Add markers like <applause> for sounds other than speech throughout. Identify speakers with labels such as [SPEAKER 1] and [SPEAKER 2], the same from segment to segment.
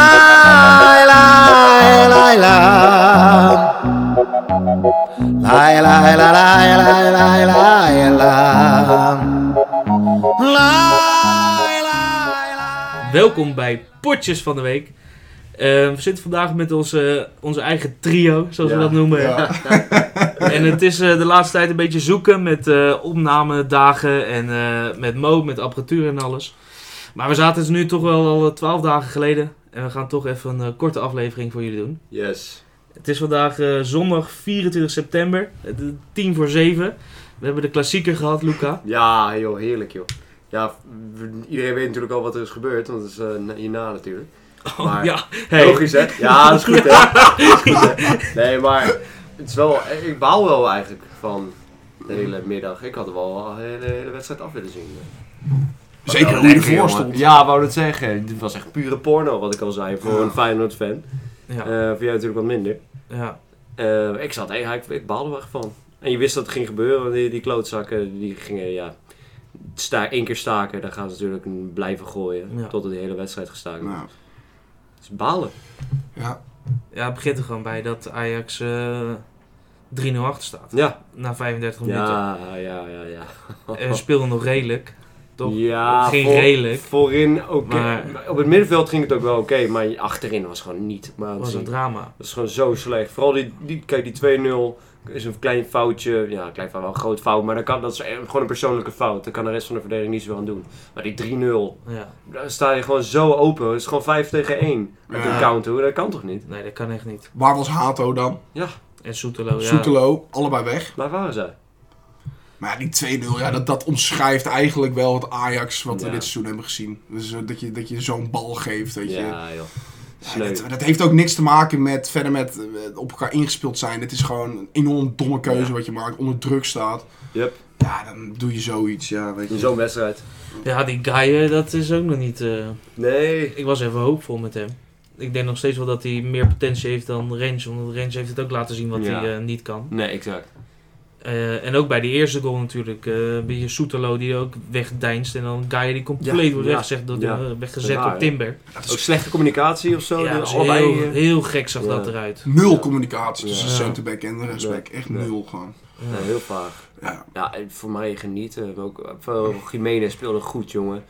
[SPEAKER 1] Lai, lai, lai, la. Lai, lai, la, lai, lai, lai, lai, la. Lai, lai, lai.
[SPEAKER 2] Welkom bij Potjes van de Week. Eh, we zitten vandaag met onze, onze eigen trio, zoals we
[SPEAKER 3] Ja,
[SPEAKER 2] dat noemen.
[SPEAKER 3] ja.
[SPEAKER 2] <laughs> En het is eh, de laatste tijd een beetje zoeken met eh, opnamedagen en eh, met Mo, met apparatuur en alles. Maar we zaten dus nu toch wel al twaalf dagen geleden. En we gaan toch even een eh, korte aflevering voor jullie doen.
[SPEAKER 3] Yes.
[SPEAKER 2] Het is vandaag eh, zondag 24 september, het is tien voor zeven. We hebben de klassieker gehad, Luca.
[SPEAKER 3] Ja, joh, heerlijk joh. Ja, w- iedereen weet natuurlijk al wat er is gebeurd, want dat is eh, na- hierna natuurlijk.
[SPEAKER 4] Oh,
[SPEAKER 3] Maar-
[SPEAKER 2] ja, hey.
[SPEAKER 3] <laughs> Logisch hè? Ja, dat is goed hè? Dat is goed, hè? Nee, maar het is wel, eh, ik baal wel eigenlijk van de hele middag. Ik had er wel een hele, hele wedstrijd af willen zien.
[SPEAKER 4] Zeker
[SPEAKER 3] Wel
[SPEAKER 4] hoe je
[SPEAKER 3] lekker,
[SPEAKER 4] ervoor
[SPEAKER 3] jongen.
[SPEAKER 4] stond.
[SPEAKER 3] Ja, wou dat zeggen. Dit was echt pure porno, wat ik al zei, voor
[SPEAKER 4] Ja.
[SPEAKER 3] een Feyenoord fan.
[SPEAKER 2] Ja,
[SPEAKER 3] Eh, voor jou natuurlijk wat minder.
[SPEAKER 2] ja.
[SPEAKER 3] Eh, ik zat, hey, ja, ik, ik baalde er echt van. En je wist dat het ging gebeuren, want die, die klootzakken die gingen, ja, sta, één keer staken. Dan gaan ze natuurlijk een- blijven gooien,
[SPEAKER 2] Ja.
[SPEAKER 3] totdat die hele wedstrijd gestaakt wordt.
[SPEAKER 4] Nou,
[SPEAKER 3] Dus balen.
[SPEAKER 4] ja.
[SPEAKER 2] ja, het begint er gewoon bij dat Ajax eh 3-0 achter staat.
[SPEAKER 3] Ja,
[SPEAKER 2] Na 35 minuten.
[SPEAKER 3] ja, ja, ja, ja.
[SPEAKER 2] En speelde nog redelijk. Toch?
[SPEAKER 3] Ja,
[SPEAKER 2] Geen
[SPEAKER 3] voor-
[SPEAKER 2] redelijk.
[SPEAKER 3] Voorin oké.
[SPEAKER 2] Maar-
[SPEAKER 3] Op het middenveld ging het ook wel oké, maar achterin was gewoon niet. Maar
[SPEAKER 2] was een
[SPEAKER 3] dat
[SPEAKER 2] drama.
[SPEAKER 3] is gewoon zo slecht. Vooral die, die kijk, die 2-0 is een klein foutje. Ja, een klein fout, wel een groot fout, maar dan kan, dat is eh, gewoon een persoonlijke fout. Daar kan de rest van de verdediging niet zo aan doen. Maar die 3-0,
[SPEAKER 2] Ja,
[SPEAKER 3] Dan sta je gewoon zo open. Het is gewoon 5 tegen 1. Met
[SPEAKER 4] Ja.
[SPEAKER 3] een counter. Dat kan toch niet?
[SPEAKER 2] nee, dat kan echt niet.
[SPEAKER 4] Waar was Hato dan?
[SPEAKER 2] En Soetelo, ja.
[SPEAKER 4] Soetelo, allebei weg.
[SPEAKER 3] Waar waren zij?
[SPEAKER 4] Maar ja, die 2-0, ja, dat, dat omschrijft eigenlijk wel het Ajax wat
[SPEAKER 3] Ja.
[SPEAKER 4] we dit seizoen hebben gezien. Dus eh, dat je, dat je zo'n bal geeft, weet je.
[SPEAKER 3] Ja, joh.
[SPEAKER 4] Ja,
[SPEAKER 3] Sneu.
[SPEAKER 4] dat, dat heeft ook niks te maken met verder met eh, op elkaar ingespeeld zijn. Het is gewoon een enorm domme keuze
[SPEAKER 3] Ja.
[SPEAKER 4] wat je maakt, onder druk staat.
[SPEAKER 3] Yep.
[SPEAKER 4] Ja, dan doe je zoiets, ja, weet je.
[SPEAKER 3] In zo'n wedstrijd.
[SPEAKER 2] Ja, die guy, eh, dat is ook nog niet... eh,
[SPEAKER 3] Nee.
[SPEAKER 2] Ik was even hoopvol met hem. Ik denk nog steeds wel dat hij meer potentie heeft dan Range. Want Range heeft het ook laten zien wat
[SPEAKER 3] Ja.
[SPEAKER 2] hij eh, niet kan.
[SPEAKER 3] Nee, exact.
[SPEAKER 2] Eh, en ook bij die eerste goal natuurlijk. eh, een beetje Soetelo die ook wegdeinst. En dan Gaia die compleet
[SPEAKER 3] Ja,
[SPEAKER 2] wordt
[SPEAKER 3] ja,
[SPEAKER 2] weggezet door,
[SPEAKER 3] ja.
[SPEAKER 2] eh, weggezet
[SPEAKER 3] Raar,
[SPEAKER 2] door
[SPEAKER 3] hè?
[SPEAKER 2] Timber.
[SPEAKER 4] Dat
[SPEAKER 3] Ook
[SPEAKER 4] is
[SPEAKER 3] slechte communicatie of zo.
[SPEAKER 2] Ja,
[SPEAKER 3] Ja,
[SPEAKER 2] dat is
[SPEAKER 3] allebei.
[SPEAKER 2] heel,
[SPEAKER 3] eh,
[SPEAKER 2] heel gek zag
[SPEAKER 3] Ja.
[SPEAKER 2] dat eruit.
[SPEAKER 4] nul communicatie
[SPEAKER 3] Ja.
[SPEAKER 4] tussen
[SPEAKER 2] Ja.
[SPEAKER 4] centerback en de rechtsback. Echt
[SPEAKER 3] Nee.
[SPEAKER 4] nul gewoon.
[SPEAKER 3] ja, heel vaag.
[SPEAKER 4] Ja.
[SPEAKER 3] Ja, en voor mij genieten. Ook, eh, vooral Jiménez speelde goed, jongen.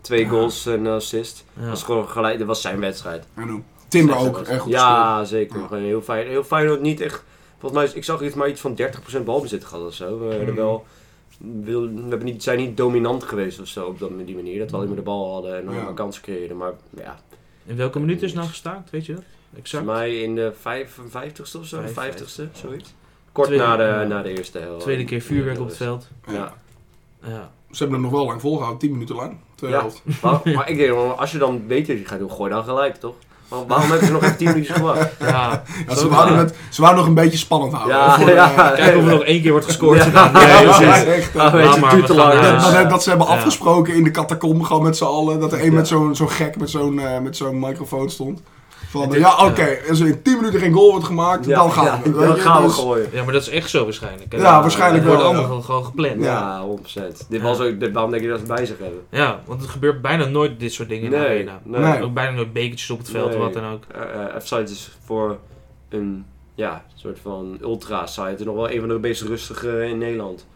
[SPEAKER 3] Twee
[SPEAKER 4] Ja.
[SPEAKER 3] goals en een assist.
[SPEAKER 2] Ja.
[SPEAKER 3] Dat, was gewoon gelijk, dat was zijn wedstrijd.
[SPEAKER 4] En hoe? Timber ook,
[SPEAKER 3] Slechte
[SPEAKER 4] echt goed gespeeld.
[SPEAKER 3] Ja, zeker.
[SPEAKER 4] Ja.
[SPEAKER 3] Gewoon Heel fijn. Heel fijn dat niet echt... Volgens mij, ik zag iets, maar iets van 30% balbezit gehad of zo. We, werden
[SPEAKER 4] Hmm.
[SPEAKER 2] Mhm.
[SPEAKER 3] wel, wil- we hebben niet, zijn niet dominant geweest of zo op dat, die manier. Dat we alleen maar de bal hadden en dan
[SPEAKER 4] Ja.
[SPEAKER 3] maar kansen creëerden. Maar ja,
[SPEAKER 2] In welke minuut is het nou gestaakt? Weet je dat? Exact.
[SPEAKER 3] volgens mij in de 55ste of zo,
[SPEAKER 2] 55ste,
[SPEAKER 3] 50ste, zoiets. Kort
[SPEAKER 2] Tweede-
[SPEAKER 3] na, de,
[SPEAKER 2] ja.
[SPEAKER 3] na de eerste helft.
[SPEAKER 2] Tweede keer vuurwerk op het veld.
[SPEAKER 4] Ja.
[SPEAKER 3] Ja.
[SPEAKER 2] Ja.
[SPEAKER 4] Ze hebben hem nog wel lang volgehouden, 10 minuten lang. Tweede
[SPEAKER 3] Ja.
[SPEAKER 4] helft.
[SPEAKER 3] Maar, maar ik denk, wel, als je dan beter gaat doen, gooi dan gelijk, toch? Maar waarom hebben ze nog even 10
[SPEAKER 2] <laughs>
[SPEAKER 3] minuutjes gewacht?
[SPEAKER 2] ja.
[SPEAKER 4] Ja,
[SPEAKER 3] Zo
[SPEAKER 4] ze, wouden
[SPEAKER 3] raar.
[SPEAKER 4] het, ze wouden nog een beetje spannend houden.
[SPEAKER 3] Ja,
[SPEAKER 4] Voor, eh,
[SPEAKER 3] ja.
[SPEAKER 2] Kijken of er nog één keer wordt gescoord.
[SPEAKER 3] Ja.
[SPEAKER 2] vandaag.
[SPEAKER 4] ja,
[SPEAKER 2] heel
[SPEAKER 4] dat
[SPEAKER 2] goed.
[SPEAKER 4] is echt, eh,
[SPEAKER 3] Ah, weet je,
[SPEAKER 2] maar
[SPEAKER 3] het
[SPEAKER 2] we
[SPEAKER 3] duurt te
[SPEAKER 2] gaan,
[SPEAKER 3] lang.
[SPEAKER 2] eh,
[SPEAKER 4] dat,
[SPEAKER 2] Ja.
[SPEAKER 4] dat- dat ze hebben
[SPEAKER 2] Ja.
[SPEAKER 4] afgesproken in de catacombe gewoon met z'n allen. Dat er één
[SPEAKER 3] Ja.
[SPEAKER 4] met zo'n zo'n gek met zo'n eh, met zo'n microfoon stond. Van,
[SPEAKER 2] Het
[SPEAKER 4] eh,
[SPEAKER 2] is-
[SPEAKER 4] ja, oké, als er in 10 minuten geen goal wordt gemaakt,
[SPEAKER 3] Ja,
[SPEAKER 4] dan gaan
[SPEAKER 3] ja,
[SPEAKER 4] we. weet
[SPEAKER 3] Dan
[SPEAKER 4] je,
[SPEAKER 3] gaan we
[SPEAKER 4] dus-
[SPEAKER 3] gooien.
[SPEAKER 2] Ja, maar dat is echt zo waarschijnlijk. hè?
[SPEAKER 4] Ja,
[SPEAKER 2] Dat-
[SPEAKER 4] waarschijnlijk
[SPEAKER 2] dat
[SPEAKER 4] wel.
[SPEAKER 2] wordt ook gewoon- gewoon gepland. Ja.
[SPEAKER 3] Ja, 100%. Dit was ook, dit, waarom denk je dat ze het bij zich hebben?
[SPEAKER 2] want het gebeurt bijna nooit dit soort dingen in de arena.
[SPEAKER 4] Nee.
[SPEAKER 2] Ook bijna nooit bekertjes op het veld
[SPEAKER 3] Nee.
[SPEAKER 2] of wat dan ook.
[SPEAKER 3] Eh, eh, F-Site is voor een ja, soort van ultra-site nog wel een van de meest rustige in Nederland.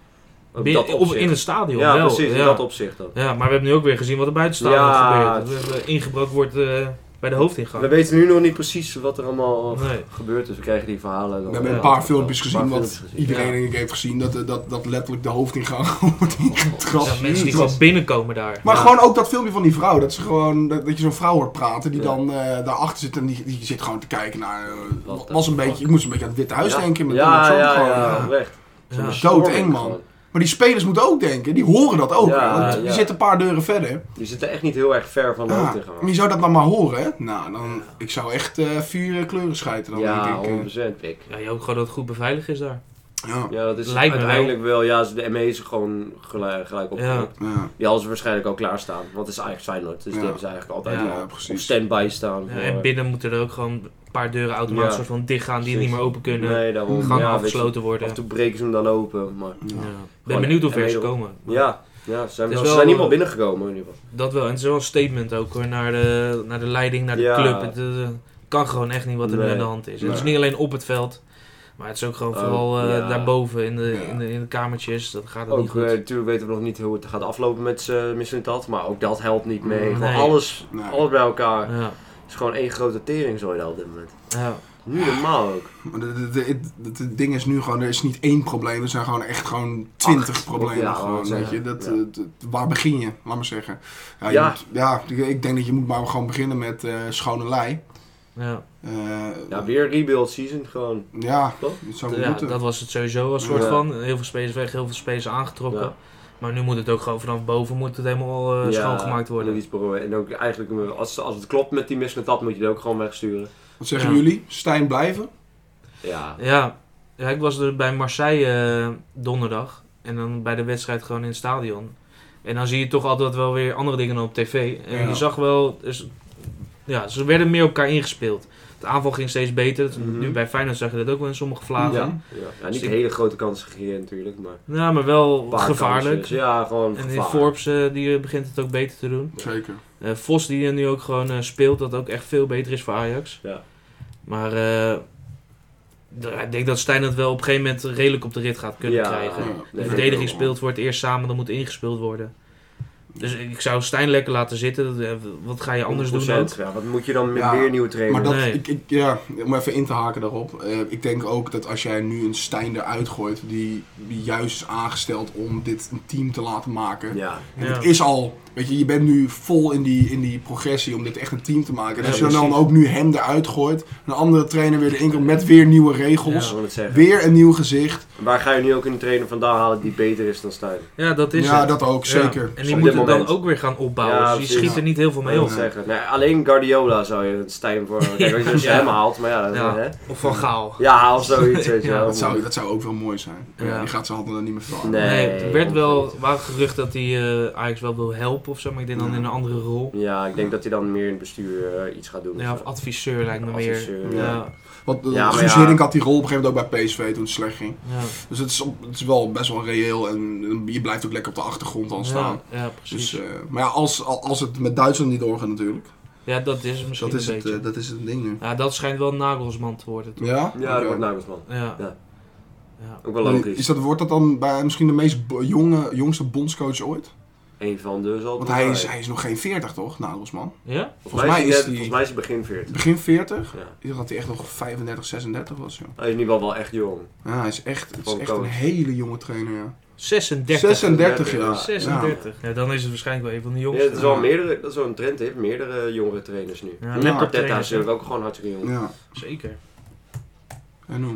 [SPEAKER 3] Op
[SPEAKER 2] Binnen-
[SPEAKER 3] dat
[SPEAKER 2] op-
[SPEAKER 3] opzicht.
[SPEAKER 2] in het stadion
[SPEAKER 3] ja,
[SPEAKER 2] wel.
[SPEAKER 3] precies, in
[SPEAKER 2] ja.
[SPEAKER 3] dat opzicht dan.
[SPEAKER 2] Ja, maar we hebben nu ook weer gezien wat er buiten het stadion
[SPEAKER 3] Ja.
[SPEAKER 2] gebeurt. Dat er eh, ingebroken wordt eh, bij de hoofdingang.
[SPEAKER 3] We weten nu nog niet precies wat er allemaal
[SPEAKER 2] Nee.
[SPEAKER 3] gebeurd is. We krijgen die verhalen. Dan,
[SPEAKER 4] We hebben
[SPEAKER 2] Ja,
[SPEAKER 4] een paar
[SPEAKER 3] dan-
[SPEAKER 4] filmpjes
[SPEAKER 3] dan-
[SPEAKER 4] gezien,
[SPEAKER 3] een paar
[SPEAKER 4] wat
[SPEAKER 3] filmpjes gezien.
[SPEAKER 4] iedereen
[SPEAKER 2] ja.
[SPEAKER 4] denk ik heeft gezien, dat, eh, dat, dat letterlijk de hoofdingang <laughs> wordt
[SPEAKER 2] Ja,
[SPEAKER 4] ingetrapt.
[SPEAKER 2] mensen die
[SPEAKER 3] was-
[SPEAKER 2] gewoon binnenkomen daar.
[SPEAKER 4] Maar
[SPEAKER 3] Ja.
[SPEAKER 4] gewoon ook dat filmpje van die vrouw, dat, ze gewoon, dat, dat je zo'n vrouw hoort praten die
[SPEAKER 3] Ja.
[SPEAKER 4] dan eh, daarachter zit en die, die zit gewoon te kijken naar... eh,
[SPEAKER 3] Wat de
[SPEAKER 4] was een
[SPEAKER 3] fuck?
[SPEAKER 4] beetje, ik moest een beetje aan het Witte Huis
[SPEAKER 3] Ja.
[SPEAKER 4] denken. Met
[SPEAKER 3] ja,
[SPEAKER 4] met zo'n
[SPEAKER 3] ja,
[SPEAKER 4] gewoon,
[SPEAKER 3] ja,
[SPEAKER 4] eh,
[SPEAKER 3] oprecht.
[SPEAKER 2] Ja.
[SPEAKER 4] Zo'n doodeng, man.
[SPEAKER 3] Gewoon.
[SPEAKER 4] Maar die spelers moeten ook denken, die horen dat ook.
[SPEAKER 3] Ja,
[SPEAKER 4] want die
[SPEAKER 3] ja.
[SPEAKER 4] zitten een paar deuren verder.
[SPEAKER 3] Die zitten echt niet heel erg ver van de
[SPEAKER 4] Ja,
[SPEAKER 3] hoofdingang.
[SPEAKER 4] maar je zou dat dan maar horen, hè? Nou, dan, ik zou echt eh, vier kleuren schijten dan,
[SPEAKER 3] Ja,
[SPEAKER 4] denk ik. eh.
[SPEAKER 3] 100% ik.
[SPEAKER 2] Ja, je hoopt gewoon dat het goed beveiligd is daar.
[SPEAKER 4] ja,
[SPEAKER 3] Ja, dat is
[SPEAKER 2] Lijkt me
[SPEAKER 3] uiteindelijk wel. Ja, ze- de ME is gewoon gelijk, gelijk opgeroepen.
[SPEAKER 2] Ja.
[SPEAKER 4] ja.
[SPEAKER 3] Die hadden ze waarschijnlijk al klaarstaan, want het is eigenlijk Feyenoord. Dus
[SPEAKER 4] Ja.
[SPEAKER 3] die hebben ze eigenlijk altijd
[SPEAKER 2] Ja,
[SPEAKER 3] al
[SPEAKER 4] precies.
[SPEAKER 3] op standby staan.
[SPEAKER 2] Ja,
[SPEAKER 3] voor-
[SPEAKER 2] en binnen moeten er ook gewoon een paar deuren automatisch
[SPEAKER 3] Ja.
[SPEAKER 2] soort van dichtgaan die
[SPEAKER 3] Precies.
[SPEAKER 2] niet meer open kunnen.
[SPEAKER 3] Nee, daarom.
[SPEAKER 2] Gangen
[SPEAKER 3] ja, weet je,
[SPEAKER 2] afgesloten
[SPEAKER 3] Af en
[SPEAKER 2] worden.
[SPEAKER 3] toe breken ze hem dan open. Maar,
[SPEAKER 2] Ja. Ik
[SPEAKER 3] Gewoon-
[SPEAKER 2] ben benieuwd hoe
[SPEAKER 3] en
[SPEAKER 2] ver ze
[SPEAKER 3] wederom-
[SPEAKER 2] komen.
[SPEAKER 3] ja, Ja, ze zijn,
[SPEAKER 2] Het is
[SPEAKER 3] wel, ze
[SPEAKER 2] wel-
[SPEAKER 3] zijn niet meer binnengekomen in ieder geval.
[SPEAKER 2] Dat wel. En het is wel een statement ook hoor, naar de, naar de leiding, naar de
[SPEAKER 3] Ja.
[SPEAKER 2] club. Het eh, kan gewoon echt niet wat er nu
[SPEAKER 3] Nee.
[SPEAKER 2] aan de hand is. Het is
[SPEAKER 4] Nee.
[SPEAKER 2] niet alleen op het veld, maar het is ook gewoon
[SPEAKER 3] Oh,
[SPEAKER 2] vooral eh,
[SPEAKER 3] ja.
[SPEAKER 2] daarboven in de,
[SPEAKER 4] Ja.
[SPEAKER 2] in, de, in de kamertjes. Dat gaat ook niet
[SPEAKER 3] Ook eh,
[SPEAKER 2] goed.
[SPEAKER 3] natuurlijk weten we nog niet hoe het gaat aflopen met z'n Missing dat, maar ook dat helpt niet mee.
[SPEAKER 4] Nee.
[SPEAKER 3] Gewoon alles,
[SPEAKER 4] Nee.
[SPEAKER 3] alles bij elkaar.
[SPEAKER 2] ja.
[SPEAKER 3] Het is gewoon één grote teringzooi daar op dit moment.
[SPEAKER 2] Ja.
[SPEAKER 3] Nu normaal ook.
[SPEAKER 4] Maar de- de- de- Het het- het ding is nu gewoon, er is niet één probleem, er zijn gewoon echt gewoon twintig problemen.
[SPEAKER 3] Ja,
[SPEAKER 4] gewoon,
[SPEAKER 3] ja.
[SPEAKER 4] weet je. Dat,
[SPEAKER 3] Ja.
[SPEAKER 4] eh, dat- waar begin je, laat maar zeggen. Ja, je
[SPEAKER 3] Ja.
[SPEAKER 4] moet- ja, ik denk dat je moet maar gewoon beginnen met eh, schone lei.
[SPEAKER 2] Ja.
[SPEAKER 4] Eh,
[SPEAKER 3] Ja, weer rebuild season gewoon.
[SPEAKER 4] ja,
[SPEAKER 3] Toch?
[SPEAKER 4] dat zou
[SPEAKER 2] Ja,
[SPEAKER 4] moeten.
[SPEAKER 2] dat was het sowieso als soort
[SPEAKER 3] Ja.
[SPEAKER 2] van. Heel veel spelers weg, heel veel spelers aangetrokken.
[SPEAKER 3] Ja.
[SPEAKER 2] Maar nu moet het ook gewoon vanaf boven moet het helemaal eh, schoongemaakt worden.
[SPEAKER 3] moet iets proberen. En ook eigenlijk, eh, als, als het klopt met die Missing dat, moet je het ook gewoon wegsturen.
[SPEAKER 4] Wat zeggen
[SPEAKER 2] Ja.
[SPEAKER 4] jullie? Stijn blijven?
[SPEAKER 3] Ja.
[SPEAKER 2] Ja. ja, ik was er bij Marseille eh, donderdag. En dan bij de wedstrijd gewoon in het stadion. En dan zie je toch altijd wel weer andere dingen dan op tv. En
[SPEAKER 4] Ja.
[SPEAKER 2] je zag wel... Dus, ja, ze werden meer op elkaar ingespeeld. De aanval ging steeds beter. Dat-
[SPEAKER 3] Mhm.
[SPEAKER 2] Nu bij Feyenoord zag je dat ook wel in sommige vlagen. Ja,
[SPEAKER 4] Ja.
[SPEAKER 3] ja. ja niet hele grote kansen gegeven natuurlijk, maar... een
[SPEAKER 2] maar wel
[SPEAKER 3] paar
[SPEAKER 2] gevaarlijk.
[SPEAKER 3] kansjes. Ja, gewoon
[SPEAKER 2] En die
[SPEAKER 3] gevaarlijk.
[SPEAKER 2] Forbes eh, die eh, begint het ook beter te doen.
[SPEAKER 4] Zeker.
[SPEAKER 2] Eh, Vos die er nu ook gewoon eh, speelt, dat ook echt veel beter is voor Ajax.
[SPEAKER 3] Ja.
[SPEAKER 2] Maar eh, d- ik denk dat Stijn het wel op een gegeven moment redelijk op de rit gaat kunnen
[SPEAKER 3] Ja.
[SPEAKER 2] krijgen.
[SPEAKER 3] Ja.
[SPEAKER 2] De
[SPEAKER 3] Nee,
[SPEAKER 2] verdediging speelt voor het eerst samen, dan moet ingespeeld worden. Dus ik zou Stijn lekker laten zitten. Dat- eh, Wat ga je anders doen?
[SPEAKER 3] 100%.
[SPEAKER 2] ook?
[SPEAKER 3] Ja, wat moet je dan met
[SPEAKER 4] Ja,
[SPEAKER 3] weer nieuwe trainers?
[SPEAKER 4] Maar dat,
[SPEAKER 2] Nee.
[SPEAKER 4] ik, ik, ja, om even in te haken daarop. eh, ik denk ook dat als jij nu een Stijn eruit gooit, die, die juist is aangesteld om dit een team te laten maken.
[SPEAKER 3] Ja.
[SPEAKER 4] En
[SPEAKER 2] Ja.
[SPEAKER 4] Het is al, weet je, je bent nu vol in die, in die progressie om dit echt een team te maken. En
[SPEAKER 2] Ja,
[SPEAKER 4] als je dan
[SPEAKER 3] precies.
[SPEAKER 4] ook nu hem eruit gooit, een andere trainer weer erin komt met weer nieuwe regels,
[SPEAKER 3] Ik wil het zeggen.
[SPEAKER 4] weer een nieuw gezicht.
[SPEAKER 3] Waar ga je nu ook een trainer vandaan halen die beter is dan Stijn?
[SPEAKER 2] Ja, dat is
[SPEAKER 4] ja,
[SPEAKER 2] het.
[SPEAKER 4] dat ook,
[SPEAKER 2] Ja.
[SPEAKER 4] zeker.
[SPEAKER 2] En die
[SPEAKER 3] Op
[SPEAKER 2] moet
[SPEAKER 3] dit
[SPEAKER 2] het dan
[SPEAKER 3] moment.
[SPEAKER 2] ook weer gaan opbouwen.
[SPEAKER 3] Ja,
[SPEAKER 2] dus je
[SPEAKER 3] precies.
[SPEAKER 2] schiet er niet heel veel mee
[SPEAKER 3] Ik wil
[SPEAKER 2] op.
[SPEAKER 3] het zeggen. Nee, alleen Guardiola zou je het Stijn
[SPEAKER 2] <laughs>
[SPEAKER 3] voor... Kijk, weet je, als je
[SPEAKER 2] Ja.
[SPEAKER 3] hem haalt, maar ja... dat-
[SPEAKER 2] Ja.
[SPEAKER 3] Hè?
[SPEAKER 2] Of van Gaal.
[SPEAKER 3] ja, of zoiets, weet je
[SPEAKER 2] Ja,
[SPEAKER 3] wel.
[SPEAKER 4] Dat zou, dat zou ook wel mooi zijn.
[SPEAKER 2] Ja.
[SPEAKER 4] Ja, Die gaat zijn handen dan niet meer vragen.
[SPEAKER 3] Nee.
[SPEAKER 2] Nee, er werd
[SPEAKER 3] absoluut
[SPEAKER 2] wel,
[SPEAKER 3] niet.
[SPEAKER 2] waren gerucht dat hij eh, Ajax wel wil helpen of zo, maar ik denk dan
[SPEAKER 4] Ja.
[SPEAKER 2] in een andere rol.
[SPEAKER 3] Ja, ik denk dat hij dan meer in het bestuur eh, iets gaat doen.
[SPEAKER 2] Ja, of adviseur lijkt me meer.
[SPEAKER 3] Adviseur,
[SPEAKER 4] ja.
[SPEAKER 2] Ja,
[SPEAKER 4] Want eh,
[SPEAKER 3] Ja, maar
[SPEAKER 4] Guus
[SPEAKER 3] ja.
[SPEAKER 4] Hiddink had die rol op een gegeven moment ook bij PSV toen het slecht ging.
[SPEAKER 2] ja.
[SPEAKER 4] Dus het is, op- het is wel best wel reëel en je blijft ook lekker op de achtergrond dan staan.
[SPEAKER 2] Ja, ja, precies.
[SPEAKER 4] Dus, eh, maar ja, als, als het met Duitsland niet doorgaat natuurlijk.
[SPEAKER 2] ja, dat is het misschien
[SPEAKER 4] Dat is,
[SPEAKER 2] een
[SPEAKER 4] het,
[SPEAKER 2] beetje.
[SPEAKER 4] eh, dat is het ding nu.
[SPEAKER 2] ja, dat schijnt wel Nagelsman te worden. toch?
[SPEAKER 4] Ja?
[SPEAKER 3] Ja,
[SPEAKER 4] Oké.
[SPEAKER 3] dat wordt Nagelsman.
[SPEAKER 2] Ja.
[SPEAKER 3] Ja.
[SPEAKER 2] Ja.
[SPEAKER 3] Ook wel
[SPEAKER 4] Maar
[SPEAKER 3] logisch.
[SPEAKER 4] Is dat, wordt dat dan bij misschien de meest bo- jonge, jongste bondscoach ooit?
[SPEAKER 3] Eén van de zal het
[SPEAKER 4] Want
[SPEAKER 3] wel
[SPEAKER 4] hij
[SPEAKER 3] zijn.
[SPEAKER 4] is, hij is nog geen 40 toch, Nou, Nagelsman?
[SPEAKER 2] Ja?
[SPEAKER 3] Volgens mij is hij...
[SPEAKER 4] die-
[SPEAKER 3] Volgens mij is hij begin 40.
[SPEAKER 4] Begin 40?
[SPEAKER 3] Ja.
[SPEAKER 4] Ik dacht dat hij echt nog 35, 36 was. joh.
[SPEAKER 3] Hij is in ieder geval wel echt jong.
[SPEAKER 4] Ja, hij is echt, het is echt een
[SPEAKER 3] Bondscoach.
[SPEAKER 4] hele jonge trainer. Ja.
[SPEAKER 2] 36.
[SPEAKER 4] 36 jaar.
[SPEAKER 2] 36. Ja, dan is het waarschijnlijk wel een van de
[SPEAKER 3] Ja,
[SPEAKER 2] jongsten.
[SPEAKER 3] dat is wel meerdere, dat is wel een trend, heeft meerdere jongere trainers nu.
[SPEAKER 2] Ja,
[SPEAKER 3] En
[SPEAKER 2] met
[SPEAKER 3] Arteta
[SPEAKER 2] trainers,
[SPEAKER 3] is natuurlijk ook gewoon hartstikke jong.
[SPEAKER 4] Ja. ja,
[SPEAKER 2] Zeker.
[SPEAKER 4] en hoe?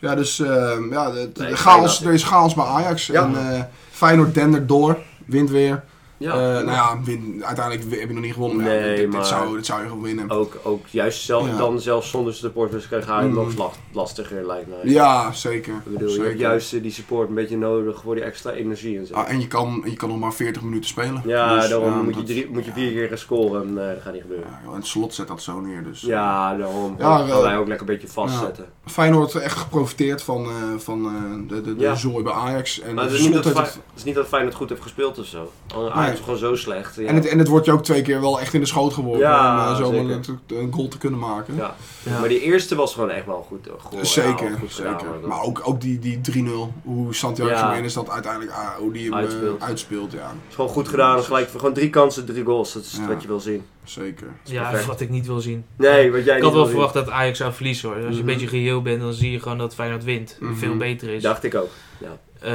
[SPEAKER 4] Ja, dus ehm, ja, de, de
[SPEAKER 3] Nee,
[SPEAKER 4] chaos,
[SPEAKER 3] Feyenoord.
[SPEAKER 4] er is chaos bij Ajax.
[SPEAKER 3] Ja.
[SPEAKER 4] En eh, Feyenoord dendert door, wint weer.
[SPEAKER 3] Ja,
[SPEAKER 4] Eh, nou ja, win- uiteindelijk heb je nog niet gewonnen. maar ja,
[SPEAKER 3] Nee,
[SPEAKER 4] dit, dit
[SPEAKER 3] maar- Oh,
[SPEAKER 4] zou, dit zou je gewoon winnen.
[SPEAKER 3] Ook, ook juist zelf,
[SPEAKER 4] Ja.
[SPEAKER 3] dan zelfs zonder supporters krijg je het
[SPEAKER 4] Mm.
[SPEAKER 3] nog last- lastiger lijkt mij.
[SPEAKER 4] Ja, zeker.
[SPEAKER 3] Ik bedoel, je
[SPEAKER 4] zeker.
[SPEAKER 3] hebt juist eh, die support een beetje nodig voor die extra energie en zo.
[SPEAKER 4] Ah, en je kan, je kan nog maar 40 minuten spelen.
[SPEAKER 3] ja,
[SPEAKER 4] Dus,
[SPEAKER 3] daarom
[SPEAKER 4] ja,
[SPEAKER 3] moet, je
[SPEAKER 4] dat-
[SPEAKER 3] drie, moet je vier keer gaan scoren en eh, dat gaat niet gebeuren.
[SPEAKER 4] Ja, joh, en het slot zet dat zo neer. Dus.
[SPEAKER 3] Ja, daarom
[SPEAKER 4] Ja,
[SPEAKER 3] gaan
[SPEAKER 4] wel.
[SPEAKER 3] wij ook lekker een beetje vastzetten.
[SPEAKER 4] Feyenoord echt geprofiteerd van, eh, van eh, de, de, de
[SPEAKER 3] Ja.
[SPEAKER 4] zooi bij Ajax. En,
[SPEAKER 3] Maar het
[SPEAKER 4] de
[SPEAKER 3] is, niet
[SPEAKER 4] slot
[SPEAKER 3] dat
[SPEAKER 4] heeft
[SPEAKER 3] Fey- het is niet dat Feyenoord goed heeft gespeeld of zo. Ajax
[SPEAKER 4] Nee.
[SPEAKER 3] is gewoon zo slecht. Ja.
[SPEAKER 4] en, het, en het wordt je ook twee keer wel echt in de schoot geworpen.
[SPEAKER 3] Ja,
[SPEAKER 4] om eh, zo
[SPEAKER 3] zeker.
[SPEAKER 4] een, een goal te kunnen maken. Dus
[SPEAKER 3] Ja.
[SPEAKER 2] Ja.
[SPEAKER 3] Maar die eerste was gewoon echt wel goed. hoor. Goh, ja,
[SPEAKER 4] zeker,
[SPEAKER 3] goed gedaan,
[SPEAKER 4] zeker.
[SPEAKER 3] maar dat-
[SPEAKER 4] maar ook, ook die, die 3-0. Hoe Santiago
[SPEAKER 3] Ja.
[SPEAKER 4] Jiménez dat uiteindelijk ah, hoe die hem eh, uitspeelt.
[SPEAKER 3] Uitspeelt.
[SPEAKER 4] Ja,
[SPEAKER 3] Het is gewoon goed gedaan. en Gelijk, gewoon drie kansen, drie goals. Dat is
[SPEAKER 4] Ja.
[SPEAKER 3] wat je wil zien.
[SPEAKER 4] zeker.
[SPEAKER 2] Ja,
[SPEAKER 3] perfect.
[SPEAKER 2] wat ik niet wil zien.
[SPEAKER 3] Nee, wat jij
[SPEAKER 2] Ik had
[SPEAKER 3] niet
[SPEAKER 2] wel
[SPEAKER 3] wil zien.
[SPEAKER 2] verwacht dat Ajax zou verliezen hoor. Als je een
[SPEAKER 4] Mhm.
[SPEAKER 2] beetje reëel bent, dan zie je gewoon dat Feyenoord wint.
[SPEAKER 4] Mhm.
[SPEAKER 2] Veel beter is.
[SPEAKER 3] Dacht ik ook.
[SPEAKER 2] Eh,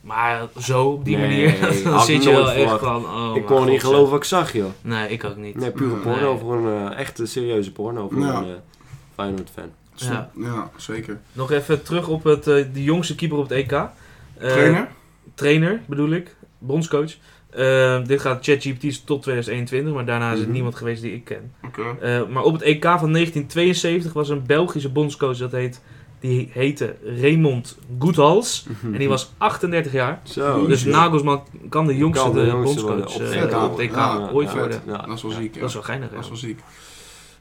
[SPEAKER 2] maar zo, op die
[SPEAKER 3] Nee,
[SPEAKER 2] manier, <laughs> dan
[SPEAKER 3] had
[SPEAKER 2] zit
[SPEAKER 3] ik
[SPEAKER 2] je wel
[SPEAKER 3] nooit
[SPEAKER 2] echt
[SPEAKER 3] verwacht.
[SPEAKER 2] van... Oh,
[SPEAKER 3] ik
[SPEAKER 2] maar
[SPEAKER 3] kon niet
[SPEAKER 2] god,
[SPEAKER 3] geloven wat ik zag, joh.
[SPEAKER 2] zeg. Nee, ik ook niet.
[SPEAKER 3] Nee, pure
[SPEAKER 4] Nee.
[SPEAKER 3] porno voor een eh, echte serieuze porno voor
[SPEAKER 4] Ja.
[SPEAKER 3] een eh, Feyenoord-fan.
[SPEAKER 4] Ja. Dus, ja, zeker.
[SPEAKER 2] Nog even terug op het, eh, de jongste keeper op het EK. Eh,
[SPEAKER 4] Trainer?
[SPEAKER 2] Trainer, bedoel ik. Bondscoach. Eh, dit gaat ChatGPT tot 2021, maar daarna is het
[SPEAKER 4] Mhm.
[SPEAKER 2] niemand geweest die ik ken.
[SPEAKER 4] Oké.
[SPEAKER 2] Eh, maar op het EK van 1972 was een Belgische bondscoach, dat heet, die heette Raymond Goethals. En die was 38 jaar.
[SPEAKER 3] Zo.
[SPEAKER 2] Dus
[SPEAKER 4] Jezus.
[SPEAKER 2] Nagelsman kan de jongste
[SPEAKER 3] Mhm. Oh, Kan de jongste
[SPEAKER 2] bondscoach
[SPEAKER 3] worden
[SPEAKER 2] eh,
[SPEAKER 3] op
[SPEAKER 4] EK.
[SPEAKER 2] op het EK
[SPEAKER 4] Ja,
[SPEAKER 2] ooit
[SPEAKER 4] ja.
[SPEAKER 2] worden.
[SPEAKER 3] Ja.
[SPEAKER 4] Dat is wel ziek. Ja.
[SPEAKER 2] Dat is wel geinig.
[SPEAKER 4] Dat is
[SPEAKER 2] ja.
[SPEAKER 4] wel ziek.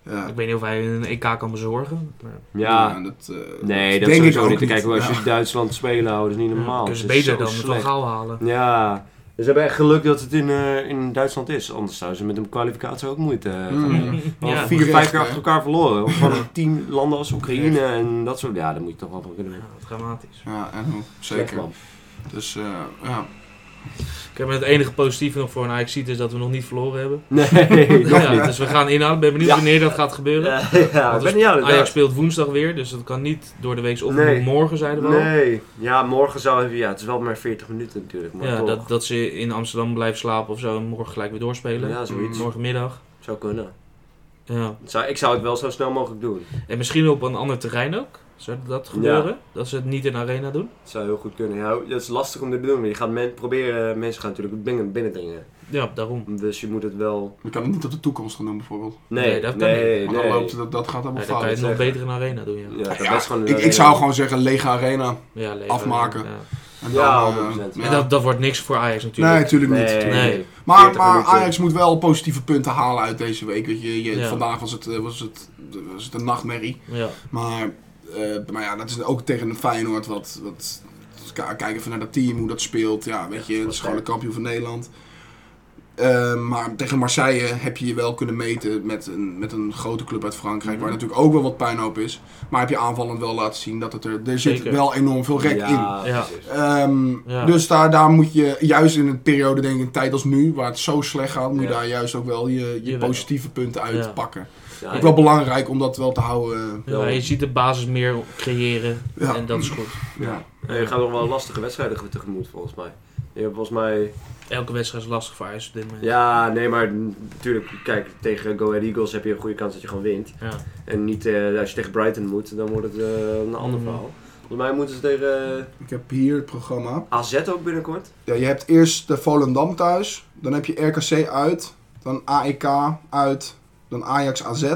[SPEAKER 4] Ja.
[SPEAKER 2] Ik weet niet of hij een EK kan bezorgen. Maar
[SPEAKER 3] ja.
[SPEAKER 4] dat, eh,
[SPEAKER 3] Nee, dat
[SPEAKER 4] denk
[SPEAKER 3] sowieso
[SPEAKER 4] ik ook
[SPEAKER 3] niet. Kijk, hoe als
[SPEAKER 4] Ja.
[SPEAKER 3] je Duitsland spelen houden, dat is niet normaal.
[SPEAKER 2] kunnen eh, ze
[SPEAKER 3] Het is
[SPEAKER 2] beter
[SPEAKER 3] zo
[SPEAKER 2] dan met Van
[SPEAKER 3] slecht.
[SPEAKER 2] Gaal halen.
[SPEAKER 3] Ja, ze hebben echt geluk dat het in, eh, in Duitsland is. Anders zouden ze met een kwalificatie ook moeite eh, gaan
[SPEAKER 4] Mm.
[SPEAKER 2] <laughs>
[SPEAKER 3] hebben.
[SPEAKER 2] Ja.
[SPEAKER 3] Want
[SPEAKER 2] Ja.
[SPEAKER 3] vier,
[SPEAKER 4] Terecht,
[SPEAKER 3] vijf keer
[SPEAKER 4] hè?
[SPEAKER 3] achter elkaar verloren. Of
[SPEAKER 2] <laughs>
[SPEAKER 3] van tien landen als Oekraïne en dat soort. Ja, daar moet je toch wel van kunnen winnen.
[SPEAKER 2] dramatisch.
[SPEAKER 4] Ja, en hoe?
[SPEAKER 3] Slecht,
[SPEAKER 4] Zeker.
[SPEAKER 3] man.
[SPEAKER 4] Dus eh, ja.
[SPEAKER 2] Ik heb het enige positieve nog voor een ajax is dat we nog niet verloren hebben.
[SPEAKER 3] Nee,
[SPEAKER 2] <laughs>
[SPEAKER 3] nog
[SPEAKER 2] Ja,
[SPEAKER 3] niet.
[SPEAKER 2] dus we gaan inhouden. Ben benieuwd
[SPEAKER 3] Ja.
[SPEAKER 2] wanneer dat gaat gebeuren.
[SPEAKER 3] Ja, <laughs> ja,
[SPEAKER 2] Want
[SPEAKER 3] ik ben
[SPEAKER 2] dus
[SPEAKER 3] niet aan het
[SPEAKER 2] Ajax speelt woensdag weer, dus dat kan niet door de week of
[SPEAKER 3] Nee.
[SPEAKER 2] morgen, zeiden we al.
[SPEAKER 3] Nee, ja, morgen zou ja, het is wel maar 40 minuten natuurlijk. Maar
[SPEAKER 2] Ja,
[SPEAKER 3] toch.
[SPEAKER 2] dat, dat ze in Amsterdam blijven slapen of zo en morgen gelijk weer doorspelen.
[SPEAKER 3] ja, zoiets.
[SPEAKER 4] Mm.
[SPEAKER 2] Morgenmiddag.
[SPEAKER 3] Zou kunnen.
[SPEAKER 2] Ja.
[SPEAKER 3] Het Zou, ik zou het wel zo snel mogelijk doen.
[SPEAKER 2] En misschien op een ander terrein ook. Zou dat gebeuren? Dat ze het niet in de arena doen?
[SPEAKER 3] Het zou heel goed kunnen. Ja, dat is lastig om dit te doen, want je gaat men, proberen, mensen gaan natuurlijk binnen, binnendringen.
[SPEAKER 2] Ja, daarom.
[SPEAKER 3] Dus je moet het wel...
[SPEAKER 4] Je kan het niet op de toekomst gaan doen bijvoorbeeld.
[SPEAKER 3] Nee,
[SPEAKER 2] Nee,
[SPEAKER 3] nee,
[SPEAKER 2] dat kan
[SPEAKER 3] nee.
[SPEAKER 4] Want dan loopt dat, dat gaat allemaal
[SPEAKER 2] Nee, dan kan je
[SPEAKER 4] fout.
[SPEAKER 2] het nog
[SPEAKER 3] zeggen.
[SPEAKER 2] beter in de arena doen, ja.
[SPEAKER 3] Ja, dat
[SPEAKER 4] Ja,
[SPEAKER 3] is gewoon
[SPEAKER 4] ik, ik zou gewoon zeggen lege arena.
[SPEAKER 2] Ja, leuk.
[SPEAKER 4] Afmaken.
[SPEAKER 2] Ja.
[SPEAKER 4] En
[SPEAKER 3] Ja,
[SPEAKER 4] dan, eh,
[SPEAKER 3] 100%.
[SPEAKER 4] ja.
[SPEAKER 2] En dat, dat wordt niks voor Ajax
[SPEAKER 4] nee,
[SPEAKER 2] natuurlijk.
[SPEAKER 4] natuurlijk niet.
[SPEAKER 3] Nee,
[SPEAKER 2] Nee.
[SPEAKER 3] nee.
[SPEAKER 4] Maar,
[SPEAKER 3] 40
[SPEAKER 4] maar
[SPEAKER 3] minuten.
[SPEAKER 4] Ajax moet wel positieve punten halen uit deze week. Weet je, je,
[SPEAKER 2] Ja.
[SPEAKER 4] Vandaag was het, eh, was, het, was het een nachtmerrie.
[SPEAKER 2] Ja.
[SPEAKER 4] Maar, eh, maar ja, dat is ook tegen een Feyenoord. Wat, wat, k- kijk even naar dat team, hoe dat speelt. Ja, weet je, het is gewoon de kampioen van Nederland. Eh, maar tegen Marseille heb je je wel kunnen meten met een, met een grote club uit Frankrijk. Waar natuurlijk ook wel wat puinhoop is. Maar heb je aanvallend wel laten zien dat het er... Er zit
[SPEAKER 2] Zeker.
[SPEAKER 4] wel enorm veel rek in.
[SPEAKER 3] Ja,
[SPEAKER 2] Ja.
[SPEAKER 3] precies.
[SPEAKER 4] Ehm,
[SPEAKER 2] Ja.
[SPEAKER 4] Dus daar, daar moet je juist in een periode, denk ik, een tijd als nu, waar het zo slecht gaat, moet je
[SPEAKER 3] Ja.
[SPEAKER 4] daar juist ook wel je, je
[SPEAKER 2] Jawel.
[SPEAKER 4] positieve punten
[SPEAKER 2] Ja.
[SPEAKER 4] uit pakken.
[SPEAKER 3] Ja,
[SPEAKER 4] Ook wel belangrijk om dat wel te houden.
[SPEAKER 2] Ja, je ziet de basis meer creëren
[SPEAKER 4] Ja.
[SPEAKER 2] en dat is goed.
[SPEAKER 4] eh, Ja.
[SPEAKER 3] Nee, je gaat nog wel lastige wedstrijden tegemoet, volgens mij. Je hebt volgens mij...
[SPEAKER 2] Elke wedstrijd is lastig voor Ajax op dit moment.
[SPEAKER 3] Ja, nee, maar natuurlijk, kijk, tegen Go Ahead Eagles heb je een goede kans dat je gewoon wint.
[SPEAKER 2] Ja.
[SPEAKER 3] En niet, eh, als je tegen Brighton moet, dan wordt het eh, een ander
[SPEAKER 2] Mhm.
[SPEAKER 3] verhaal. Volgens mij moeten ze tegen eh,
[SPEAKER 4] Ik heb hier het programma.
[SPEAKER 3] AZ ook binnenkort.
[SPEAKER 4] Ja, je hebt eerst de Volendam thuis, dan heb je RKC uit, dan AEK uit, dan Ajax AZ,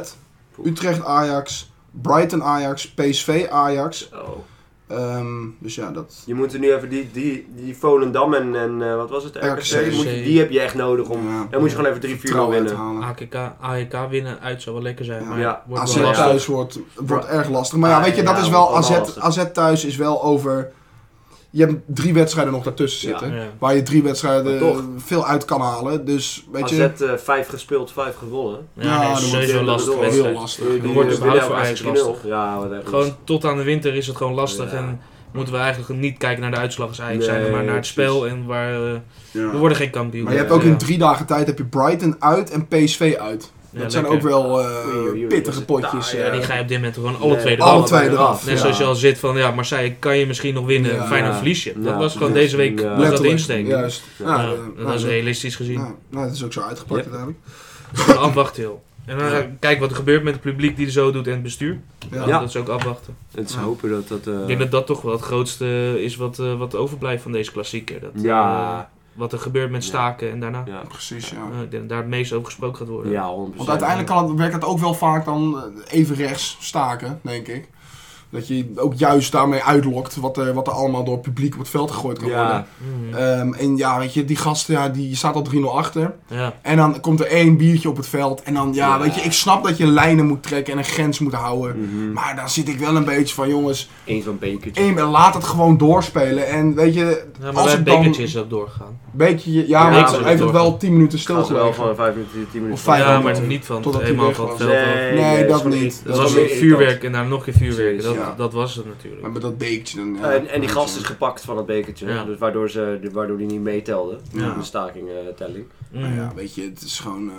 [SPEAKER 4] Utrecht Ajax, Brighton Ajax, PSV Ajax.
[SPEAKER 3] Oh.
[SPEAKER 4] Ehm, dus ja, dat...
[SPEAKER 3] Je moet er nu even die, die, die Volendam en, en eh, wat was het? RKC.
[SPEAKER 4] RKC.
[SPEAKER 3] Moet je, die heb je echt nodig om.
[SPEAKER 4] Ja,
[SPEAKER 3] Dan moet je gewoon even 3 4
[SPEAKER 4] vertrouwen uit te
[SPEAKER 3] winnen.
[SPEAKER 4] halen.
[SPEAKER 2] AKK, AEK winnen uit zou wel lekker zijn,
[SPEAKER 4] Ja.
[SPEAKER 2] maar
[SPEAKER 3] Ja.
[SPEAKER 2] Ah, wordt
[SPEAKER 4] AZ
[SPEAKER 2] wel lastig.
[SPEAKER 4] thuis wordt, wordt erg lastig. Maar ja, weet je, dat
[SPEAKER 3] Ja,
[SPEAKER 4] is wel...
[SPEAKER 3] wordt wel
[SPEAKER 4] AZ,
[SPEAKER 3] lastig.
[SPEAKER 4] AZ thuis is wel over... Je hebt drie wedstrijden nog daartussen
[SPEAKER 3] Ja.
[SPEAKER 4] zitten.
[SPEAKER 2] Ja.
[SPEAKER 4] Waar je drie wedstrijden
[SPEAKER 3] Maar toch.
[SPEAKER 4] veel uit kan halen. Dus, weet
[SPEAKER 3] AZ
[SPEAKER 4] je...
[SPEAKER 3] 5 eh, gespeeld, 5 gewonnen.
[SPEAKER 2] Ja, nee,
[SPEAKER 4] dan
[SPEAKER 2] is
[SPEAKER 4] moet
[SPEAKER 2] sowieso
[SPEAKER 4] je-
[SPEAKER 2] een lastige
[SPEAKER 3] dat is
[SPEAKER 4] Heel
[SPEAKER 2] wedstrijd.
[SPEAKER 4] lastig.
[SPEAKER 3] Die- Eh, die
[SPEAKER 2] wordt
[SPEAKER 3] winnen
[SPEAKER 2] überhaupt voor
[SPEAKER 3] elkaar
[SPEAKER 2] Ajax
[SPEAKER 3] 3-0.
[SPEAKER 2] lastig.
[SPEAKER 3] Ja, wat echt niet.
[SPEAKER 2] Gewoon tot aan de winter is het gewoon lastig
[SPEAKER 3] Ja.
[SPEAKER 2] en moeten we eigenlijk niet kijken naar de uitslag als Ajax zijn,
[SPEAKER 3] Nee,
[SPEAKER 2] maar naar het
[SPEAKER 3] precies.
[SPEAKER 2] spel en waar... eh,
[SPEAKER 4] Ja.
[SPEAKER 2] we worden geen kampioen.
[SPEAKER 4] Maar je hebt
[SPEAKER 2] Dus,
[SPEAKER 4] ook
[SPEAKER 2] ja.
[SPEAKER 4] in drie dagen tijd heb je Brighton uit en PSV uit.
[SPEAKER 2] Ja,
[SPEAKER 4] Dat zijn ook
[SPEAKER 2] lekker.
[SPEAKER 4] wel eh,
[SPEAKER 3] Oei, oei, oei,
[SPEAKER 4] pittige
[SPEAKER 3] dat is-
[SPEAKER 4] potjes.
[SPEAKER 3] daar, ja,
[SPEAKER 2] Ja,
[SPEAKER 4] eh.
[SPEAKER 2] die ga je op dit moment gewoon alle
[SPEAKER 3] Nee,
[SPEAKER 2] twee
[SPEAKER 4] alle
[SPEAKER 2] eraf.
[SPEAKER 4] twee
[SPEAKER 3] eraf,
[SPEAKER 4] eraf.
[SPEAKER 2] Net
[SPEAKER 4] ja.
[SPEAKER 2] zoals je al zit van, ja, Marseille kan je misschien nog winnen,
[SPEAKER 4] Ja.
[SPEAKER 2] Feyenoord
[SPEAKER 3] Ja.
[SPEAKER 2] verlies je. Dat
[SPEAKER 3] Ja.
[SPEAKER 2] was gewoon
[SPEAKER 4] Ja.
[SPEAKER 2] deze week,
[SPEAKER 3] Ja.
[SPEAKER 2] was dat
[SPEAKER 4] Letterlijk,
[SPEAKER 2] insteken.
[SPEAKER 4] Juist.
[SPEAKER 2] Ja,
[SPEAKER 4] Ja, eh,
[SPEAKER 2] dat is
[SPEAKER 4] nou,
[SPEAKER 2] realistisch gezien.
[SPEAKER 4] nou, nou, dat is ook zo uitgepakt
[SPEAKER 3] Yep.
[SPEAKER 4] uiteindelijk.
[SPEAKER 2] Gewoon <laughs> afwachten, joh. En dan
[SPEAKER 4] Ja.
[SPEAKER 2] kijk wat er gebeurt met het publiek die er zo doet en het bestuur.
[SPEAKER 4] Ja.
[SPEAKER 2] Ja. Dat is ook afwachten.
[SPEAKER 3] Het is
[SPEAKER 4] Ja.
[SPEAKER 3] hopen dat dat. eh,
[SPEAKER 2] Ik denk dat dat toch wel het grootste is wat, eh, wat overblijft van deze klassieker. Dat, eh,
[SPEAKER 3] Ja,
[SPEAKER 2] wat er gebeurt met staken en daarna.
[SPEAKER 3] ja.
[SPEAKER 4] Precies, ja.
[SPEAKER 2] Eh, ik denk dat daar het meest over gesproken gaat worden.
[SPEAKER 3] Ja, 100%.
[SPEAKER 4] Want uiteindelijk kan het, werkt het ook wel vaak dan eh, even rechts staken, denk ik. Dat je ook juist daarmee uitlokt wat er, wat er allemaal door het publiek op het veld gegooid kan
[SPEAKER 3] Ja,
[SPEAKER 4] worden.
[SPEAKER 2] Mhm.
[SPEAKER 4] Ehm, en ja, weet je, die gasten, ja, die staat al 3-0 achter.
[SPEAKER 2] ja.
[SPEAKER 4] En dan komt er één biertje op het veld. En dan, ja,
[SPEAKER 3] Ja.
[SPEAKER 4] weet je, ik snap dat je lijnen moet trekken en een grens moet houden.
[SPEAKER 3] Mhm.
[SPEAKER 4] Maar daar zit ik wel een beetje van, jongens,
[SPEAKER 3] één zo'n bekertje.
[SPEAKER 4] één, laat het gewoon doorspelen. En weet je,
[SPEAKER 2] Ja, maar
[SPEAKER 4] als
[SPEAKER 2] bij het
[SPEAKER 4] het dan
[SPEAKER 2] bekertje
[SPEAKER 4] een
[SPEAKER 2] is dat doorgegaan.
[SPEAKER 4] beetje, ja, maar
[SPEAKER 3] Ja,
[SPEAKER 4] ze
[SPEAKER 3] maar
[SPEAKER 4] heeft het wel
[SPEAKER 2] doorgaan.
[SPEAKER 4] 10 minuten
[SPEAKER 3] Gaan ze wel
[SPEAKER 4] stilgelegd.
[SPEAKER 3] gewoon 5 minuten, 10 minuten.
[SPEAKER 4] Of vijf
[SPEAKER 2] ja,
[SPEAKER 4] minuten.
[SPEAKER 2] maar niet van het,
[SPEAKER 4] Totdat hij
[SPEAKER 2] helemaal
[SPEAKER 4] weg
[SPEAKER 2] van het
[SPEAKER 4] was.
[SPEAKER 2] veld af.
[SPEAKER 4] Nee,
[SPEAKER 3] is
[SPEAKER 4] dat
[SPEAKER 3] gewoon
[SPEAKER 4] niet.
[SPEAKER 3] irritant.
[SPEAKER 2] Dat
[SPEAKER 4] is
[SPEAKER 2] was
[SPEAKER 4] wel
[SPEAKER 2] weer
[SPEAKER 4] weer
[SPEAKER 2] vuurwerk en daarna nog een vuurwerk. Dat,
[SPEAKER 4] Ja.
[SPEAKER 2] dat was het natuurlijk.
[SPEAKER 4] Maar met dat beekje dan, ja.
[SPEAKER 3] En, en die gast is gepakt van dat bekertje,
[SPEAKER 2] Ja.
[SPEAKER 3] dus waardoor, ze, de- waardoor die niet meetelde
[SPEAKER 4] Ja.
[SPEAKER 3] in de staking-telling.
[SPEAKER 4] Nou
[SPEAKER 2] Mhm.
[SPEAKER 3] Mm.
[SPEAKER 4] ja, weet je, het is gewoon... eh,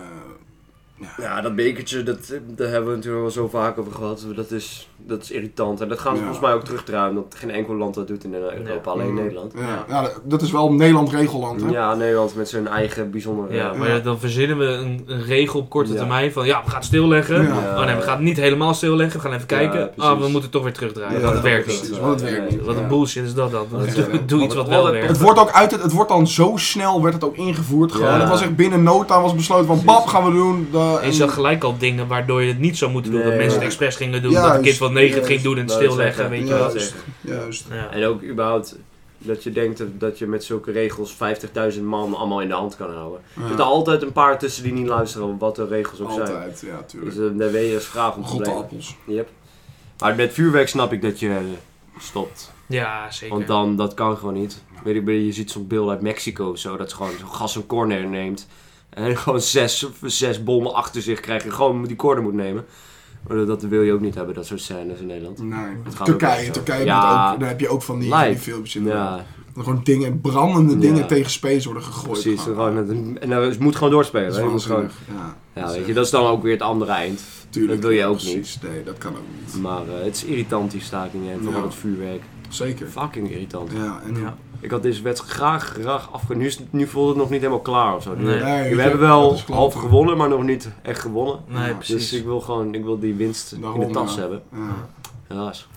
[SPEAKER 3] ja, dat bekertje, dat, eh, daar hebben we natuurlijk al zo vaak over gehad. Dat is, dat is irritant en dat gaan ze
[SPEAKER 4] Ja.
[SPEAKER 3] volgens mij ook terugdraaien, omdat geen enkel land dat doet in eh, Europa,
[SPEAKER 2] Ja.
[SPEAKER 3] alleen
[SPEAKER 4] Mm.
[SPEAKER 3] Nederland.
[SPEAKER 4] Ja, ja, dat is wel Nederland-regelland, hè?
[SPEAKER 3] Ja, Nederland met zijn eigen bijzondere...
[SPEAKER 2] Ja, maar
[SPEAKER 4] Ja.
[SPEAKER 2] dan verzinnen we een, een regel op korte
[SPEAKER 3] Ja.
[SPEAKER 2] termijn van ja, we gaan het stilleggen.
[SPEAKER 4] Ja.
[SPEAKER 2] Oh nee, we gaan het niet helemaal stilleggen. We gaan even
[SPEAKER 3] Ja,
[SPEAKER 2] kijken.
[SPEAKER 3] precies.
[SPEAKER 2] Ah, we moeten het toch weer terugdraaien.
[SPEAKER 4] Ja,
[SPEAKER 2] dat werkt
[SPEAKER 4] precies,
[SPEAKER 2] niet.
[SPEAKER 4] want het werkt niet.
[SPEAKER 2] Wat een
[SPEAKER 4] Ja.
[SPEAKER 2] bullshit is dat dan.
[SPEAKER 4] Ja.
[SPEAKER 2] Doe- Doe iets wat wel
[SPEAKER 3] Wat een-
[SPEAKER 4] Het
[SPEAKER 2] werkt.
[SPEAKER 4] wordt ook uit het, het wordt dan zo snel werd het ook ingevoerd gewoon.
[SPEAKER 3] Ja.
[SPEAKER 4] Het was echt binnen nota was besloten van
[SPEAKER 3] Precies.
[SPEAKER 4] bab gaan we doen. De,
[SPEAKER 2] Je zag gelijk al dingen waardoor je het niet zou moeten doen.
[SPEAKER 3] Nee.
[SPEAKER 2] dat mensen het
[SPEAKER 4] Ja.
[SPEAKER 2] expres gingen doen. dat
[SPEAKER 4] Juist,
[SPEAKER 2] een kind van 9 het ging
[SPEAKER 4] juist.
[SPEAKER 2] doen en het
[SPEAKER 3] Nou, dat
[SPEAKER 2] stilleggen.
[SPEAKER 3] zeggen,
[SPEAKER 2] Weet je
[SPEAKER 4] ja.
[SPEAKER 2] wel.
[SPEAKER 3] dat zeggen.
[SPEAKER 4] Juist.
[SPEAKER 2] Ja.
[SPEAKER 3] En ook überhaupt dat je denkt dat- dat je met zulke regels 50.000 man allemaal in de hand kan houden.
[SPEAKER 4] Ja.
[SPEAKER 3] Er zitten altijd een paar tussen die niet luisteren wat de regels ook zijn.
[SPEAKER 4] Altijd, ja,
[SPEAKER 3] Dus
[SPEAKER 4] tuurlijk.
[SPEAKER 3] eh, daar ben je als vraag om te
[SPEAKER 4] Rotte
[SPEAKER 3] blijven.
[SPEAKER 4] appels.
[SPEAKER 3] Yep. Maar met vuurwerk snap ik dat je stopt.
[SPEAKER 2] Ja, zeker.
[SPEAKER 3] Want dan, dat kan gewoon niet. Weet ik, je ziet zo'n beeld uit Mexico of zo, dat ze gewoon zo'n gas een corner neemt. En <laughs> gewoon zes, zes bommen achter zich krijgt en gewoon die corner moet nemen. Maar dat wil je ook niet hebben, dat soort scènes in Nederland.
[SPEAKER 4] Nee.
[SPEAKER 3] Dat gaat ook wel
[SPEAKER 4] Turkije,
[SPEAKER 3] zo.
[SPEAKER 4] Turkije
[SPEAKER 3] Ja.
[SPEAKER 4] moet ook, daar heb je ook van die, van die
[SPEAKER 3] Lijp.
[SPEAKER 4] filmpjes in.
[SPEAKER 3] Ja,
[SPEAKER 4] Dat gewoon dingen, brandende
[SPEAKER 3] Ja.
[SPEAKER 4] dingen tegen space worden gegooid.
[SPEAKER 3] precies.
[SPEAKER 4] gewoon.
[SPEAKER 3] Gewoon met een- en dan, het moet gewoon doorspelen.
[SPEAKER 4] Dat
[SPEAKER 3] hè.
[SPEAKER 4] is
[SPEAKER 3] Je moet gewoon,
[SPEAKER 4] waanzinnig. Ja, Dus, eh,
[SPEAKER 3] ja, weet je, dat is dan ook weer het andere eind.
[SPEAKER 4] tuurlijk.
[SPEAKER 3] dat wil je ook
[SPEAKER 4] precies. Nee, dat kan ook niet.
[SPEAKER 3] Maar eh, het is irritant, die stakingen en vooral
[SPEAKER 4] Ja.
[SPEAKER 3] het vuurwerk.
[SPEAKER 4] Zeker.
[SPEAKER 3] Fucking irritant.
[SPEAKER 4] Ja, en
[SPEAKER 2] Ja.
[SPEAKER 3] Ik had deze wedstrijd graag, graag afge... Nu, is- nu voelde het nog niet helemaal klaar of zo. Nu-
[SPEAKER 2] Nee.
[SPEAKER 4] weet
[SPEAKER 3] we
[SPEAKER 4] je,
[SPEAKER 3] hebben
[SPEAKER 4] dat
[SPEAKER 3] wel
[SPEAKER 4] is klopt. Mm.
[SPEAKER 3] half gewonnen, maar nog niet echt gewonnen.
[SPEAKER 2] Nee,
[SPEAKER 4] Ja,
[SPEAKER 2] precies.
[SPEAKER 3] Dus ik wil gewoon ik wil die winst in
[SPEAKER 4] Daarom,
[SPEAKER 3] de tas
[SPEAKER 4] ja.
[SPEAKER 3] hebben.
[SPEAKER 4] Ja.
[SPEAKER 3] Helaas.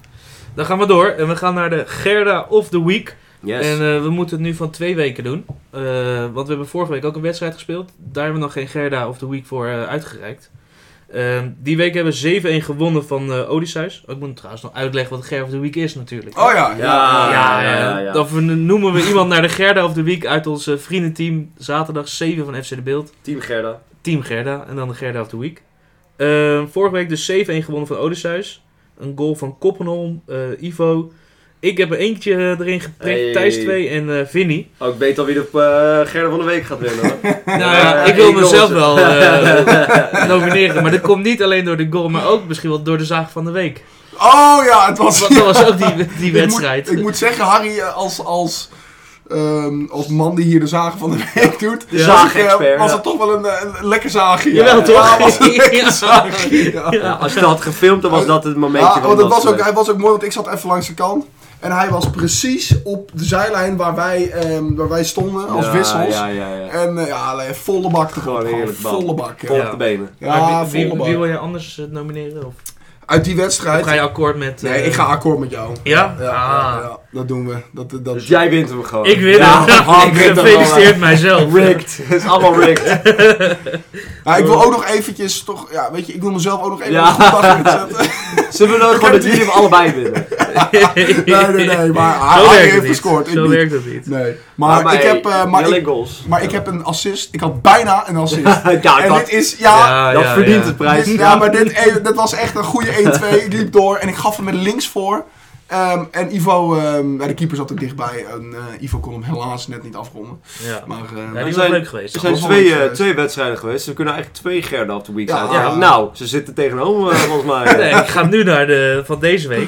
[SPEAKER 2] Dan gaan we door en we gaan naar de Gerda of the Week.
[SPEAKER 3] Yes.
[SPEAKER 2] En eh, we moeten het nu van twee weken doen. Eh, want we hebben vorige week ook een wedstrijd gespeeld. Daar hebben we nog geen Gerda of the Week voor eh, uitgereikt. Ehm, die week hebben we 7-1 gewonnen van eh Odysseus. Ik moet trouwens nog uitleggen wat Gerda of the Week is natuurlijk.
[SPEAKER 4] Oh ja, ja.
[SPEAKER 3] Ah,
[SPEAKER 2] ja,
[SPEAKER 3] Ja. ja, ja.
[SPEAKER 2] Dan vern- noemen we iemand naar de Gerda of the Week uit ons eh, vriendenteam. Zaterdag 7 van FC De Beeld.
[SPEAKER 3] Team Gerda.
[SPEAKER 2] Team Gerda en dan de Gerda of the Week. Ehm, vorige week dus 7-1 gewonnen van Odysseus. Een goal van Koppenholm, eh, Ivo. Ik heb er eentje eh, erin geprikt,
[SPEAKER 3] Hey.
[SPEAKER 2] Thijs 2 en eh, Vinny.
[SPEAKER 3] Oh, ik weet al wie de eh, Gerda van de Week gaat winnen.
[SPEAKER 4] <laughs>
[SPEAKER 3] hoor.
[SPEAKER 2] Nou ja,
[SPEAKER 3] Eh,
[SPEAKER 2] ik wil
[SPEAKER 3] één goal.
[SPEAKER 2] mezelf wel eh, <laughs> nomineren. Maar dat komt niet alleen door de goal, maar ook misschien wel door de zaag van de week.
[SPEAKER 4] Oh ja, het was...
[SPEAKER 2] Want dat was ook die, die
[SPEAKER 4] <laughs> Ik moet-
[SPEAKER 2] wedstrijd.
[SPEAKER 4] Ik moet, zeggen, Harry, eh, als, als, ehm, als man die hier de zagen van de week doet...
[SPEAKER 2] Ja.
[SPEAKER 4] was, ik, eh,
[SPEAKER 3] Zaagexpert,
[SPEAKER 4] was
[SPEAKER 3] ja.
[SPEAKER 4] het toch wel een, eh, een lekker zaagje.
[SPEAKER 2] Jawel
[SPEAKER 4] ja.
[SPEAKER 2] toch?
[SPEAKER 4] Ja,
[SPEAKER 2] <laughs>
[SPEAKER 4] was een
[SPEAKER 2] Ja.
[SPEAKER 4] lekker zaagje, ja.
[SPEAKER 3] Ja, als je dat had gefilmd, dan was dat eh, het momentje
[SPEAKER 4] Ja,
[SPEAKER 3] van
[SPEAKER 4] want het was
[SPEAKER 3] ze
[SPEAKER 4] ook,
[SPEAKER 3] weg-
[SPEAKER 4] hij was ook mooi, want ik zat even langs de kant. En hij was precies op de zijlijn waar wij, ehm, waar wij stonden als
[SPEAKER 3] Ja,
[SPEAKER 4] wissels.
[SPEAKER 3] Ja, ja, ja.
[SPEAKER 4] En eh, ja, nee, volle bak erop.
[SPEAKER 3] Gewoon
[SPEAKER 4] Gewoon
[SPEAKER 3] heerlijk, man.
[SPEAKER 4] Volle bak, ja.
[SPEAKER 3] Vol
[SPEAKER 2] Ja. Dus
[SPEAKER 3] op de benen.
[SPEAKER 2] Maar
[SPEAKER 4] Ja,
[SPEAKER 2] wie, wie,
[SPEAKER 4] volle
[SPEAKER 2] wie wil
[SPEAKER 4] bak.
[SPEAKER 2] jij anders eh, nomineren? Of,
[SPEAKER 4] Uit die
[SPEAKER 2] of ga je
[SPEAKER 4] wedstrijd...
[SPEAKER 2] akkoord met...
[SPEAKER 4] Nee,
[SPEAKER 2] eh,
[SPEAKER 4] ik ga akkoord met jou.
[SPEAKER 2] Ja? Ah.
[SPEAKER 4] Ja, ja, ja, dat doen we. Dat, dat,
[SPEAKER 3] Dus jij wint hem gewoon.
[SPEAKER 2] Ik win
[SPEAKER 4] Ja,
[SPEAKER 3] <laughs>
[SPEAKER 2] het.
[SPEAKER 4] Harm
[SPEAKER 2] <laughs> ik
[SPEAKER 4] wint hem wel,
[SPEAKER 2] gefeliciteerd mijzelf.
[SPEAKER 3] Rigged. <laughs> Het is allemaal rigged.
[SPEAKER 4] Ja, ik wil ook nog eventjes, toch, ja, weet je, ik wil mezelf ook nog even
[SPEAKER 3] Ja.
[SPEAKER 4] op de dag zetten.
[SPEAKER 3] Zullen we dan gewoon
[SPEAKER 4] heb
[SPEAKER 3] dat
[SPEAKER 4] die-
[SPEAKER 3] jullie hem allebei winnen?
[SPEAKER 4] <laughs> Nee, nee, nee, maar
[SPEAKER 2] Zo
[SPEAKER 4] hij
[SPEAKER 2] werkt
[SPEAKER 4] heeft
[SPEAKER 2] het niet.
[SPEAKER 4] gescoord. ik
[SPEAKER 2] Zo
[SPEAKER 4] niet.
[SPEAKER 2] werkt het niet.
[SPEAKER 4] Nee, maar, ik, heb, eh, maar,
[SPEAKER 3] Jelle
[SPEAKER 4] ik,
[SPEAKER 3] goals.
[SPEAKER 4] maar ik heb een assist. Ik had bijna een assist.
[SPEAKER 3] <laughs> Ja,
[SPEAKER 4] en
[SPEAKER 3] dat,
[SPEAKER 4] dit is, ja,
[SPEAKER 3] dat
[SPEAKER 2] ja,
[SPEAKER 3] verdient
[SPEAKER 2] ja.
[SPEAKER 3] het
[SPEAKER 4] dit-
[SPEAKER 3] prijs.
[SPEAKER 4] ja maar dit, eh, dit was echt een goede 1-2. Ik liep door en ik gaf hem met links voor. Ehm, en Ivo, ehm, ja, de keeper zat er dichtbij. En, eh, Ivo kon hem helaas net niet afronden.
[SPEAKER 2] Ja.
[SPEAKER 4] Maar eh,
[SPEAKER 2] Ja, die was
[SPEAKER 3] zijn-
[SPEAKER 2] leuk geweest.
[SPEAKER 3] Er zijn
[SPEAKER 4] Dat was
[SPEAKER 3] twee,
[SPEAKER 4] wel
[SPEAKER 3] eh,
[SPEAKER 4] leuk.
[SPEAKER 3] twee wedstrijden geweest. Ze kunnen eigenlijk twee Gerda op de week
[SPEAKER 4] Ja.
[SPEAKER 3] zijn. Ja,
[SPEAKER 4] Ja.
[SPEAKER 3] Nou, ze zitten tegenover eh, volgens mij.
[SPEAKER 2] <laughs> Nee, ik ga nu naar de van deze week.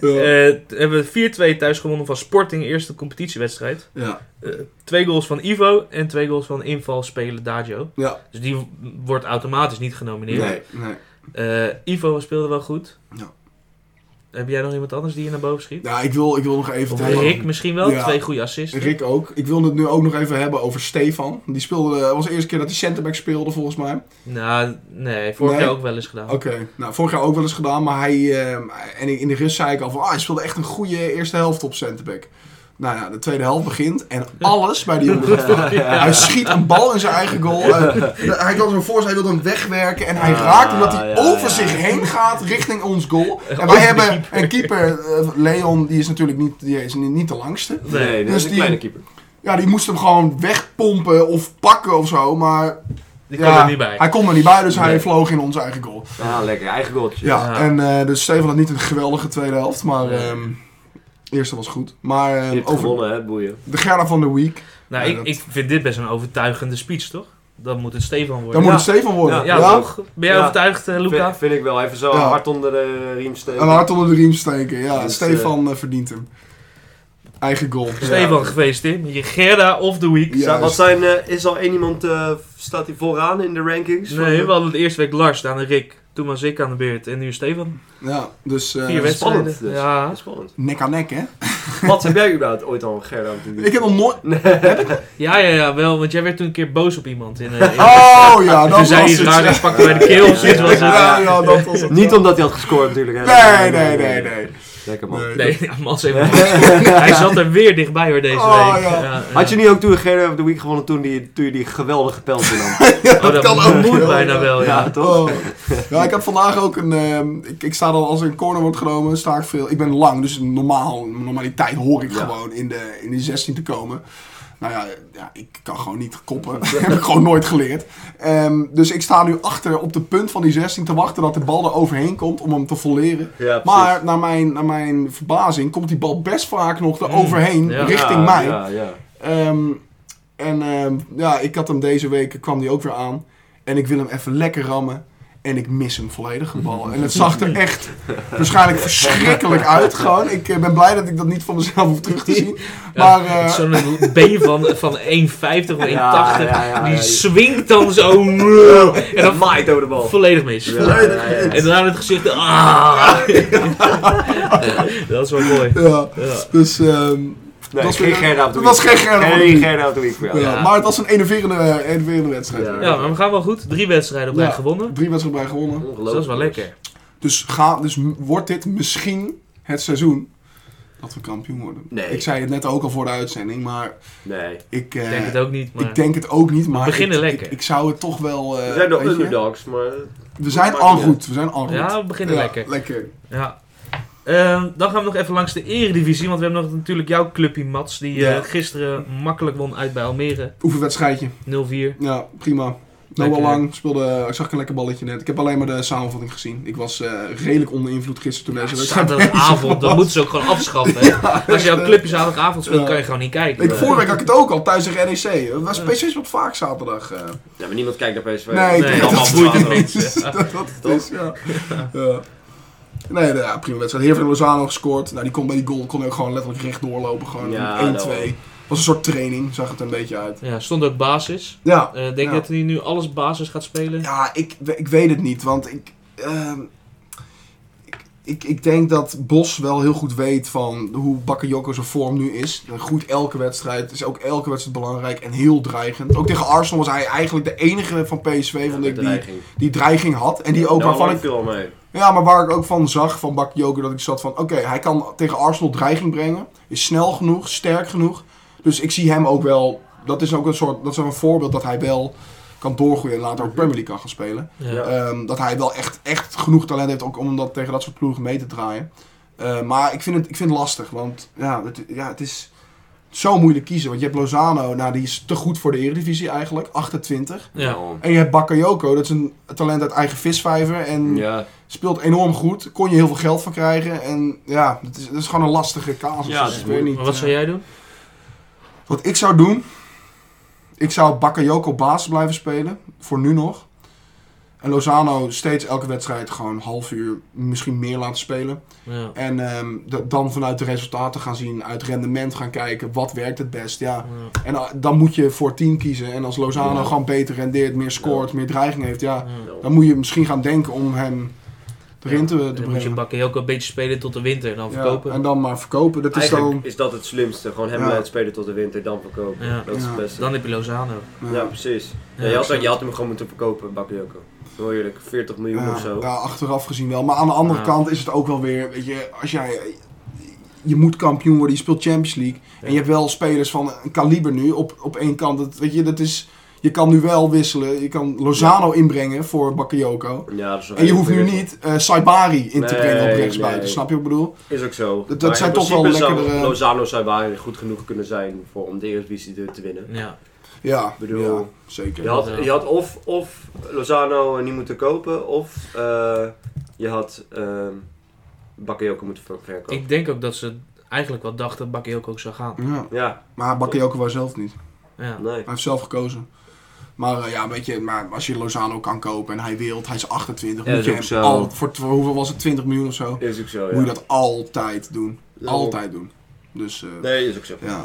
[SPEAKER 4] ja,
[SPEAKER 2] Eh, t- hebben we 4-2 thuis gewonnen van Sporting, eerste competitiewedstrijd.
[SPEAKER 4] ja,
[SPEAKER 2] Eh, twee goals van Ivo en twee goals van invalspeler Dajo.
[SPEAKER 4] ja.
[SPEAKER 2] Dus die w- wordt automatisch niet genomineerd.
[SPEAKER 4] Nee, nee.
[SPEAKER 2] Eh, Ivo speelde wel goed.
[SPEAKER 4] Ja.
[SPEAKER 2] Heb jij nog iemand anders die je naar boven schiet?
[SPEAKER 4] Ja, ik wil, ik wil nog even...
[SPEAKER 2] Of
[SPEAKER 4] het hele-
[SPEAKER 2] Rick misschien wel,
[SPEAKER 4] Ja.
[SPEAKER 2] twee goede assists.
[SPEAKER 4] Rick ook. Ik wilde het nu ook nog even hebben over Stefan. Die speelde, het was de eerste keer dat hij centerback speelde volgens mij.
[SPEAKER 2] Nou, nee, vorig
[SPEAKER 4] Nee.
[SPEAKER 2] jaar ook wel eens gedaan.
[SPEAKER 4] Oké, nou vorig jaar ook wel eens gedaan, maar hij, ehm, en in de rust zei ik al van, ah, hij speelde echt een goede eerste helft op centerback. Nou ja, de tweede helft
[SPEAKER 2] <laughs>
[SPEAKER 4] begint en alles bij die jongen gaat fout. Hij schiet een bal in zijn eigen goal. Eh, de- hij kan hem voor, hij wil hem wegwerken en hij
[SPEAKER 3] Ah,
[SPEAKER 4] raakt omdat hij
[SPEAKER 3] ja, ja.
[SPEAKER 4] over zich heen gaat richting ons goal. En
[SPEAKER 2] Over
[SPEAKER 4] wij
[SPEAKER 2] de
[SPEAKER 4] hebben een keeper, eh, Leon, die is natuurlijk niet, die is niet de langste.
[SPEAKER 3] Nee,
[SPEAKER 2] Nee.
[SPEAKER 3] dat
[SPEAKER 4] Dus
[SPEAKER 3] is een
[SPEAKER 4] die-
[SPEAKER 3] kleine keeper.
[SPEAKER 4] Ja, die moest hem gewoon wegpompen of pakken of zo, maar
[SPEAKER 2] Die
[SPEAKER 4] ja,
[SPEAKER 2] kwam er niet bij.
[SPEAKER 4] Hij kon er niet bij, dus hij
[SPEAKER 3] Nee.
[SPEAKER 4] vloog in onze eigen goal.
[SPEAKER 3] Ja, lekker. Eigen goaltje.
[SPEAKER 4] Ja,
[SPEAKER 2] Ja.
[SPEAKER 4] en eh, dus Stefan had niet een geweldige tweede helft, maar
[SPEAKER 2] Nee.
[SPEAKER 4] ehm, de eerste was goed. Maar ehm,
[SPEAKER 3] Je hebt
[SPEAKER 4] over
[SPEAKER 3] gewonnen, hè, boeien.
[SPEAKER 4] de Gerda van de Week,
[SPEAKER 2] Nou,
[SPEAKER 4] Ja,
[SPEAKER 2] ik,
[SPEAKER 4] dat-
[SPEAKER 2] ik vind dit best een overtuigende speech, toch? Dan moet het Stefan worden.
[SPEAKER 4] dan moet
[SPEAKER 3] Ja.
[SPEAKER 4] het Stefan worden.
[SPEAKER 2] ja,
[SPEAKER 4] Ja,
[SPEAKER 2] toch? Ben jij
[SPEAKER 3] Ja.
[SPEAKER 2] overtuigd, eh, Luca?
[SPEAKER 3] Vind, vind ik wel. Even zo
[SPEAKER 4] Ja.
[SPEAKER 3] hard onder de riem steken.
[SPEAKER 4] Een hart onder de riem steken, ja.
[SPEAKER 3] Dus,
[SPEAKER 4] Stefan eh, verdient hem. Eigen goal.
[SPEAKER 2] Stefan, gefeliciteerd met je Gerda of the Week.
[SPEAKER 4] Ja.
[SPEAKER 3] Zou- wat zijn, eh, is al één iemand, eh, staat hij vooraan in de rankings?
[SPEAKER 2] Nee, we hadden de eerste week Lars, daarna Rick. Toen was ik aan de beurt en nu is Stefan.
[SPEAKER 4] Ja, dus eh,
[SPEAKER 2] Vier wedstrijden.
[SPEAKER 3] spannend dus.
[SPEAKER 2] Ja.
[SPEAKER 3] Ja, Spannend.
[SPEAKER 4] nek aan nek, hè?
[SPEAKER 3] Wat heb jij überhaupt ooit al een Gerda op de week?
[SPEAKER 4] Ik heb nog nooit...
[SPEAKER 2] ja, ja, ja, wel. Want jij werd toen een keer boos op iemand. In, eh, in-
[SPEAKER 4] Oh ja,
[SPEAKER 2] toen
[SPEAKER 4] dat was
[SPEAKER 2] zei hij
[SPEAKER 4] het.
[SPEAKER 2] raar, ik pak hem bij de keel of zoiets.
[SPEAKER 3] Ja,
[SPEAKER 2] was het.
[SPEAKER 4] <laughs> Ja, ja, dat was het.
[SPEAKER 3] <laughs> Niet omdat hij had gescoord natuurlijk. Hè.
[SPEAKER 4] Nee, nee, nee, nee.
[SPEAKER 3] Lekker man.
[SPEAKER 4] Nee.
[SPEAKER 2] Nee, <laughs> ja, Mats
[SPEAKER 4] <laughs>
[SPEAKER 2] even. Hij zat er weer dichtbij hoor deze
[SPEAKER 4] Oh,
[SPEAKER 2] week.
[SPEAKER 4] ja.
[SPEAKER 3] Had je niet ook toen een Gerda op de week gewonnen toen, die, toen je die geweldige penalty nam?
[SPEAKER 2] oh, dat,
[SPEAKER 4] kan ook
[SPEAKER 2] moet
[SPEAKER 4] wel,
[SPEAKER 2] bijna
[SPEAKER 4] ja.
[SPEAKER 2] wel, ja.
[SPEAKER 3] Ja, toch?
[SPEAKER 4] Oh. Ja, ik heb vandaag ook een. ehm, ik, ik sta dan als er een corner wordt genomen, sta ik veel. Ik ben lang, dus normaal, normaliteit hoor ik
[SPEAKER 3] Ja.
[SPEAKER 4] gewoon in de, in de 16 te komen. Nou ja, ja, ik kan gewoon niet koppen. <laughs> Dat heb ik gewoon nooit geleerd. Ehm, dus ik sta nu achter op de punt van die 16 te wachten dat de bal er overheen komt om hem te volleren.
[SPEAKER 3] Ja,
[SPEAKER 4] Maar naar mijn, naar mijn verbazing komt die bal best vaak nog er overheen
[SPEAKER 2] Ja.
[SPEAKER 4] richting mij.
[SPEAKER 3] Mm. Ja, ja.
[SPEAKER 4] Ehm, en ehm, ja, ik had hem deze week, kwam die ook weer aan. En ik wil hem even lekker rammen. En ik mis hem volledig, de bal. En het zag er echt waarschijnlijk verschrikkelijk uit. Gewoon. Ik eh, ben blij dat ik dat niet van mezelf hoef terug te zien. Maar eh,
[SPEAKER 2] Zo'n B van, van 1,50 of 1,80.
[SPEAKER 3] Ja, ja, ja,
[SPEAKER 2] die
[SPEAKER 3] ja.
[SPEAKER 2] swingt dan zo. en dan
[SPEAKER 3] maait over de bal.
[SPEAKER 2] volledig mis.
[SPEAKER 3] Ja, ja, ja.
[SPEAKER 2] En daarna het gezicht. Ah. dat is wel mooi.
[SPEAKER 4] ja,
[SPEAKER 2] Ja.
[SPEAKER 4] dus... ehm,
[SPEAKER 3] Nee,
[SPEAKER 4] was
[SPEAKER 3] geen
[SPEAKER 4] weer-
[SPEAKER 3] Gerda op de
[SPEAKER 4] dat was
[SPEAKER 3] week.
[SPEAKER 4] geen Gerda op de
[SPEAKER 3] Geen
[SPEAKER 4] week.
[SPEAKER 3] Gerda op de week voor
[SPEAKER 4] ja.
[SPEAKER 3] jou.
[SPEAKER 2] Ja.
[SPEAKER 4] Maar het was een enerverende, enerverende wedstrijd.
[SPEAKER 3] Ja.
[SPEAKER 2] Ja, maar we gaan wel goed. Drie wedstrijden op rij
[SPEAKER 4] Ja.
[SPEAKER 2] gewonnen.
[SPEAKER 4] Drie wedstrijden bij gewonnen.
[SPEAKER 3] Ongelooflijk.
[SPEAKER 2] Dus dat is wel lekker.
[SPEAKER 4] Dus, ga, dus m- wordt dit misschien het seizoen dat we kampioen worden?
[SPEAKER 3] Nee.
[SPEAKER 4] Ik zei het net ook al voor de uitzending, maar
[SPEAKER 3] Nee.
[SPEAKER 4] ik... eh,
[SPEAKER 2] Ik denk het ook niet. Maar...
[SPEAKER 4] Ik denk het ook niet, maar
[SPEAKER 2] We beginnen
[SPEAKER 4] ik,
[SPEAKER 2] lekker.
[SPEAKER 4] Ik, ik zou het toch wel. eh,
[SPEAKER 3] We zijn de
[SPEAKER 4] weet je,
[SPEAKER 3] underdogs, maar...
[SPEAKER 4] we zijn
[SPEAKER 3] Maar
[SPEAKER 4] al
[SPEAKER 3] ja.
[SPEAKER 4] goed. We zijn al goed.
[SPEAKER 2] Ja, we beginnen
[SPEAKER 4] Ja,
[SPEAKER 2] lekker. Ja. Ehm, dan gaan we nog even langs de eredivisie. Want we hebben nog natuurlijk jouw clubje Mats. Die
[SPEAKER 4] Ja.
[SPEAKER 2] eh, gisteren makkelijk won uit bij Almere. 0-4.
[SPEAKER 4] Oefenwedstrijdje. Ja, prima. Noah
[SPEAKER 2] Lekker.
[SPEAKER 4] Lang speelde. Ik zag een lekker balletje net. Ik heb alleen maar de samenvatting gezien. Ik was eh, redelijk onder invloed gisteren toen <laughs> deze wedstrijd.
[SPEAKER 2] Zaterdagavond, dat moeten ze ook gewoon afschaffen. hè. Als jouw clubje zaterdagavond speelt,
[SPEAKER 4] eh, Ja.
[SPEAKER 2] kan je gewoon niet kijken.
[SPEAKER 4] Ik, vorige week had ik het ook al thuis tegen NEC. Dat was precies wat vaak zaterdag. eh.
[SPEAKER 3] Ja, maar niemand kijkt naar PSV.
[SPEAKER 4] Nee,
[SPEAKER 2] nee,
[SPEAKER 4] dat
[SPEAKER 2] allemaal
[SPEAKER 4] is-
[SPEAKER 2] boeit het
[SPEAKER 4] dat
[SPEAKER 2] niks,
[SPEAKER 4] is-
[SPEAKER 2] hè.
[SPEAKER 4] Dat <laughs> dat het is, ja. Ja. Nee, ja, prima wedstrijd. Heer van Lozano gescoord. Nou, die kon bij die goal kon hij ook gewoon letterlijk recht doorlopen. Gewoon
[SPEAKER 3] Ja,
[SPEAKER 4] 1-2. Was een soort training, zag het er een beetje uit.
[SPEAKER 2] Ja, stond ook basis.
[SPEAKER 4] Ja,
[SPEAKER 2] Eh, denk
[SPEAKER 4] Ja.
[SPEAKER 2] dat hij nu alles basis gaat spelen?
[SPEAKER 4] ja ik, we- ik weet het niet, want ik, ehm, ik, ik, ik denk dat Bos wel heel goed weet van hoe Bakayoko zijn vorm nu is. Goed elke wedstrijd, is ook elke wedstrijd belangrijk en heel dreigend. Ook tegen Arsenal was hij eigenlijk de enige van PSV vond ik, die, die dreiging had. En die ook
[SPEAKER 3] nou,
[SPEAKER 4] waarvan ik,
[SPEAKER 3] veel mee.
[SPEAKER 4] ja, maar waar ik ook van zag van Bakayoko dat ik zat van oké, hij kan tegen Arsenal dreiging brengen. Is snel genoeg, sterk genoeg. Dus ik zie hem ook wel, dat is ook een soort, dat is ook een voorbeeld dat hij wel kan doorgroeien en later ook Premier League kan gaan spelen.
[SPEAKER 2] Ja.
[SPEAKER 4] Ehm, dat hij wel echt, echt genoeg talent heeft ook om dat, tegen dat soort ploegen mee te draaien. Eh, maar ik vind, het, ik vind het lastig, want ja, het, ja, het is zo moeilijk kiezen. Want je hebt Lozano, nou die is te goed voor de Eredivisie eigenlijk, 28.
[SPEAKER 2] Ja.
[SPEAKER 4] En je hebt Bakayoko, dat is een talent uit eigen visvijver en
[SPEAKER 3] Ja,
[SPEAKER 4] speelt enorm goed. Kon je heel veel geld van krijgen en ja, het is, het is gewoon een lastige casus.
[SPEAKER 3] Ja,
[SPEAKER 4] dus
[SPEAKER 3] het is
[SPEAKER 4] ik weet niet.
[SPEAKER 2] Maar wat zou jij doen?
[SPEAKER 4] Wat ik zou doen, ik zou Bakayoko baas blijven spelen, voor nu nog. En Lozano steeds elke wedstrijd gewoon een half uur, misschien meer laten spelen.
[SPEAKER 2] Ja.
[SPEAKER 4] En ehm, d- dan vanuit de resultaten gaan zien, uit rendement gaan kijken, wat werkt het best. Ja. En ah, dan moet je voor 10 kiezen. En als Lozano
[SPEAKER 3] Ja.
[SPEAKER 4] gewoon beter rendeert, meer scoort, meer dreiging heeft, ja,
[SPEAKER 2] Ja.
[SPEAKER 4] dan moet je misschien gaan denken om hem erin te, te
[SPEAKER 2] Dan moet je
[SPEAKER 4] brengen.
[SPEAKER 2] bakken ook een beetje spelen tot de winter en dan
[SPEAKER 4] Ja,
[SPEAKER 2] verkopen.
[SPEAKER 4] en dan maar verkopen. Dat is
[SPEAKER 3] eigenlijk
[SPEAKER 4] dus dan,
[SPEAKER 3] is dat het slimste. Gewoon hem
[SPEAKER 4] Ja.
[SPEAKER 3] laten spelen tot de winter, dan verkopen.
[SPEAKER 2] Ja.
[SPEAKER 3] Dat is het
[SPEAKER 4] Ja.
[SPEAKER 3] beste.
[SPEAKER 2] Dan heb je Lozano.
[SPEAKER 4] eh,
[SPEAKER 3] Ja, precies.
[SPEAKER 2] Ja,
[SPEAKER 3] Ja, je, had,
[SPEAKER 2] zo.
[SPEAKER 3] je had hem gewoon moeten verkopen, Bakayoko. Heel eerlijk, 40 miljoen
[SPEAKER 4] Ja,
[SPEAKER 3] of zo.
[SPEAKER 4] ja, achteraf gezien wel. Maar aan de andere
[SPEAKER 2] Ja.
[SPEAKER 4] kant is het ook wel weer, weet je, als jij... Je moet kampioen worden, je speelt Champions League. En je hebt wel spelers van een kaliber nu op, op één kant. Dat, weet je, dat is, je kan nu wel wisselen. Je kan Lozano inbrengen voor Bakayoko.
[SPEAKER 3] Ja, dat is wel
[SPEAKER 4] En je
[SPEAKER 3] heel
[SPEAKER 4] hoeft nu
[SPEAKER 3] eerlijk.
[SPEAKER 4] niet eh Saibari in te
[SPEAKER 3] Nee,
[SPEAKER 4] brengen op rechtsbuiten.
[SPEAKER 3] nee.
[SPEAKER 4] Snap je wat ik bedoel?
[SPEAKER 3] Is ook zo.
[SPEAKER 4] dat
[SPEAKER 3] Maar
[SPEAKER 4] zijn
[SPEAKER 3] in
[SPEAKER 4] toch wel
[SPEAKER 3] principe zou
[SPEAKER 4] lekkere-
[SPEAKER 3] Lozano zou waar goed genoeg kunnen zijn voor, om de Eredivisie te, te winnen.
[SPEAKER 2] Ja.
[SPEAKER 4] Ja,
[SPEAKER 3] bedoel-
[SPEAKER 4] ja, zeker.
[SPEAKER 3] Je had, je had of, of Lozano niet moeten kopen, of eh, je had uh, Bakayoko moeten ver- verkopen.
[SPEAKER 2] Ik denk ook dat ze eigenlijk wel dachten dat Bakayoko ook zou gaan.
[SPEAKER 4] Ja.
[SPEAKER 3] Ja,
[SPEAKER 4] Maar Bakayoko was zelf niet.
[SPEAKER 2] Ja.
[SPEAKER 3] nee.
[SPEAKER 4] Hij heeft zelf gekozen. Maar eh, ja, weet je, maar als je Lozano kan kopen en hij wilt, hij is 28,
[SPEAKER 3] Ja,
[SPEAKER 4] moet
[SPEAKER 3] dat
[SPEAKER 4] je
[SPEAKER 3] is
[SPEAKER 4] hem
[SPEAKER 3] ook zo.
[SPEAKER 4] al, voor, voor hoeveel was het, 20 miljoen of zo?
[SPEAKER 3] Is ook zo, ja.
[SPEAKER 4] Moet je dat altijd doen.
[SPEAKER 3] Ja.
[SPEAKER 4] Altijd doen. Dus, eh,
[SPEAKER 3] Nee, is ook zo.
[SPEAKER 4] ja.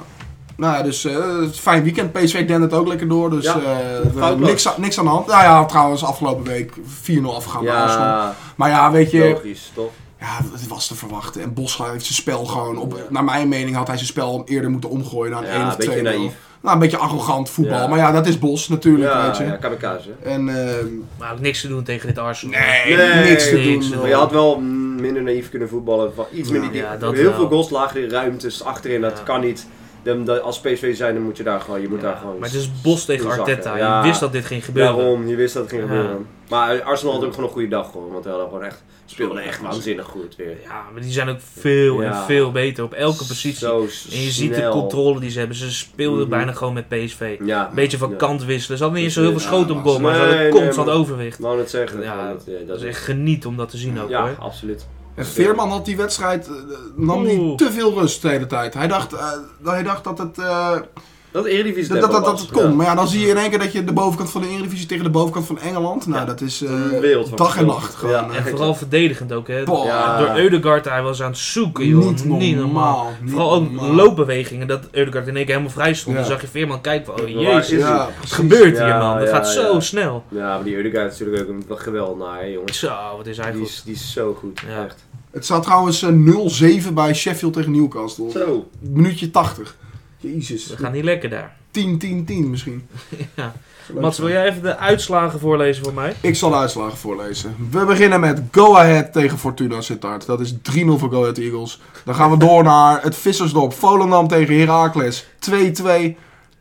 [SPEAKER 4] Nou ja, dus eh, fijn weekend. PSV dende het ook lekker door, dus
[SPEAKER 3] Ja.
[SPEAKER 4] eh, we-
[SPEAKER 3] Foutloos.
[SPEAKER 4] niks, aan- niks aan de hand. Nou ja, trouwens, afgelopen week 4-0 afgegaan bij Arsenal.
[SPEAKER 3] Ja,
[SPEAKER 4] Maar ja, weet je,
[SPEAKER 3] logisch, toch?
[SPEAKER 4] ja, het was te verwachten. En Bos heeft zijn spel gewoon, op, naar mijn mening had hij zijn spel eerder moeten omgooien naar een 1
[SPEAKER 3] Ja,
[SPEAKER 4] of
[SPEAKER 3] een beetje
[SPEAKER 4] 2
[SPEAKER 3] naïef.
[SPEAKER 4] Nou, een beetje arrogant voetbal.
[SPEAKER 3] Ja.
[SPEAKER 4] Maar ja, dat is Bos natuurlijk,
[SPEAKER 3] Ja,
[SPEAKER 4] weet je.
[SPEAKER 3] ja, kamikaze.
[SPEAKER 4] En ehm
[SPEAKER 2] Maar ook niks te doen tegen dit Arsenal.
[SPEAKER 4] nee,
[SPEAKER 3] Nee,
[SPEAKER 4] niks te
[SPEAKER 2] niks.
[SPEAKER 4] doen.
[SPEAKER 3] Maar je had wel mm, minder naïef kunnen voetballen. Van iets
[SPEAKER 4] Ja.
[SPEAKER 3] minder die-
[SPEAKER 2] Ja, dat
[SPEAKER 3] heel
[SPEAKER 2] wel.
[SPEAKER 3] veel goals lagen in ruimtes achterin, dat
[SPEAKER 2] Ja.
[SPEAKER 3] kan niet. dan, dan- als PSV zijn, dan moet je daar gewoon... Je moet daar gewoon
[SPEAKER 2] maar het is Bos tegen
[SPEAKER 3] zakken.
[SPEAKER 2] Arteta.
[SPEAKER 3] Ja.
[SPEAKER 2] Je wist dat dit ging gebeuren.
[SPEAKER 3] Daarom, je wist dat het ging
[SPEAKER 2] Ja.
[SPEAKER 3] gebeuren. Maar Arsenal had ook gewoon een goede dag, hoor. Want we hadden gewoon echt... speelden echt waanzinnig goed weer.
[SPEAKER 2] Ja, maar die zijn ook veel en
[SPEAKER 3] Ja.
[SPEAKER 2] veel beter op elke positie.
[SPEAKER 3] Zo
[SPEAKER 2] en je ziet de
[SPEAKER 3] snel.
[SPEAKER 2] controle die ze hebben. Ze speelden
[SPEAKER 3] Mhm.
[SPEAKER 2] bijna gewoon met PSV.
[SPEAKER 3] Ja.
[SPEAKER 2] Een beetje van
[SPEAKER 3] Ja.
[SPEAKER 2] kant wisselen. Ze hadden niet eens zo heel veel
[SPEAKER 4] Ja,
[SPEAKER 2] schoten op goal,
[SPEAKER 4] absoluut.
[SPEAKER 2] maar ze hadden
[SPEAKER 3] Nee, nee,
[SPEAKER 2] constant
[SPEAKER 3] maar-
[SPEAKER 2] overwicht.
[SPEAKER 3] Wou net zeggen.
[SPEAKER 2] Ja,
[SPEAKER 3] Ja, dat, eh,
[SPEAKER 2] Dat
[SPEAKER 3] dat
[SPEAKER 2] is echt geniet om dat te zien ook
[SPEAKER 3] Ja,
[SPEAKER 2] hoor.
[SPEAKER 3] absoluut.
[SPEAKER 4] En Veerman had die wedstrijd, eh, nam
[SPEAKER 2] Oeh.
[SPEAKER 4] niet te veel rust de hele tijd. Hij dacht, eh, hij dacht dat het... eh,
[SPEAKER 3] Dat Eredivisie
[SPEAKER 4] Dat, dat, dat, dat het kon. Maar ja, dan zie je in één keer dat je de bovenkant van de Eredivisie tegen de bovenkant van Engeland. Nou,
[SPEAKER 2] Ja.
[SPEAKER 4] dat is eh,
[SPEAKER 3] Een wereld van
[SPEAKER 4] dag en
[SPEAKER 3] verschil.
[SPEAKER 4] nacht gewoon.
[SPEAKER 3] Ja,
[SPEAKER 4] eh.
[SPEAKER 2] En vooral verdedigend ook hè.
[SPEAKER 4] Boah,
[SPEAKER 3] Ja.
[SPEAKER 2] Door Eudegaard hij was aan het zoeken joh.
[SPEAKER 4] niet normaal. niet
[SPEAKER 2] Vooral ook
[SPEAKER 4] normaal.
[SPEAKER 2] loopbewegingen, dat Eudegaard in één keer helemaal vrij stond.
[SPEAKER 4] Ja.
[SPEAKER 2] Dan zag je Veerman kijken van, oh
[SPEAKER 3] Waar
[SPEAKER 2] jezus,
[SPEAKER 3] is
[SPEAKER 4] Ja,
[SPEAKER 3] hij?
[SPEAKER 2] wat
[SPEAKER 4] precies.
[SPEAKER 2] gebeurt hier
[SPEAKER 3] Ja,
[SPEAKER 2] man? Dat
[SPEAKER 3] ja,
[SPEAKER 2] gaat zo
[SPEAKER 3] ja.
[SPEAKER 2] snel.
[SPEAKER 3] Ja, maar die Eudegaard is natuurlijk ook een geweldenaar, hè, jongens.
[SPEAKER 2] Zo, oh, wat is hij
[SPEAKER 3] Die
[SPEAKER 2] goed.
[SPEAKER 3] is, die is zo goed,
[SPEAKER 2] Ja.
[SPEAKER 3] echt.
[SPEAKER 4] Het staat trouwens eh, 0-7 bij Sheffield tegen Newcastle.
[SPEAKER 3] Zo.
[SPEAKER 4] Minuutje 80. Jezus.
[SPEAKER 2] We gaan niet lekker daar.
[SPEAKER 4] 10-10-10
[SPEAKER 2] <laughs>
[SPEAKER 4] misschien.
[SPEAKER 2] Ja.
[SPEAKER 4] Leuk
[SPEAKER 2] Mats,
[SPEAKER 4] zijn.
[SPEAKER 2] wil jij even de uitslagen voorlezen voor mij?
[SPEAKER 4] Ik zal de uitslagen voorlezen. We beginnen met Go Ahead tegen Fortuna Sittard. Dat is 3-0 voor Go Ahead Eagles. Dan gaan we door naar het Vissersdorp. Volendam tegen Heracles 2-2.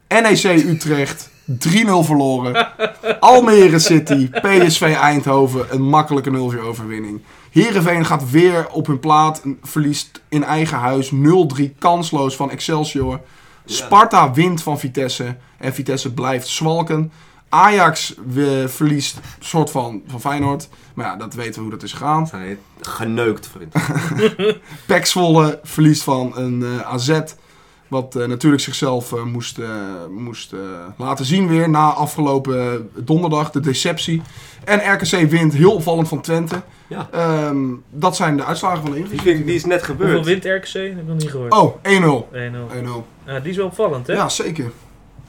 [SPEAKER 4] NEC Utrecht 3-0 verloren. Almere City, PSV Eindhoven. Een makkelijke 0-4 overwinning. Heerenveen gaat weer op hun plaat. Verliest in eigen huis 0-3 kansloos van Excelsior. Sparta wint van Vitesse. En Vitesse blijft zwalken. Ajax eh, verliest soort van van Feyenoord. Maar ja, dat weten we hoe dat is gegaan.
[SPEAKER 3] Geneukt, vriend.
[SPEAKER 4] Pek Zwolle verliest van een eh, AZ. Wat eh, natuurlijk zichzelf eh, moest, eh, moest eh, laten zien weer na afgelopen donderdag, de deceptie. En RKC wint heel opvallend van Twente.
[SPEAKER 3] Ja.
[SPEAKER 4] Ehm, dat zijn de uitslagen van de
[SPEAKER 3] Die,
[SPEAKER 4] Eredivisie.
[SPEAKER 3] vind, die is net gebeurd.
[SPEAKER 2] Hoeveel wint RKC? Dat heb ik nog niet gehoord.
[SPEAKER 4] Oh, 1-0.
[SPEAKER 2] 1-0.
[SPEAKER 4] 1-0.
[SPEAKER 2] Ja, die is wel opvallend hè?
[SPEAKER 4] Ja, zeker.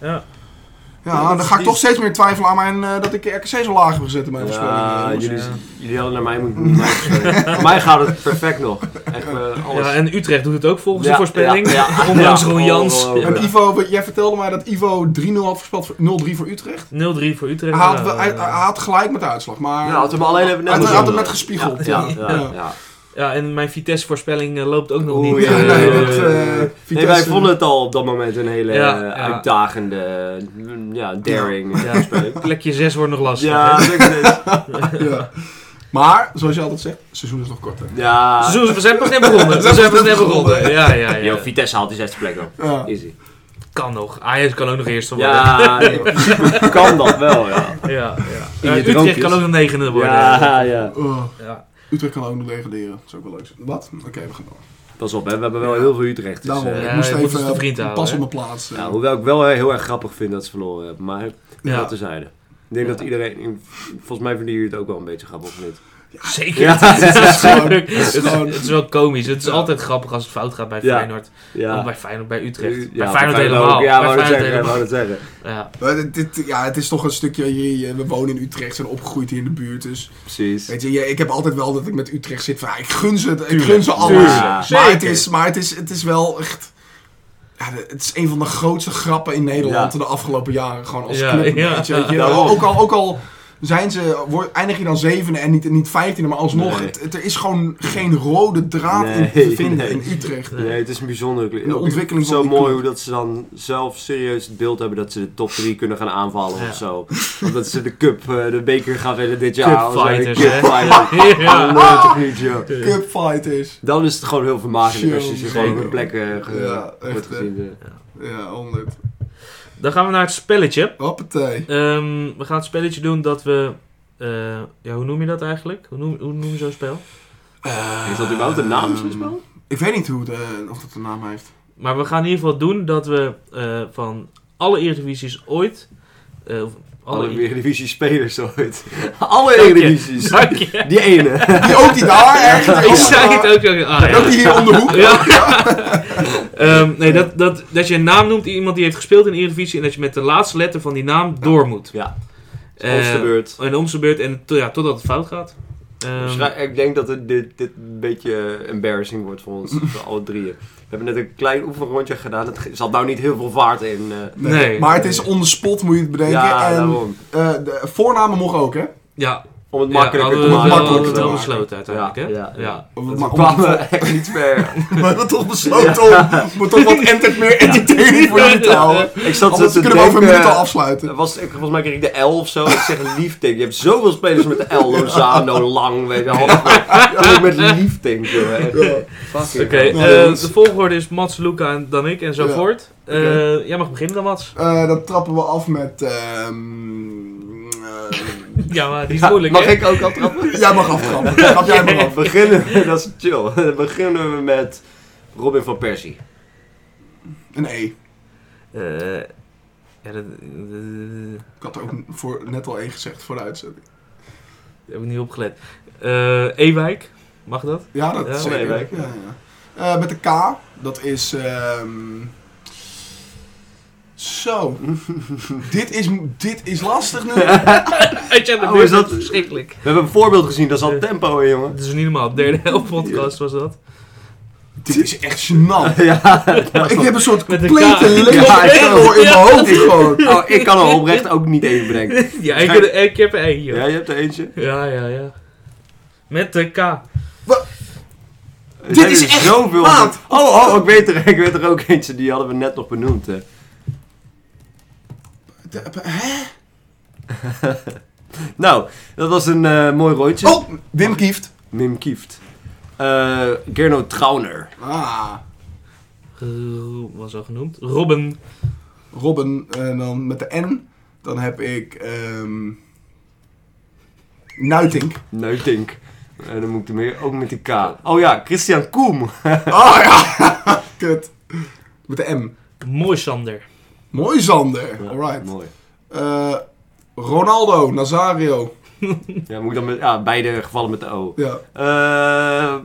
[SPEAKER 2] Ja.
[SPEAKER 4] Ja,
[SPEAKER 3] dat
[SPEAKER 4] dan
[SPEAKER 3] is-
[SPEAKER 4] ga ik
[SPEAKER 3] die-
[SPEAKER 4] toch steeds meer twijfelen aan mijn, eh, dat ik RKC zo laag heb gezet in mijn
[SPEAKER 3] Ja,
[SPEAKER 4] voorspelling.
[SPEAKER 3] jullie,
[SPEAKER 2] Ja.
[SPEAKER 3] jullie hadden naar mij moeten <laughs> mij voorspellen. Voor mij gaat het perfect nog. Echt, eh, alles.
[SPEAKER 2] Ja, en Utrecht doet het ook volgens
[SPEAKER 3] Ja,
[SPEAKER 2] de voorspelling.
[SPEAKER 3] ja, ja.
[SPEAKER 2] <laughs> Ondanks
[SPEAKER 3] Ja, oh,
[SPEAKER 2] Ron Jans.
[SPEAKER 3] ongelooflijk.
[SPEAKER 4] En Ivo, jij vertelde mij dat Ivo 3-0 had voorspeld, voor- 0-3 voor Utrecht.
[SPEAKER 2] 0-3 voor Utrecht.
[SPEAKER 4] Hij had,
[SPEAKER 2] Ja,
[SPEAKER 4] wel- hij,
[SPEAKER 2] eh,
[SPEAKER 4] hij had gelijk met de uitslag, maar
[SPEAKER 3] Ja, had hem alleen even
[SPEAKER 4] hij had,
[SPEAKER 3] net
[SPEAKER 4] hij had hem net
[SPEAKER 3] gezien.
[SPEAKER 4] gespiegeld.
[SPEAKER 3] Ja, ja,
[SPEAKER 4] Ja.
[SPEAKER 3] ja. ja.
[SPEAKER 2] Ja, en mijn Vitesse-voorspelling eh, loopt ook nog
[SPEAKER 3] Oeh,
[SPEAKER 2] niet.
[SPEAKER 3] ja,
[SPEAKER 2] eh,
[SPEAKER 3] ja,
[SPEAKER 4] Nee,
[SPEAKER 3] ja,
[SPEAKER 4] dat,
[SPEAKER 3] ja, ja.
[SPEAKER 4] eh,
[SPEAKER 3] Nee, wij
[SPEAKER 4] Vitesse-
[SPEAKER 3] vonden het al op dat moment een hele
[SPEAKER 2] Ja,
[SPEAKER 3] eh,
[SPEAKER 2] ja.
[SPEAKER 3] uitdagende, mm, ja, daring
[SPEAKER 2] Ja.
[SPEAKER 3] eh, voorspelling.
[SPEAKER 2] Plekje 6 wordt nog lastig.
[SPEAKER 3] Ja,
[SPEAKER 2] hè?
[SPEAKER 3] dat-
[SPEAKER 4] Ja. Maar, zoals je altijd zegt, het seizoen is nog kort. Hè?
[SPEAKER 3] ja.
[SPEAKER 2] Seizoen- we zijn pas net
[SPEAKER 3] <laughs>
[SPEAKER 2] begonnen. We zijn pas net begonnen. Ja, ja, ja.
[SPEAKER 3] Yo, Vitesse haalt die zesde plek wel.
[SPEAKER 4] Ja.
[SPEAKER 3] Easy.
[SPEAKER 2] Kan nog. Ajax kan ook nog eerste worden. Ja,
[SPEAKER 3] Ja, <laughs> kan dat wel, ja.
[SPEAKER 2] ja.
[SPEAKER 3] <laughs> je
[SPEAKER 2] Eh, Utrecht
[SPEAKER 3] droompjes.
[SPEAKER 2] kan ook nog negende worden.
[SPEAKER 3] Ja, ja.
[SPEAKER 4] Oh,
[SPEAKER 2] Ja.
[SPEAKER 4] Utrecht kan ook nog degraderen. Dat is ook wel leuk. Wat? Oké, we gaan door.
[SPEAKER 3] Pas op, hè. we hebben wel heel veel Utrecht. Dus,
[SPEAKER 4] Daarom,
[SPEAKER 3] eh,
[SPEAKER 2] ja,
[SPEAKER 4] ik moest
[SPEAKER 2] je moet
[SPEAKER 4] even
[SPEAKER 2] het de vriend houden,
[SPEAKER 4] pas
[SPEAKER 2] hè?
[SPEAKER 4] op mijn plaats. eh.
[SPEAKER 3] ja, hoewel ik wel eh, heel erg grappig vind dat ze verloren hebben, maar
[SPEAKER 2] Ja.
[SPEAKER 3] dat tezijde. Ik denk
[SPEAKER 2] Ja.
[SPEAKER 3] dat iedereen, volgens mij vinden jullie het ook wel een beetje grappig, of niet?
[SPEAKER 2] Zeker. <laughs>
[SPEAKER 3] Ja.
[SPEAKER 2] Het, is
[SPEAKER 4] gewoon-
[SPEAKER 2] het, is,
[SPEAKER 4] gewoon-
[SPEAKER 2] het is wel komisch. Het is
[SPEAKER 4] Ja.
[SPEAKER 2] altijd grappig als het fout gaat bij
[SPEAKER 3] Ja.
[SPEAKER 2] Feyenoord. Of bij Feyenoord, bij Utrecht. bij Feyenoord
[SPEAKER 3] ook.
[SPEAKER 2] helemaal.
[SPEAKER 3] Ja,
[SPEAKER 2] bij
[SPEAKER 3] wou dat
[SPEAKER 2] Feyenoord
[SPEAKER 3] zeggen, wou
[SPEAKER 2] helemaal.
[SPEAKER 3] dat zeggen.
[SPEAKER 2] Ja.
[SPEAKER 4] Maar dit, dit- ja, het is toch een stukje, je- je- we wonen in Utrecht, zijn opgegroeid hier in de buurt. Dus
[SPEAKER 3] Precies.
[SPEAKER 4] weet je, je- ik heb altijd wel dat ik met Utrecht zit van, ja, ik gun ze, het, ik
[SPEAKER 2] Tuurlijk,
[SPEAKER 4] gun ze alles.
[SPEAKER 3] tuurlijk.
[SPEAKER 4] Maar,
[SPEAKER 2] Zeker.
[SPEAKER 4] het is, maar het, is, het is wel echt. Ja, de- het is een van de grootste grappen in Nederland
[SPEAKER 3] Ja.
[SPEAKER 4] de afgelopen jaren. Gewoon als
[SPEAKER 2] Ja,
[SPEAKER 4] club. een
[SPEAKER 2] ja.
[SPEAKER 4] beetje, weet je.
[SPEAKER 3] Daarom.
[SPEAKER 4] ook, al, ook al zijn ze, word, eindig je dan zevende en niet, niet vijftiende, maar alsnog.
[SPEAKER 3] Nee.
[SPEAKER 4] Het, het- er is gewoon geen rode draad in te
[SPEAKER 3] Nee,
[SPEAKER 4] vinden
[SPEAKER 3] nee.
[SPEAKER 4] in Utrecht.
[SPEAKER 2] Nee.
[SPEAKER 3] Nee, het is een bijzondere club.
[SPEAKER 4] De
[SPEAKER 3] Ook
[SPEAKER 4] ontwikkeling van
[SPEAKER 3] Zo
[SPEAKER 4] die
[SPEAKER 3] mooi
[SPEAKER 4] club.
[SPEAKER 3] hoe dat ze dan zelf serieus het beeld hebben dat ze de top 3 kunnen gaan aanvallen
[SPEAKER 2] Ja.
[SPEAKER 3] of zo. Of dat ze de cup, eh, de beker gaan winnen dit jaar.
[SPEAKER 2] Cup
[SPEAKER 3] of zo. De
[SPEAKER 2] fighters,
[SPEAKER 3] cup
[SPEAKER 2] hè?
[SPEAKER 3] fighters.
[SPEAKER 2] Ja. <laughs>
[SPEAKER 3] Oh, nee, toch niet, joh.
[SPEAKER 4] Cupfighters.
[SPEAKER 3] Dan is het gewoon heel vermakelijk als je ze gewoon op
[SPEAKER 2] Zeker.
[SPEAKER 3] een plek eh, ge-
[SPEAKER 4] Ja, echt,
[SPEAKER 3] wordt
[SPEAKER 4] hè.
[SPEAKER 3] gezien. eh.
[SPEAKER 4] Ja, 100.
[SPEAKER 2] Dan gaan we naar het spelletje.
[SPEAKER 4] Hoppatee.
[SPEAKER 2] Ehm, we gaan het spelletje doen dat we... eh, ja, hoe noem je dat eigenlijk? Hoe noem, hoe noem je zo'n spel?
[SPEAKER 3] Heeft dat überhaupt een naam, zo'n spel?
[SPEAKER 4] Ehm, Ik weet niet hoe de, of dat een naam heeft. <laughs>
[SPEAKER 2] Maar we gaan in ieder geval doen dat we eh, van alle Eredivisies ooit... eh, of alle
[SPEAKER 3] Alle Eredivisie spelers ooit. Alle <laughs> Eredivisies.
[SPEAKER 2] <laughs> Dank je.
[SPEAKER 3] Die
[SPEAKER 2] <laughs>
[SPEAKER 3] ene.
[SPEAKER 4] Die ook die daar ergens.
[SPEAKER 2] Ik zei het ook. zo- Ah, ja.
[SPEAKER 4] Ook die hier om
[SPEAKER 3] <laughs>
[SPEAKER 4] de hoek.
[SPEAKER 2] Ja. <laughs> Ehm, nee, dat, dat, dat je een naam noemt, iemand die heeft gespeeld in de Eredivisie, en dat je met de laatste letter van die naam door moet.
[SPEAKER 3] Ja. Ons
[SPEAKER 2] Eh,
[SPEAKER 3] de beurt.
[SPEAKER 2] En om zijn beurt, en to- ja, totdat het fout gaat. Ehm,
[SPEAKER 3] Schrij- ik denk dat het, dit, dit een beetje eh, embarrassing wordt voor ons, voor alle drieën. We hebben net een klein oefenrondje gedaan. Het ge- zat nou niet heel veel vaart in. eh.
[SPEAKER 2] Nee.
[SPEAKER 4] Maar het is on the spot, moet je ehm, het bedenken.
[SPEAKER 3] ja,
[SPEAKER 4] en
[SPEAKER 3] daarom.
[SPEAKER 4] eh, de voornamen mogen ook, hè?
[SPEAKER 2] ja,
[SPEAKER 3] Om het
[SPEAKER 2] Ja,
[SPEAKER 3] makkelijker te
[SPEAKER 2] hadden we
[SPEAKER 3] maken.
[SPEAKER 2] wel-
[SPEAKER 4] makkelijker
[SPEAKER 2] hadden we
[SPEAKER 4] te
[SPEAKER 2] wel
[SPEAKER 4] maken.
[SPEAKER 2] besloten uiteindelijk, hè?
[SPEAKER 3] Ja, ja.
[SPEAKER 4] Maar
[SPEAKER 3] We
[SPEAKER 4] om <laughs> het
[SPEAKER 3] kwamen <laughs> echt niet ver.
[SPEAKER 4] We hebben toch besloten om, om toch
[SPEAKER 3] <laughs>
[SPEAKER 4] wat enter, meer entertaining voor jullie te houden.
[SPEAKER 3] Ik zat zo
[SPEAKER 4] Anders
[SPEAKER 3] te
[SPEAKER 4] kunnen we over een minuut al
[SPEAKER 3] denken...
[SPEAKER 4] afsluiten.
[SPEAKER 3] Was, ik, volgens mij kreeg ik de L of zo. Ik zeg liefdink. Je hebt zoveel spelers met de L.
[SPEAKER 4] <laughs>
[SPEAKER 3] Lozano, Lang, weet je wel. Ook met liefdink, joh. hè. Fucking
[SPEAKER 2] Oké,
[SPEAKER 3] hell.
[SPEAKER 2] eh,
[SPEAKER 4] Nou, jongens.
[SPEAKER 2] de volgorde is Mats, Luca en dan ik en zo
[SPEAKER 4] Ja.
[SPEAKER 2] voort. Eh,
[SPEAKER 4] Oké.
[SPEAKER 2] Jij mag beginnen dan, Mats.
[SPEAKER 4] Eh, dan trappen we af met... ehm, eh,
[SPEAKER 2] Ja, maar die is
[SPEAKER 3] Ja,
[SPEAKER 2] moeilijk,
[SPEAKER 3] Mag
[SPEAKER 2] hè?
[SPEAKER 3] ik ook al trappen?
[SPEAKER 4] jij mag aftrappen.
[SPEAKER 3] <laughs>
[SPEAKER 4] Trap jij maar af.
[SPEAKER 3] beginnen we, dat is chill. <laughs> Dan beginnen we met Robin van Persie.
[SPEAKER 4] Een E.
[SPEAKER 2] Eh, ja, dat, eh,
[SPEAKER 4] Ik had er ook voor, net al één gezegd voor de uitzending.
[SPEAKER 2] heb ik niet opgelet. Eh Ewijk, mag dat?
[SPEAKER 4] Ja, dat
[SPEAKER 2] Ja,
[SPEAKER 4] is
[SPEAKER 3] nee,
[SPEAKER 4] zeker.
[SPEAKER 3] wij-
[SPEAKER 4] ja, ja. Eh, met de K, dat is... ehm, Zo. <laughs> dit, is, dit is lastig nu.
[SPEAKER 2] Agenda
[SPEAKER 3] Oh,
[SPEAKER 2] oh,
[SPEAKER 3] is dat-
[SPEAKER 2] dat verschrikkelijk.
[SPEAKER 3] We hebben een voorbeeld gezien, dat is al tempo in, jongen.
[SPEAKER 2] Het is niet normaal. Derde helft podcast was dat.
[SPEAKER 4] dit is echt gênant.
[SPEAKER 3] <laughs> Ja, <laughs>
[SPEAKER 4] Maar ik heb een soort
[SPEAKER 2] Met een
[SPEAKER 4] complete
[SPEAKER 2] K.
[SPEAKER 4] leeg
[SPEAKER 3] Ja, ik ook.
[SPEAKER 4] error in mijn hoofd gewoon.
[SPEAKER 3] <laughs> oh, ik kan er oprecht ook niet even brengen.
[SPEAKER 2] Ja, ik, heb er- ik heb er één, joh.
[SPEAKER 3] Ja, je hebt er eentje.
[SPEAKER 2] Ja, ja, ja. Met de K.
[SPEAKER 3] Er
[SPEAKER 4] Dit
[SPEAKER 3] zijn
[SPEAKER 4] is
[SPEAKER 3] er
[SPEAKER 4] echt
[SPEAKER 3] zoveel.
[SPEAKER 4] maat.
[SPEAKER 3] Oh, oh, ik weet, er, ik weet er ook eentje, die hadden we net nog benoemd. Hè.
[SPEAKER 4] Hè?
[SPEAKER 3] Nou, dat was een eh, mooi rondje.
[SPEAKER 4] Oh, Wim Kieft.
[SPEAKER 3] Mim Kieft. Eh Gerno Trauner.
[SPEAKER 4] Ah,
[SPEAKER 2] Eh, was al genoemd. Robin.
[SPEAKER 4] Robin. En dan met de N. Dan heb ik... ehm Nuitink.
[SPEAKER 3] Neutink. En dan moet ik er meer, ook met een K. Oh ja, Christian Koem.
[SPEAKER 4] Oh ja, kut. Met de M.
[SPEAKER 2] Mooi Sander.
[SPEAKER 4] Mooi Zander. Alright.
[SPEAKER 3] <laughs> Mooi.
[SPEAKER 4] Eh, Ronaldo, Nazario.
[SPEAKER 3] Ja, moet ik dan met, ja, beide gevallen met de O.
[SPEAKER 4] Ja.
[SPEAKER 3] Eh,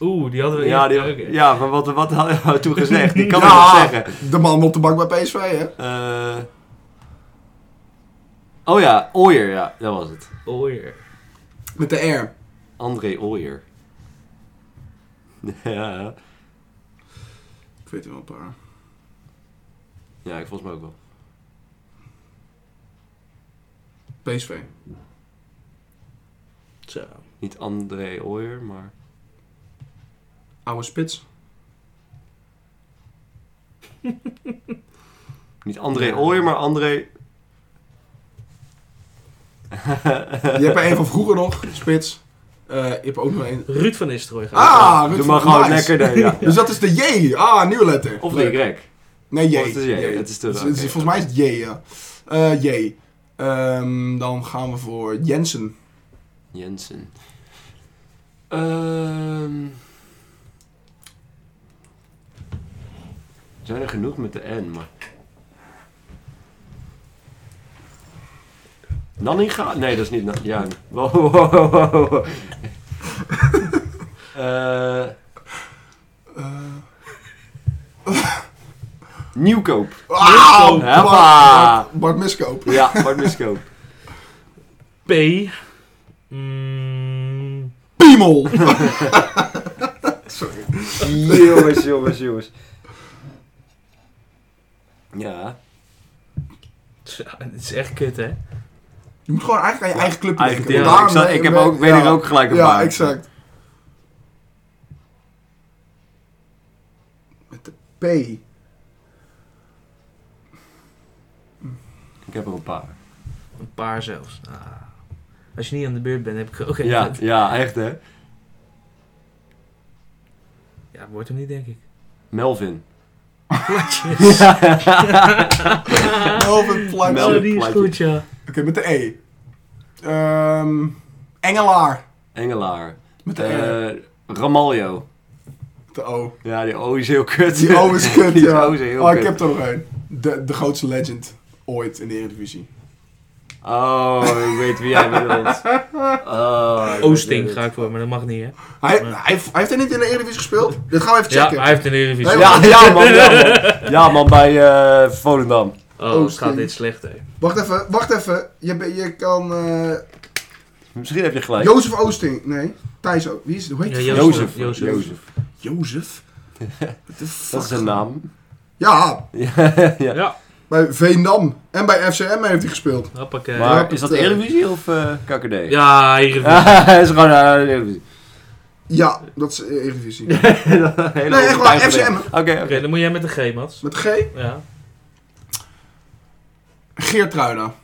[SPEAKER 2] Oeh, die hadden we
[SPEAKER 3] ja, die-
[SPEAKER 2] eerder. Oké.
[SPEAKER 3] ja, maar wat, wat hadden we toen gezegd? Ik
[SPEAKER 4] <laughs>
[SPEAKER 3] kan het
[SPEAKER 4] Ja,
[SPEAKER 3] nog zeggen.
[SPEAKER 4] De man op de bank bij PSV, hè?
[SPEAKER 3] Eh, oh ja, Ooyer, ja, dat was het.
[SPEAKER 2] Oh, ja.
[SPEAKER 4] Met de R.
[SPEAKER 3] André Ooyer. <laughs> ja,
[SPEAKER 4] Ik weet er wel een paar.
[SPEAKER 3] ja, ik volgens mij ook wel.
[SPEAKER 4] PSV.
[SPEAKER 2] Zo.
[SPEAKER 3] Niet André Ooyer, maar...
[SPEAKER 4] Oude spits.
[SPEAKER 3] Niet André Ooyer, maar André...
[SPEAKER 4] Je hebt er een van vroeger nog, spits. Eh je hebt er ook nog een.
[SPEAKER 2] Ruud van Nistelrooy gaat.
[SPEAKER 4] Ah, Ruud
[SPEAKER 3] Doe
[SPEAKER 4] van-
[SPEAKER 3] maar gewoon
[SPEAKER 4] nice.
[SPEAKER 3] lekker, nee,
[SPEAKER 4] <laughs>
[SPEAKER 3] ja.
[SPEAKER 4] Dus dat is de J. Ah, nieuwe letter.
[SPEAKER 3] Of
[SPEAKER 4] Leuk.
[SPEAKER 3] de Y.
[SPEAKER 4] Nee, J. Dus
[SPEAKER 3] Of het is J, het is te-
[SPEAKER 4] Het is-
[SPEAKER 3] oké.
[SPEAKER 4] het is- Volgens mij is het J, ja. Eh, J. Ehm, dan gaan we voor Jensen.
[SPEAKER 3] Jensen. Ehm. zijn er genoeg met de N, maar... Nanninga? Nee, dat is niet... Na ja, wow, wow, wow, wow. Eh,
[SPEAKER 4] Eh,
[SPEAKER 3] Nieuwkoop.
[SPEAKER 4] Wauw!
[SPEAKER 3] Hoppa.
[SPEAKER 4] Bart, Ah, Bart Miskoop.
[SPEAKER 3] Ja, Bart Miskoop.
[SPEAKER 2] P. Mm,
[SPEAKER 4] Piemel!
[SPEAKER 3] jongens, jongens, jongens. Ja.
[SPEAKER 2] tja, dit is echt kut, hè?
[SPEAKER 4] Je moet gewoon eigenlijk aan je eigen club
[SPEAKER 3] Eigenlijk,
[SPEAKER 4] denken.
[SPEAKER 3] ja,
[SPEAKER 4] Want
[SPEAKER 3] ik, zat- ik heb ook, weet
[SPEAKER 4] ja.
[SPEAKER 3] er ook gelijk een
[SPEAKER 4] Ja,
[SPEAKER 3] paar.
[SPEAKER 4] exact. Met de P.
[SPEAKER 3] Ik heb er een paar.
[SPEAKER 2] Een paar zelfs. Ah. Als je niet aan de beurt bent, heb ik er ook één.
[SPEAKER 3] Ja, ja echt hè.
[SPEAKER 2] Ja, wordt hem niet, denk ik.
[SPEAKER 3] Melvin.
[SPEAKER 2] Platjes.
[SPEAKER 4] Melvin Planks.
[SPEAKER 3] Mel-
[SPEAKER 2] oh, die is
[SPEAKER 3] Platjes.
[SPEAKER 2] goed, ja.
[SPEAKER 4] Oké, met de E. Ehm Engelaar.
[SPEAKER 3] <laughs> Engelaar.
[SPEAKER 4] Met de, E.
[SPEAKER 3] Eh Ramaljo.
[SPEAKER 4] Met de O.
[SPEAKER 3] Ja, die O is heel kut.
[SPEAKER 4] Die
[SPEAKER 3] <laughs>
[SPEAKER 4] O is kut,
[SPEAKER 3] Die
[SPEAKER 4] ja.
[SPEAKER 3] O is heel
[SPEAKER 4] oh,
[SPEAKER 3] kut.
[SPEAKER 4] ik heb er nog één. De, de grootste legend ooit in de Eredivisie.
[SPEAKER 3] Oh, ik weet wie jij
[SPEAKER 4] <laughs>
[SPEAKER 3] bedoelt. Oh, ik weet
[SPEAKER 2] Oosting
[SPEAKER 3] het.
[SPEAKER 2] ga ik voor, maar dat mag niet, hè?
[SPEAKER 4] Hij,
[SPEAKER 2] Ja.
[SPEAKER 4] hij, heeft- hij heeft er niet in de Eredivisie gespeeld? Dit gaan we even
[SPEAKER 2] Ja,
[SPEAKER 4] checken.
[SPEAKER 2] hij heeft een Eredivisie. Oh,
[SPEAKER 4] Nee, <laughs>
[SPEAKER 3] Ja, ja man, ja man. Ja man, bij eh Volendam.
[SPEAKER 2] Oh, het
[SPEAKER 4] Oosting.
[SPEAKER 2] gaat dit slecht, hè?
[SPEAKER 4] Wacht even, wacht even. Je, be- je kan... eh,
[SPEAKER 3] Misschien heb je gelijk.
[SPEAKER 4] Jozef Oosting. Nee, Thijs O. Wie is het? Hoe heet
[SPEAKER 2] Ja,
[SPEAKER 4] die
[SPEAKER 2] Jozef.
[SPEAKER 3] Jozef.
[SPEAKER 2] Jozef.
[SPEAKER 3] Jozef.
[SPEAKER 4] Jozef? What the
[SPEAKER 3] Dat is
[SPEAKER 4] fuck?
[SPEAKER 3] zijn naam. <laughs>
[SPEAKER 4] Ja,
[SPEAKER 3] Ja, ja.
[SPEAKER 2] Ja.
[SPEAKER 4] bij Veenam en bij FCM heeft hij gespeeld.
[SPEAKER 2] Hoppakee.
[SPEAKER 3] Maar
[SPEAKER 4] dat,
[SPEAKER 3] is dat
[SPEAKER 4] eh,
[SPEAKER 3] Eredivisie of eh KKD? <laughs>
[SPEAKER 2] Ja, hier.
[SPEAKER 3] dat is gewoon eh, Eredivisie.
[SPEAKER 4] Ja, dat is eh, Eredivisie.
[SPEAKER 3] nee,
[SPEAKER 4] Nee, echt waar, FCM.
[SPEAKER 3] Oké, oké.
[SPEAKER 2] Oké, dan moet jij met de G, Mats.
[SPEAKER 4] Met G,
[SPEAKER 2] Ja.
[SPEAKER 4] Geertruida.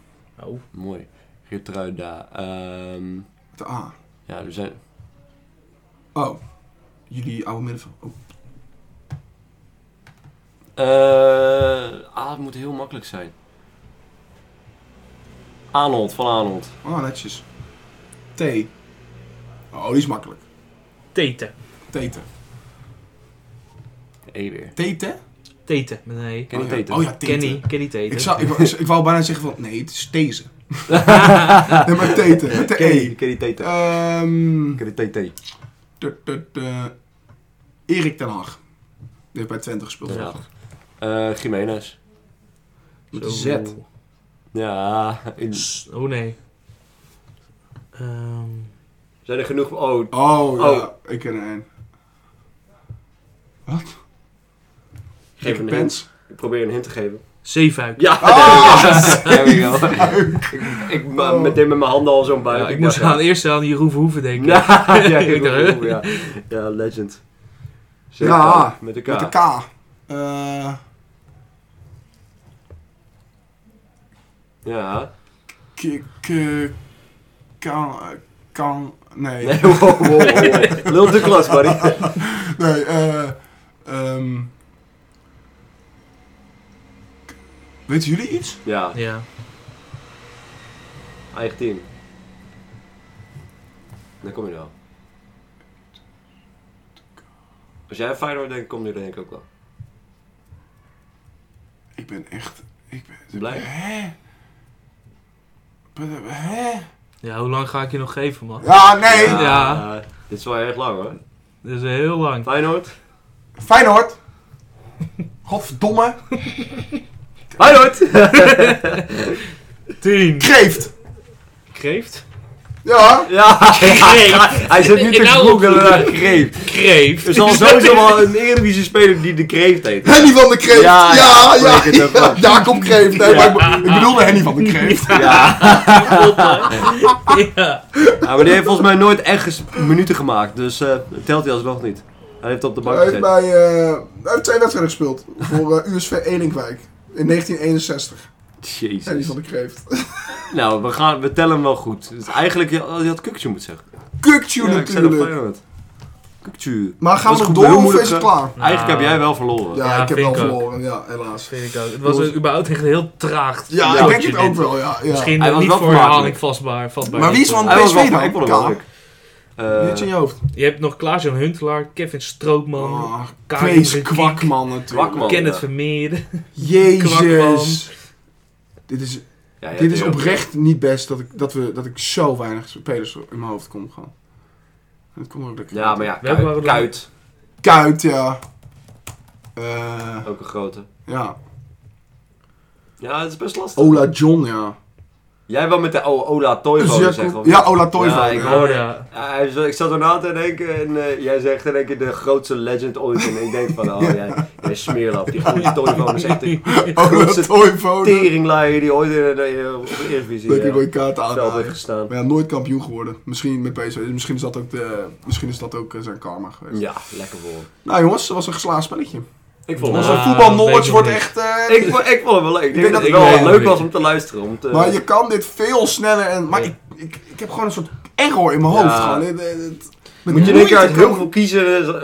[SPEAKER 2] Oh.
[SPEAKER 3] Mooi. Gertruida. ehm,
[SPEAKER 4] Met de A.
[SPEAKER 3] ja, er zijn...
[SPEAKER 4] Oh. Jullie oude middenveld. Oh.
[SPEAKER 3] Eh ah, het moet heel makkelijk zijn. Arnold, van Arnold.
[SPEAKER 4] Ah, netjes. T. Oh, die is makkelijk.
[SPEAKER 2] Tete.
[SPEAKER 4] Tete.
[SPEAKER 3] E weer.
[SPEAKER 4] Tete?
[SPEAKER 2] Tete. met een E.
[SPEAKER 3] Ken je
[SPEAKER 4] oh, ja.
[SPEAKER 3] Tete?
[SPEAKER 4] Oh ja, Tete.
[SPEAKER 2] Kenny. Kenny Tete.
[SPEAKER 4] Ik, zou, ik, wou, ik, wou bijna zeggen van, nee, het is Teze. nee, maar Tete. Met de E.
[SPEAKER 3] Ken die Tete?
[SPEAKER 4] Ehm,
[SPEAKER 3] Ken die Tete?
[SPEAKER 4] tut, tut, eh, Erik ten Hag. Die heeft bij Twente gespeeld.
[SPEAKER 3] Ja. Eh Jiménez.
[SPEAKER 4] Met de Z.
[SPEAKER 3] Ja. in-
[SPEAKER 2] Oh nee. Ehm
[SPEAKER 3] Zijn er genoeg... Oh,
[SPEAKER 4] Oh, ja.
[SPEAKER 3] Oh.
[SPEAKER 4] Ik ken er een. Wat?
[SPEAKER 3] geef
[SPEAKER 4] Dikke
[SPEAKER 3] een hint. Ik probeer een hint te geven.
[SPEAKER 2] Zeefuik.
[SPEAKER 3] <laughs> Ja, there we go. Ik, ik ma-
[SPEAKER 4] Oh.
[SPEAKER 3] meteen met mijn handen al zo'n buik.
[SPEAKER 2] Ja, ik moest aan,
[SPEAKER 3] dacht,
[SPEAKER 2] eerst aan die Roeven Hoeven denken.
[SPEAKER 3] ja. <laughs> ja,
[SPEAKER 2] Ik dacht,
[SPEAKER 3] ja,
[SPEAKER 2] hè?
[SPEAKER 3] ja, ja, legend.
[SPEAKER 4] Ja.
[SPEAKER 3] met elkaar.
[SPEAKER 4] Met de K. Eh
[SPEAKER 3] Ja.
[SPEAKER 4] k, k, kan, kan, nee.
[SPEAKER 3] Nee, wow, wow, wow. Lil Douglas, buddy.
[SPEAKER 4] <laughs> Nee, eh. ehm. Weten jullie iets?
[SPEAKER 3] Ja,
[SPEAKER 2] Ja.
[SPEAKER 3] eigen team. Dan kom je er wel. Als jij aan Feyenoord denkt, kom je er denk ik ook wel.
[SPEAKER 4] Ik ben echt. Ik ben.
[SPEAKER 3] Blij?
[SPEAKER 4] Hè? Ben- Hè?
[SPEAKER 2] Ja, hoe lang ga ik je nog geven, man?
[SPEAKER 4] Ja, nee!
[SPEAKER 2] Ja.
[SPEAKER 3] eh, dit is wel erg lang
[SPEAKER 4] <laughs>
[SPEAKER 3] hoor.
[SPEAKER 2] Dat is heel lang.
[SPEAKER 3] Feyenoord.
[SPEAKER 4] Feyenoord! Godverdomme!
[SPEAKER 3] Feyenoord! <laughs>
[SPEAKER 2] Tien.
[SPEAKER 4] Kreeft!
[SPEAKER 2] Kreeft?
[SPEAKER 4] Ja!
[SPEAKER 3] ja,
[SPEAKER 2] Greep.
[SPEAKER 3] hij zit nu te
[SPEAKER 2] Nou,
[SPEAKER 3] googelen naar
[SPEAKER 2] goed.
[SPEAKER 3] greep.
[SPEAKER 2] Kreeft. <laughs>
[SPEAKER 3] Er zal sowieso wel een Eredivisie speler die de kreeft heet.
[SPEAKER 4] Henny van de Kreeft!
[SPEAKER 3] Ja,
[SPEAKER 4] Ja, ja,
[SPEAKER 3] ja,
[SPEAKER 4] ja!
[SPEAKER 3] ik weet het ook.
[SPEAKER 4] Jacob Kreeft!
[SPEAKER 3] Ja.
[SPEAKER 4] Nee, maar ik, be- ik bedoelde Henny van de Kreeft.
[SPEAKER 3] Ja.
[SPEAKER 2] Ja.
[SPEAKER 3] maar die heeft volgens mij nooit echt ges- minuten gemaakt. Dus eh, telt hij alsnog niet. Hij heeft op de bank
[SPEAKER 4] Hij heeft
[SPEAKER 3] gezeten.
[SPEAKER 4] bij. eh, hij heeft twee wedstrijden gespeeld. Voor eh, USV Elinkwijk. In 1961. Henny
[SPEAKER 3] Jezus.
[SPEAKER 4] van de Kreeft.
[SPEAKER 3] Nou, we, gaan, we tellen hem wel goed. Dus eigenlijk, je, je had Kukcu moeten zeggen.
[SPEAKER 4] Kukcu
[SPEAKER 3] Ja, ik zei dat
[SPEAKER 4] natuurlijk!
[SPEAKER 3] Feyenoord. Kukcu.
[SPEAKER 4] Maar gaan
[SPEAKER 3] Dat
[SPEAKER 4] we nog
[SPEAKER 3] is goed,
[SPEAKER 4] door
[SPEAKER 3] heel
[SPEAKER 4] of
[SPEAKER 3] moeilijk,
[SPEAKER 4] is het
[SPEAKER 3] hè?
[SPEAKER 4] klaar?
[SPEAKER 3] Eigenlijk heb
[SPEAKER 2] Nou.
[SPEAKER 3] jij wel verloren.
[SPEAKER 4] Ja,
[SPEAKER 2] Ja,
[SPEAKER 4] ik heb
[SPEAKER 2] vind
[SPEAKER 4] wel
[SPEAKER 2] ik ook.
[SPEAKER 4] verloren, ja, helaas.
[SPEAKER 2] Vind ik ook. Het was ook überhaupt echt heel traag.
[SPEAKER 4] Ja, ik denk het ook wel, ja. ja.
[SPEAKER 2] Misschien
[SPEAKER 3] Hij
[SPEAKER 2] eh,
[SPEAKER 3] was
[SPEAKER 2] niet
[SPEAKER 3] wel
[SPEAKER 2] voor
[SPEAKER 3] vermakelijk.
[SPEAKER 2] herhaling vastbaar, vastbaar.
[SPEAKER 4] Maar wie is van-
[SPEAKER 3] Hij was wel
[SPEAKER 4] PSV dan?
[SPEAKER 3] ik vond hem wel
[SPEAKER 4] K.
[SPEAKER 3] leuk. Eh,
[SPEAKER 4] Iets in je hoofd.
[SPEAKER 2] Je hebt nog Klaas-Jan Huntelaar, Kevin Stroopman,
[SPEAKER 4] Ah,
[SPEAKER 2] Karin
[SPEAKER 4] Kees
[SPEAKER 2] Zinkiek,
[SPEAKER 4] Kwakman natuurlijk.
[SPEAKER 3] Kwakman.
[SPEAKER 2] Kenneth
[SPEAKER 3] ja.
[SPEAKER 2] Vermeer.
[SPEAKER 4] Jezus. Dit is,
[SPEAKER 3] ja, ja,
[SPEAKER 4] dit is
[SPEAKER 3] ja.
[SPEAKER 4] oprecht niet best dat ik, dat, we, dat ik zo weinig spelers in mijn hoofd kom gaan. Dat komt ook dat ik-
[SPEAKER 3] Ja, maar ja,
[SPEAKER 2] Welke waren
[SPEAKER 3] Kuit,
[SPEAKER 2] we
[SPEAKER 3] Kuit.
[SPEAKER 4] Kuit, ja. Eh,
[SPEAKER 3] Ook een grote.
[SPEAKER 4] ja.
[SPEAKER 3] Ja, het is best lastig.
[SPEAKER 4] Ola John, ja.
[SPEAKER 3] Jij wel met de O- Ola
[SPEAKER 4] Dus
[SPEAKER 3] Toivonen
[SPEAKER 4] ja,
[SPEAKER 3] zeggen. of
[SPEAKER 4] ja,
[SPEAKER 3] niet?
[SPEAKER 4] Ola Toivonen.
[SPEAKER 3] Ja, ik
[SPEAKER 4] ja.
[SPEAKER 3] hoor-
[SPEAKER 2] Oh ja.
[SPEAKER 3] Ja, hij zo- ik zat erna te denken en eh, jij zegt in één keer de grootste legend ooit. En ik denk van,
[SPEAKER 4] <laughs>
[SPEAKER 3] oh jij, jij smeerlap. Die goede Toivonen is echt de
[SPEAKER 4] Ola
[SPEAKER 3] grootste
[SPEAKER 4] Toivonen.
[SPEAKER 3] teringlaaier die ooit in de, de, op de Eredivisie
[SPEAKER 4] Dat ik een
[SPEAKER 3] eh,
[SPEAKER 4] rode kaart
[SPEAKER 3] op het veld heeft
[SPEAKER 4] aan.
[SPEAKER 3] gestaan.
[SPEAKER 4] Maar ja, nooit kampioen geworden. Misschien met PSV. Misschien is dat ook, de, misschien is dat ook eh, zijn karma geweest.
[SPEAKER 3] Ja, lekker voor hem.
[SPEAKER 4] Nou jongens, het was een geslaagd spelletje.
[SPEAKER 3] Ik vond
[SPEAKER 2] Nou,
[SPEAKER 4] Onze
[SPEAKER 3] het wel-
[SPEAKER 4] voetbalknowledge
[SPEAKER 2] weet ik
[SPEAKER 4] wordt
[SPEAKER 2] niet.
[SPEAKER 4] echt... eh,
[SPEAKER 3] ik, vond- ik vond het wel leuk. Ik denk, dat
[SPEAKER 4] denk dat
[SPEAKER 3] het
[SPEAKER 2] ik
[SPEAKER 3] wel
[SPEAKER 2] wel
[SPEAKER 3] leuk
[SPEAKER 2] weet.
[SPEAKER 3] was om te luisteren. Om te,
[SPEAKER 4] maar je kan dit veel sneller en... Maar
[SPEAKER 2] Ja.
[SPEAKER 4] ik, ik, ik heb gewoon een soort error in mijn hoofd.
[SPEAKER 3] Ja.
[SPEAKER 4] Gewoon. Het- het- het- met
[SPEAKER 3] moet je in één keer
[SPEAKER 4] moeite
[SPEAKER 3] uit heel
[SPEAKER 4] kan-
[SPEAKER 3] veel kiezen. eh, zo- eh,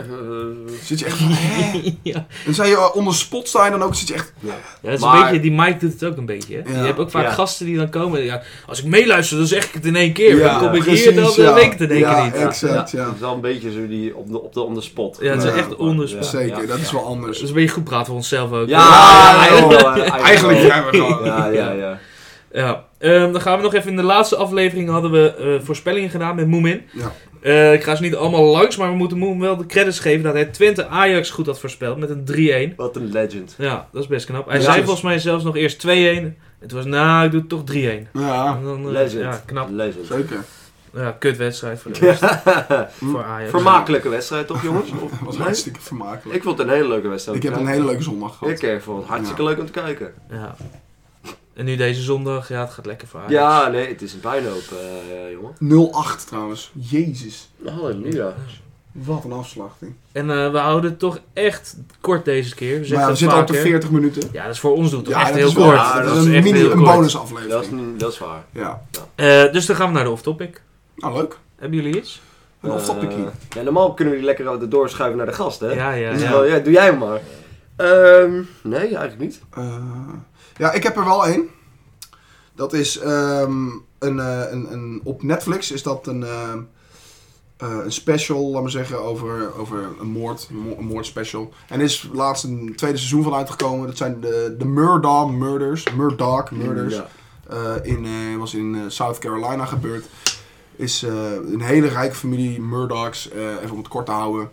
[SPEAKER 4] Zit je echt <laughs> van, hè?
[SPEAKER 2] <laughs> Ja.
[SPEAKER 4] En zou je eh, onder spot zijn dan ook, zit je echt...
[SPEAKER 2] Ja, dat is
[SPEAKER 3] Maar-
[SPEAKER 2] een beetje, die Mike doet het ook een beetje. Hè?
[SPEAKER 4] Ja.
[SPEAKER 2] Je hebt ook vaak
[SPEAKER 3] Ja.
[SPEAKER 2] gasten die dan komen. en Ja, als ik meeluister, dan zeg ik het in één keer.
[SPEAKER 4] Ja,
[SPEAKER 2] dan kom ik
[SPEAKER 4] precies,
[SPEAKER 2] hier, dan, dan
[SPEAKER 4] ja.
[SPEAKER 2] weet ik het in één
[SPEAKER 4] Ja,
[SPEAKER 2] keer niet.
[SPEAKER 4] ja. Exact, ja.
[SPEAKER 3] Het is wel een beetje zo die op de, op de, on the spot.
[SPEAKER 2] Ja, het
[SPEAKER 4] is
[SPEAKER 3] Ja.
[SPEAKER 4] echt
[SPEAKER 2] on the spot.
[SPEAKER 4] Zeker,
[SPEAKER 3] ja.
[SPEAKER 4] dat is wel
[SPEAKER 2] Dus
[SPEAKER 4] anders.
[SPEAKER 2] een beetje goed praten voor onszelf ook.
[SPEAKER 3] Ja,
[SPEAKER 4] Ja, joh.
[SPEAKER 3] eigenlijk wel, eh,
[SPEAKER 4] Eigenlijk
[SPEAKER 3] wel.
[SPEAKER 4] zijn we gewoon...
[SPEAKER 3] Ja, ja, ja.
[SPEAKER 2] Ja, ehm, dan gaan we nog even in de laatste aflevering hadden we eh, voorspellingen gedaan met Moemin.
[SPEAKER 4] Ja.
[SPEAKER 2] Eh, ik ga ze niet allemaal langs, maar we moeten Moemin wel de credits geven dat hij Twente Ajax goed had voorspeld met een 3-1.
[SPEAKER 3] Wat een legend.
[SPEAKER 2] Ja, dat is best knap. Hij
[SPEAKER 4] Ja.
[SPEAKER 2] zei volgens mij zelfs nog eerst 2-1. Het was, nou, ik doe het toch 3-1.
[SPEAKER 4] Ja,
[SPEAKER 2] En dan, eh,
[SPEAKER 3] Legend.
[SPEAKER 2] ja, knap.
[SPEAKER 3] Legend.
[SPEAKER 4] zeker.
[SPEAKER 2] Ja, kutwedstrijd voor de rest. Voor Ajax.
[SPEAKER 3] <laughs> Vermakelijke wedstrijd toch, jongens? Of-
[SPEAKER 4] Dat <laughs> was
[SPEAKER 3] Nee?
[SPEAKER 4] hartstikke vermakelijk.
[SPEAKER 3] Ik vond het een hele leuke wedstrijd.
[SPEAKER 4] Ik heb een hele leuke zondag gehad.
[SPEAKER 3] Ik eh, vond het hartstikke leuk om te kijken.
[SPEAKER 2] Ja. En nu deze zondag, ja, het gaat lekker voor Ajax.
[SPEAKER 3] Ja, nee, het is een puinhoop, eh, jongen.
[SPEAKER 4] 0-8 trouwens. Jezus.
[SPEAKER 3] Halleluja.
[SPEAKER 4] Wat een afslachting.
[SPEAKER 2] En eh, we houden het toch echt kort deze keer. We
[SPEAKER 4] Maar
[SPEAKER 2] zeggen
[SPEAKER 4] ja, we
[SPEAKER 2] het
[SPEAKER 4] zitten al
[SPEAKER 2] vaak,
[SPEAKER 4] op de
[SPEAKER 2] hè.
[SPEAKER 4] 40 minuten.
[SPEAKER 2] Ja, dat is voor ons doen toch echt
[SPEAKER 4] dat
[SPEAKER 2] heel
[SPEAKER 4] is wel-
[SPEAKER 2] kort.
[SPEAKER 4] ja, dat,
[SPEAKER 2] echt
[SPEAKER 4] is een, mini,
[SPEAKER 2] heel
[SPEAKER 4] een
[SPEAKER 2] kort.
[SPEAKER 3] Dat is,
[SPEAKER 4] bonusaflevering.
[SPEAKER 3] niet- dat is waar.
[SPEAKER 4] Ja.
[SPEAKER 2] Eh, dus dan gaan we naar de off-topic.
[SPEAKER 4] Nou, leuk.
[SPEAKER 2] Hebben jullie iets?
[SPEAKER 4] Een
[SPEAKER 3] Eh,
[SPEAKER 4] off-topicje.
[SPEAKER 3] ja, normaal kunnen we die lekker uit- doorschuiven naar de gast,
[SPEAKER 4] Eh,
[SPEAKER 3] hè?
[SPEAKER 2] Ja, ja,
[SPEAKER 3] Dus
[SPEAKER 2] ja.
[SPEAKER 3] wel, ja, doe jij hem maar. Ehm, nee, eigenlijk niet.
[SPEAKER 4] Eh, ja, ik heb er wel één. Dat is ehm, een, eh, een, een... Op Netflix is dat een... ehm, eh, een special, laat maar zeggen, over, over een moord. Een mo- een moordspecial. En er is laatst een tweede seizoen van uitgekomen. Dat zijn de, de Murdaugh Murders. Murdaugh Murders.
[SPEAKER 3] Ja.
[SPEAKER 4] eh, in, eh, was in eh, South Carolina gebeurd. Is eh, een hele rijke familie, Murdochs, eh, even om het kort te houden.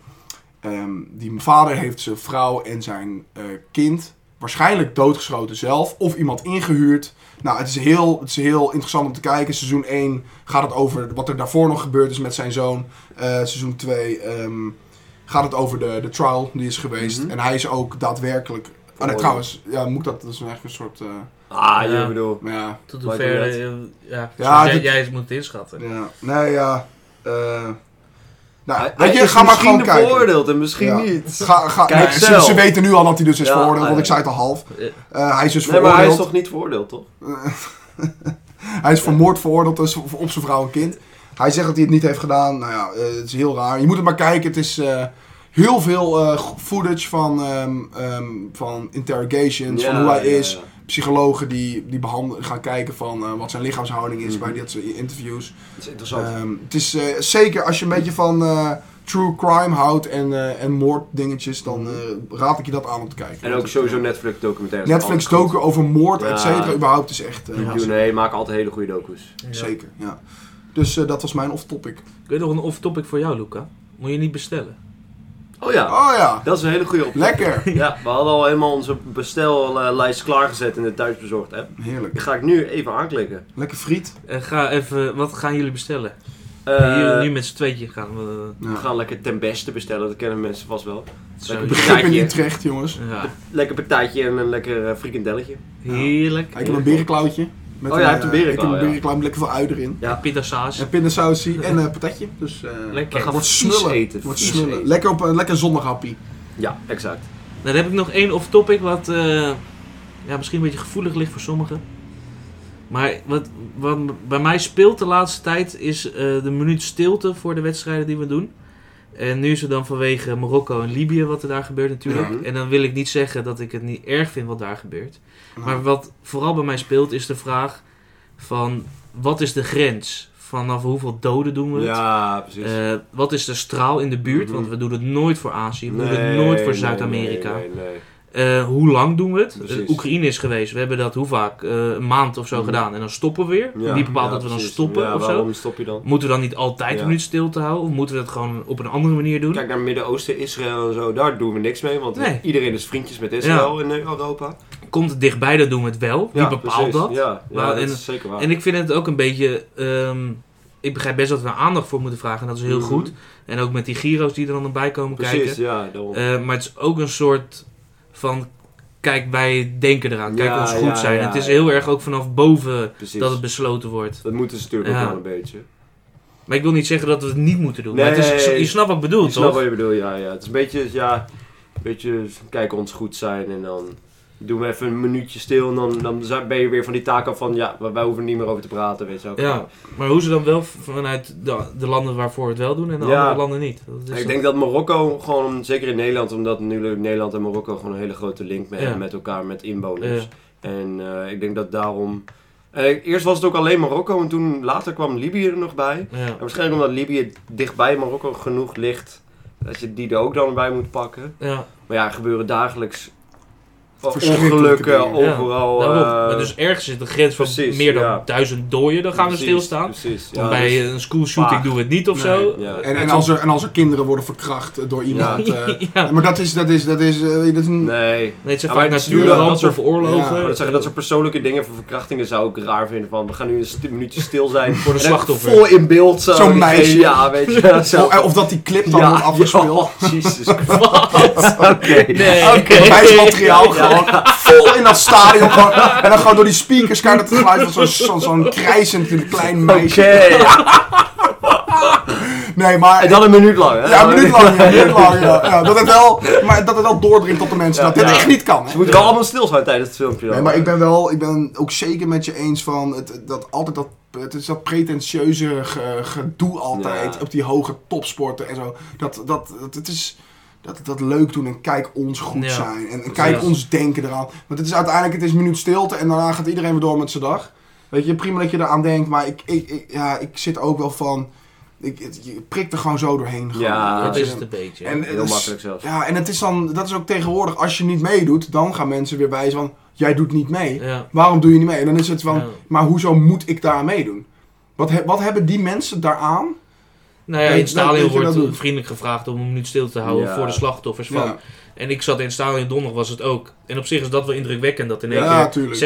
[SPEAKER 4] Ehm, die vader heeft zijn vrouw en zijn eh, kind waarschijnlijk doodgeschoten zelf. Of iemand ingehuurd. Nou, het is, heel, het is heel interessant om te kijken. Seizoen 1 gaat het over wat er daarvoor nog gebeurd is met zijn zoon. Eh, seizoen 2 ehm, gaat het over de, de trial die is geweest.
[SPEAKER 3] Mhm.
[SPEAKER 4] En hij is ook daadwerkelijk... Ah nee,
[SPEAKER 3] Veroordeeld.
[SPEAKER 4] trouwens, ja, moet ik dat, dat is eigenlijk een soort... eh,
[SPEAKER 3] Ah,
[SPEAKER 2] Ja.
[SPEAKER 3] je bedoel.
[SPEAKER 4] maar ja,
[SPEAKER 2] Tot
[SPEAKER 3] Maar
[SPEAKER 2] hoever,
[SPEAKER 3] doe
[SPEAKER 2] eh, ja,
[SPEAKER 4] Ja,
[SPEAKER 2] zoals jij,
[SPEAKER 4] dit-
[SPEAKER 2] jij moet het inschatten.
[SPEAKER 4] Ja, nee, ja. eh nou,
[SPEAKER 3] Hij-
[SPEAKER 4] weet
[SPEAKER 3] hij
[SPEAKER 4] je,
[SPEAKER 3] is
[SPEAKER 4] ga maar
[SPEAKER 3] misschien
[SPEAKER 4] gewoon kijken.
[SPEAKER 3] beoordeeld en misschien
[SPEAKER 4] Ja.
[SPEAKER 3] niet.
[SPEAKER 4] Ga, ga,
[SPEAKER 3] Kijk
[SPEAKER 4] nee, ze,
[SPEAKER 3] zelf.
[SPEAKER 4] ze weten nu al dat hij dus is
[SPEAKER 3] Ja,
[SPEAKER 4] veroordeeld, want
[SPEAKER 3] ja.
[SPEAKER 4] ik zei het al half.
[SPEAKER 2] Eh,
[SPEAKER 4] Eh, hij is dus
[SPEAKER 3] Nee, maar hij is
[SPEAKER 4] veroordeeld.
[SPEAKER 3] toch niet veroordeeld, toch?
[SPEAKER 4] Hij is vermoord veroordeeld dus op op zijn vrouw en kind. Hij zegt dat hij het niet heeft gedaan. Nou ja, eh, het is heel raar. Je moet het maar kijken. Het is eh, heel veel eh, go- footage van, ehm, ehm, van interrogations, van hoe hij
[SPEAKER 3] ja,
[SPEAKER 4] is.
[SPEAKER 3] ja.
[SPEAKER 4] Psychologen die, die behandelen, gaan kijken van eh, wat zijn lichaamshouding
[SPEAKER 3] Mhm.
[SPEAKER 4] is bij dit soort interviews.
[SPEAKER 3] Dat is interessant.
[SPEAKER 4] Ehm, het is eh, zeker als je een beetje van eh, true crime houdt en, eh, en moorddingetjes, dan eh, raad ik je dat aan om te kijken.
[SPEAKER 3] en ook
[SPEAKER 4] Want,
[SPEAKER 3] sowieso
[SPEAKER 4] eh,
[SPEAKER 3] Netflix documentaires.
[SPEAKER 4] Netflix
[SPEAKER 3] Alles goed.
[SPEAKER 4] docu over moord,
[SPEAKER 3] Ja.
[SPEAKER 4] et cetera, überhaupt is echt. eh,
[SPEAKER 3] Die doen,
[SPEAKER 4] hartstikke-
[SPEAKER 3] nee, maken altijd hele goede docu's.
[SPEAKER 2] ja.
[SPEAKER 4] Zeker, ja. Dus eh, dat was mijn off-topic.
[SPEAKER 2] Ik weet nog een off-topic voor jou, Luca. Moet je niet bestellen.
[SPEAKER 3] Oh ja,
[SPEAKER 4] Oh ja,
[SPEAKER 3] dat is een hele goede op.
[SPEAKER 4] lekker!
[SPEAKER 3] <laughs> Ja, we hadden al helemaal onze bestellijst klaargezet in de thuisbezorgd app.
[SPEAKER 4] Heerlijk.
[SPEAKER 3] Die ga ik nu even aanklikken.
[SPEAKER 4] Lekker friet.
[SPEAKER 2] Eh, ga even, wat gaan jullie bestellen?
[SPEAKER 3] Eh,
[SPEAKER 2] jullie nu met z'n tweetje gaan we...
[SPEAKER 4] Ja.
[SPEAKER 3] we gaan lekker ten beste bestellen, dat kennen mensen vast wel.
[SPEAKER 2] Zo,
[SPEAKER 3] Lekker
[SPEAKER 4] Begrip in
[SPEAKER 3] partijtje.
[SPEAKER 4] Utrecht, jongens.
[SPEAKER 2] ja.
[SPEAKER 3] Lekker partijtje en een lekker eh, frikandelletje.
[SPEAKER 2] Heerlijk.
[SPEAKER 4] Ah, Ik heb een berenklauwtje. Met
[SPEAKER 3] Oh, jij
[SPEAKER 4] eh,
[SPEAKER 3] hebt een berenklauw,
[SPEAKER 4] Ik heb
[SPEAKER 3] ja.
[SPEAKER 4] een berenklauw met lekker veel ui erin.
[SPEAKER 2] Ja, pita saus.
[SPEAKER 4] En pindasausie en een patatje. Dus eh,
[SPEAKER 2] Lekker.
[SPEAKER 3] We gaan
[SPEAKER 4] wordt
[SPEAKER 3] vies
[SPEAKER 4] smullen.
[SPEAKER 3] eten,
[SPEAKER 4] Wordt
[SPEAKER 3] vies
[SPEAKER 4] smullen.
[SPEAKER 3] eten.
[SPEAKER 4] Lekker op een lekker zondaghappie.
[SPEAKER 3] Ja, exact.
[SPEAKER 2] Dan heb ik nog één off-topic wat eh, ja, misschien een beetje gevoelig ligt voor sommigen. Maar wat, wat bij mij speelt de laatste tijd is eh, de minuut stilte voor de wedstrijden die we doen. En nu is het dan vanwege Marokko en Libië wat er daar gebeurt natuurlijk.
[SPEAKER 3] Ja.
[SPEAKER 2] En dan wil ik niet zeggen dat ik het niet erg vind wat daar gebeurt.
[SPEAKER 3] Mhm.
[SPEAKER 4] Nou.
[SPEAKER 2] Maar wat vooral bij mij speelt is de vraag van wat is de grens? Vanaf hoeveel doden doen we het?
[SPEAKER 3] Ja, precies.
[SPEAKER 2] Eh, wat is de straal in de buurt?
[SPEAKER 3] Mhm.
[SPEAKER 2] Want we doen het nooit voor Azië, we
[SPEAKER 3] Nee,
[SPEAKER 2] doen het nooit voor
[SPEAKER 3] nee,
[SPEAKER 2] Zuid-Amerika.
[SPEAKER 3] Nee, nee, nee.
[SPEAKER 2] Eh, hoe lang doen we het?
[SPEAKER 3] Precies.
[SPEAKER 2] Eh, Oekraïne is geweest. We hebben dat hoe vaak? Eh, een maand of zo
[SPEAKER 3] Mhm.
[SPEAKER 2] gedaan. En dan stoppen we weer.
[SPEAKER 3] Ja,
[SPEAKER 2] Wie bepaalt
[SPEAKER 3] ja,
[SPEAKER 2] dat we dan
[SPEAKER 3] precies.
[SPEAKER 2] stoppen
[SPEAKER 3] ja,
[SPEAKER 2] of zo?
[SPEAKER 3] Waarom stop je dan?
[SPEAKER 2] Moeten we dan niet altijd
[SPEAKER 3] Ja.
[SPEAKER 2] een minuut stilte houden? Of moeten we dat gewoon op een andere manier doen?
[SPEAKER 3] Kijk naar Midden-Oosten, Israël en zo, daar doen we niks mee, want
[SPEAKER 2] Nee.
[SPEAKER 3] iedereen is vriendjes met Israël in eh, Europa.
[SPEAKER 2] Komt het dichtbij, dan doen we het wel. Wie
[SPEAKER 3] Ja,
[SPEAKER 2] bepaalt
[SPEAKER 3] precies.
[SPEAKER 2] dat?
[SPEAKER 3] Ja, ja
[SPEAKER 2] Maar-
[SPEAKER 3] dat
[SPEAKER 2] en-
[SPEAKER 3] is zeker waar.
[SPEAKER 2] En ik vind het ook een beetje... ehm, ik begrijp best dat we er aandacht voor moeten vragen. En dat is heel
[SPEAKER 3] Mhm.
[SPEAKER 2] goed. En ook met die gyro's die er dan bij komen
[SPEAKER 3] precies,
[SPEAKER 2] kijken.
[SPEAKER 3] ja, daarom.
[SPEAKER 2] Eh, maar het is ook een soort van... Kijk, wij denken eraan. Kijk,
[SPEAKER 3] Ja,
[SPEAKER 2] ons goed
[SPEAKER 3] ja,
[SPEAKER 2] zijn.
[SPEAKER 3] ja,
[SPEAKER 2] het is
[SPEAKER 3] ja.
[SPEAKER 2] heel erg ook vanaf boven
[SPEAKER 3] precies.
[SPEAKER 2] dat het besloten wordt.
[SPEAKER 3] Dat moeten ze natuurlijk
[SPEAKER 2] Ja.
[SPEAKER 3] ook wel een beetje.
[SPEAKER 2] Maar ik wil niet zeggen dat we het niet moeten doen.
[SPEAKER 3] Nee,
[SPEAKER 2] maar het is,
[SPEAKER 3] nee, nee.
[SPEAKER 2] je snapt wat ik bedoel,
[SPEAKER 3] Ik snap
[SPEAKER 2] toch?
[SPEAKER 3] wat je bedoelt, ja, ja. Het is een beetje, ja, een beetje kijken ons goed zijn en dan doen we even een minuutje stil en dan, dan zijn- ben je weer van die taak af van, ja, wij- wij hoeven er niet meer over te praten, weet je wel.
[SPEAKER 2] Ja, maar hoe ze dan wel vanuit de, de landen waarvoor het wel doen en de
[SPEAKER 3] Ja.
[SPEAKER 2] andere landen niet. dus Dat is
[SPEAKER 3] ik
[SPEAKER 2] dan-
[SPEAKER 3] denk dat Marokko gewoon, zeker in Nederland, omdat nu Nederland en Marokko gewoon een hele grote link mee
[SPEAKER 2] Ja.
[SPEAKER 3] hebben met elkaar, met inwoners.
[SPEAKER 2] Ja.
[SPEAKER 3] En eh, ik denk dat daarom... eh, eerst was het ook alleen Marokko en toen later kwam Libië er nog bij.
[SPEAKER 2] Ja.
[SPEAKER 3] En waarschijnlijk omdat Libië dichtbij Marokko genoeg ligt, dat je die er ook dan bij moet pakken.
[SPEAKER 2] Ja.
[SPEAKER 3] Maar ja, er gebeuren dagelijks
[SPEAKER 4] Verschrikkelijke
[SPEAKER 3] ongelukken
[SPEAKER 4] dingen.
[SPEAKER 2] Ja,
[SPEAKER 3] overal.
[SPEAKER 2] Daarop.
[SPEAKER 3] eh,
[SPEAKER 2] Maar dus ergens is de grens van
[SPEAKER 3] precies,
[SPEAKER 2] meer dan
[SPEAKER 3] ja.
[SPEAKER 2] duizend doden, dan gaan
[SPEAKER 3] precies,
[SPEAKER 2] we stilstaan.
[SPEAKER 3] Precies,
[SPEAKER 2] Want
[SPEAKER 3] ja.
[SPEAKER 2] bij eh,
[SPEAKER 3] dus-
[SPEAKER 2] een school shooting
[SPEAKER 3] vaag.
[SPEAKER 2] doen we het niet of
[SPEAKER 4] Nee.
[SPEAKER 2] zo.
[SPEAKER 3] ja.
[SPEAKER 4] En, en, als er, en als er kinderen worden verkracht door
[SPEAKER 2] <laughs>
[SPEAKER 4] iemand.
[SPEAKER 2] Ja.
[SPEAKER 4] eh, Maar dat is. Dat is, dat is, eh, dat is een,
[SPEAKER 3] Nee.
[SPEAKER 2] Nee, het zijn
[SPEAKER 3] Ja,
[SPEAKER 2] vaak
[SPEAKER 3] maar het duurde wel
[SPEAKER 2] natuurrampen of
[SPEAKER 3] dat
[SPEAKER 2] oorlogen.
[SPEAKER 4] Ja,
[SPEAKER 3] Maar dat, zeggen, dat soort persoonlijke dingen voor verkrachtingen zou ik raar vinden. Van, we gaan nu een st- minuutje stil
[SPEAKER 2] <laughs>
[SPEAKER 3] zijn.
[SPEAKER 2] Voor de
[SPEAKER 3] En dan
[SPEAKER 2] slachtoffer.
[SPEAKER 3] Vol in beeld. zo,
[SPEAKER 4] Zo'n
[SPEAKER 3] die- <laughs>
[SPEAKER 4] meisje.
[SPEAKER 3] Ja, weet je. dat zou-
[SPEAKER 4] Of, of dat die clip dan wordt afgespeeld.
[SPEAKER 3] ja,
[SPEAKER 4] <laughs>
[SPEAKER 3] Jesus Christ. Oké.
[SPEAKER 2] Nee. <laughs>
[SPEAKER 3] Oké.
[SPEAKER 4] Bewijsmateriaal
[SPEAKER 3] Ja.
[SPEAKER 4] gewoon. Vol in dat stadion. gewoon. En dan gewoon door die speakers kan het geluid van zo'n zo'n zo'n krijzend klein
[SPEAKER 3] Oké.
[SPEAKER 4] meisje. Nee, maar.
[SPEAKER 3] En dan een minuut lang. Hè?
[SPEAKER 4] ja, een minuut lang. ja, Een minuut
[SPEAKER 3] <laughs>
[SPEAKER 4] lang ja. Ja, dat, het wel, maar dat het wel doordringt tot de mensen.
[SPEAKER 3] Ja,
[SPEAKER 4] dat dit
[SPEAKER 3] ja.
[SPEAKER 4] echt niet kan.
[SPEAKER 3] Ze
[SPEAKER 4] Hè?
[SPEAKER 3] moeten wel allemaal stil zijn tijdens het filmpje. dan.
[SPEAKER 4] Nee, maar ik ben wel, ik ben ook zeker met je eens van het, dat altijd dat, het is dat pretentieuze ge- gedoe altijd
[SPEAKER 3] Ja.
[SPEAKER 4] op die hoge topsporten en zo. Dat, dat, dat het is dat, dat leuk doen en kijk ons goed
[SPEAKER 2] Ja.
[SPEAKER 4] zijn en, en kijk
[SPEAKER 2] Ja.
[SPEAKER 4] ons denken eraan. Want het is uiteindelijk, het is een minuut stilte en daarna gaat iedereen weer door met zijn dag. Weet je, prima dat je eraan denkt, maar ik, ik, ik- ja, ik zit ook wel van, ik, het- je prikt er gewoon zo doorheen. gewoon.
[SPEAKER 3] Ja.
[SPEAKER 2] Dat
[SPEAKER 4] Weet
[SPEAKER 2] is
[SPEAKER 4] je.
[SPEAKER 2] het een beetje.
[SPEAKER 4] En-
[SPEAKER 3] Heel
[SPEAKER 4] dat is-
[SPEAKER 3] makkelijk zelfs.
[SPEAKER 4] Dus- Ja, en het is dan, dat is ook tegenwoordig, als je niet meedoet, dan gaan mensen weer wijzen van, jij doet niet mee.
[SPEAKER 2] ja.
[SPEAKER 4] Waarom doe je niet mee? En dan is het van,
[SPEAKER 2] Ja.
[SPEAKER 4] maar hoezo moet ik daar aan meedoen? Wat, he- wat hebben die mensen daaraan?
[SPEAKER 2] Nou ja,
[SPEAKER 4] Nee,
[SPEAKER 2] in het
[SPEAKER 4] dat- dat
[SPEAKER 2] stadion
[SPEAKER 4] je dat
[SPEAKER 2] wordt
[SPEAKER 4] doet.
[SPEAKER 2] vriendelijk gevraagd om een minuut stil te houden
[SPEAKER 3] Ja.
[SPEAKER 2] voor de slachtoffers van.
[SPEAKER 4] Ja,
[SPEAKER 2] En ik zat in het stadion donderdag was het ook. En op zich is dat wel indrukwekkend dat in één
[SPEAKER 4] ja,
[SPEAKER 2] keer
[SPEAKER 4] tuurlijk.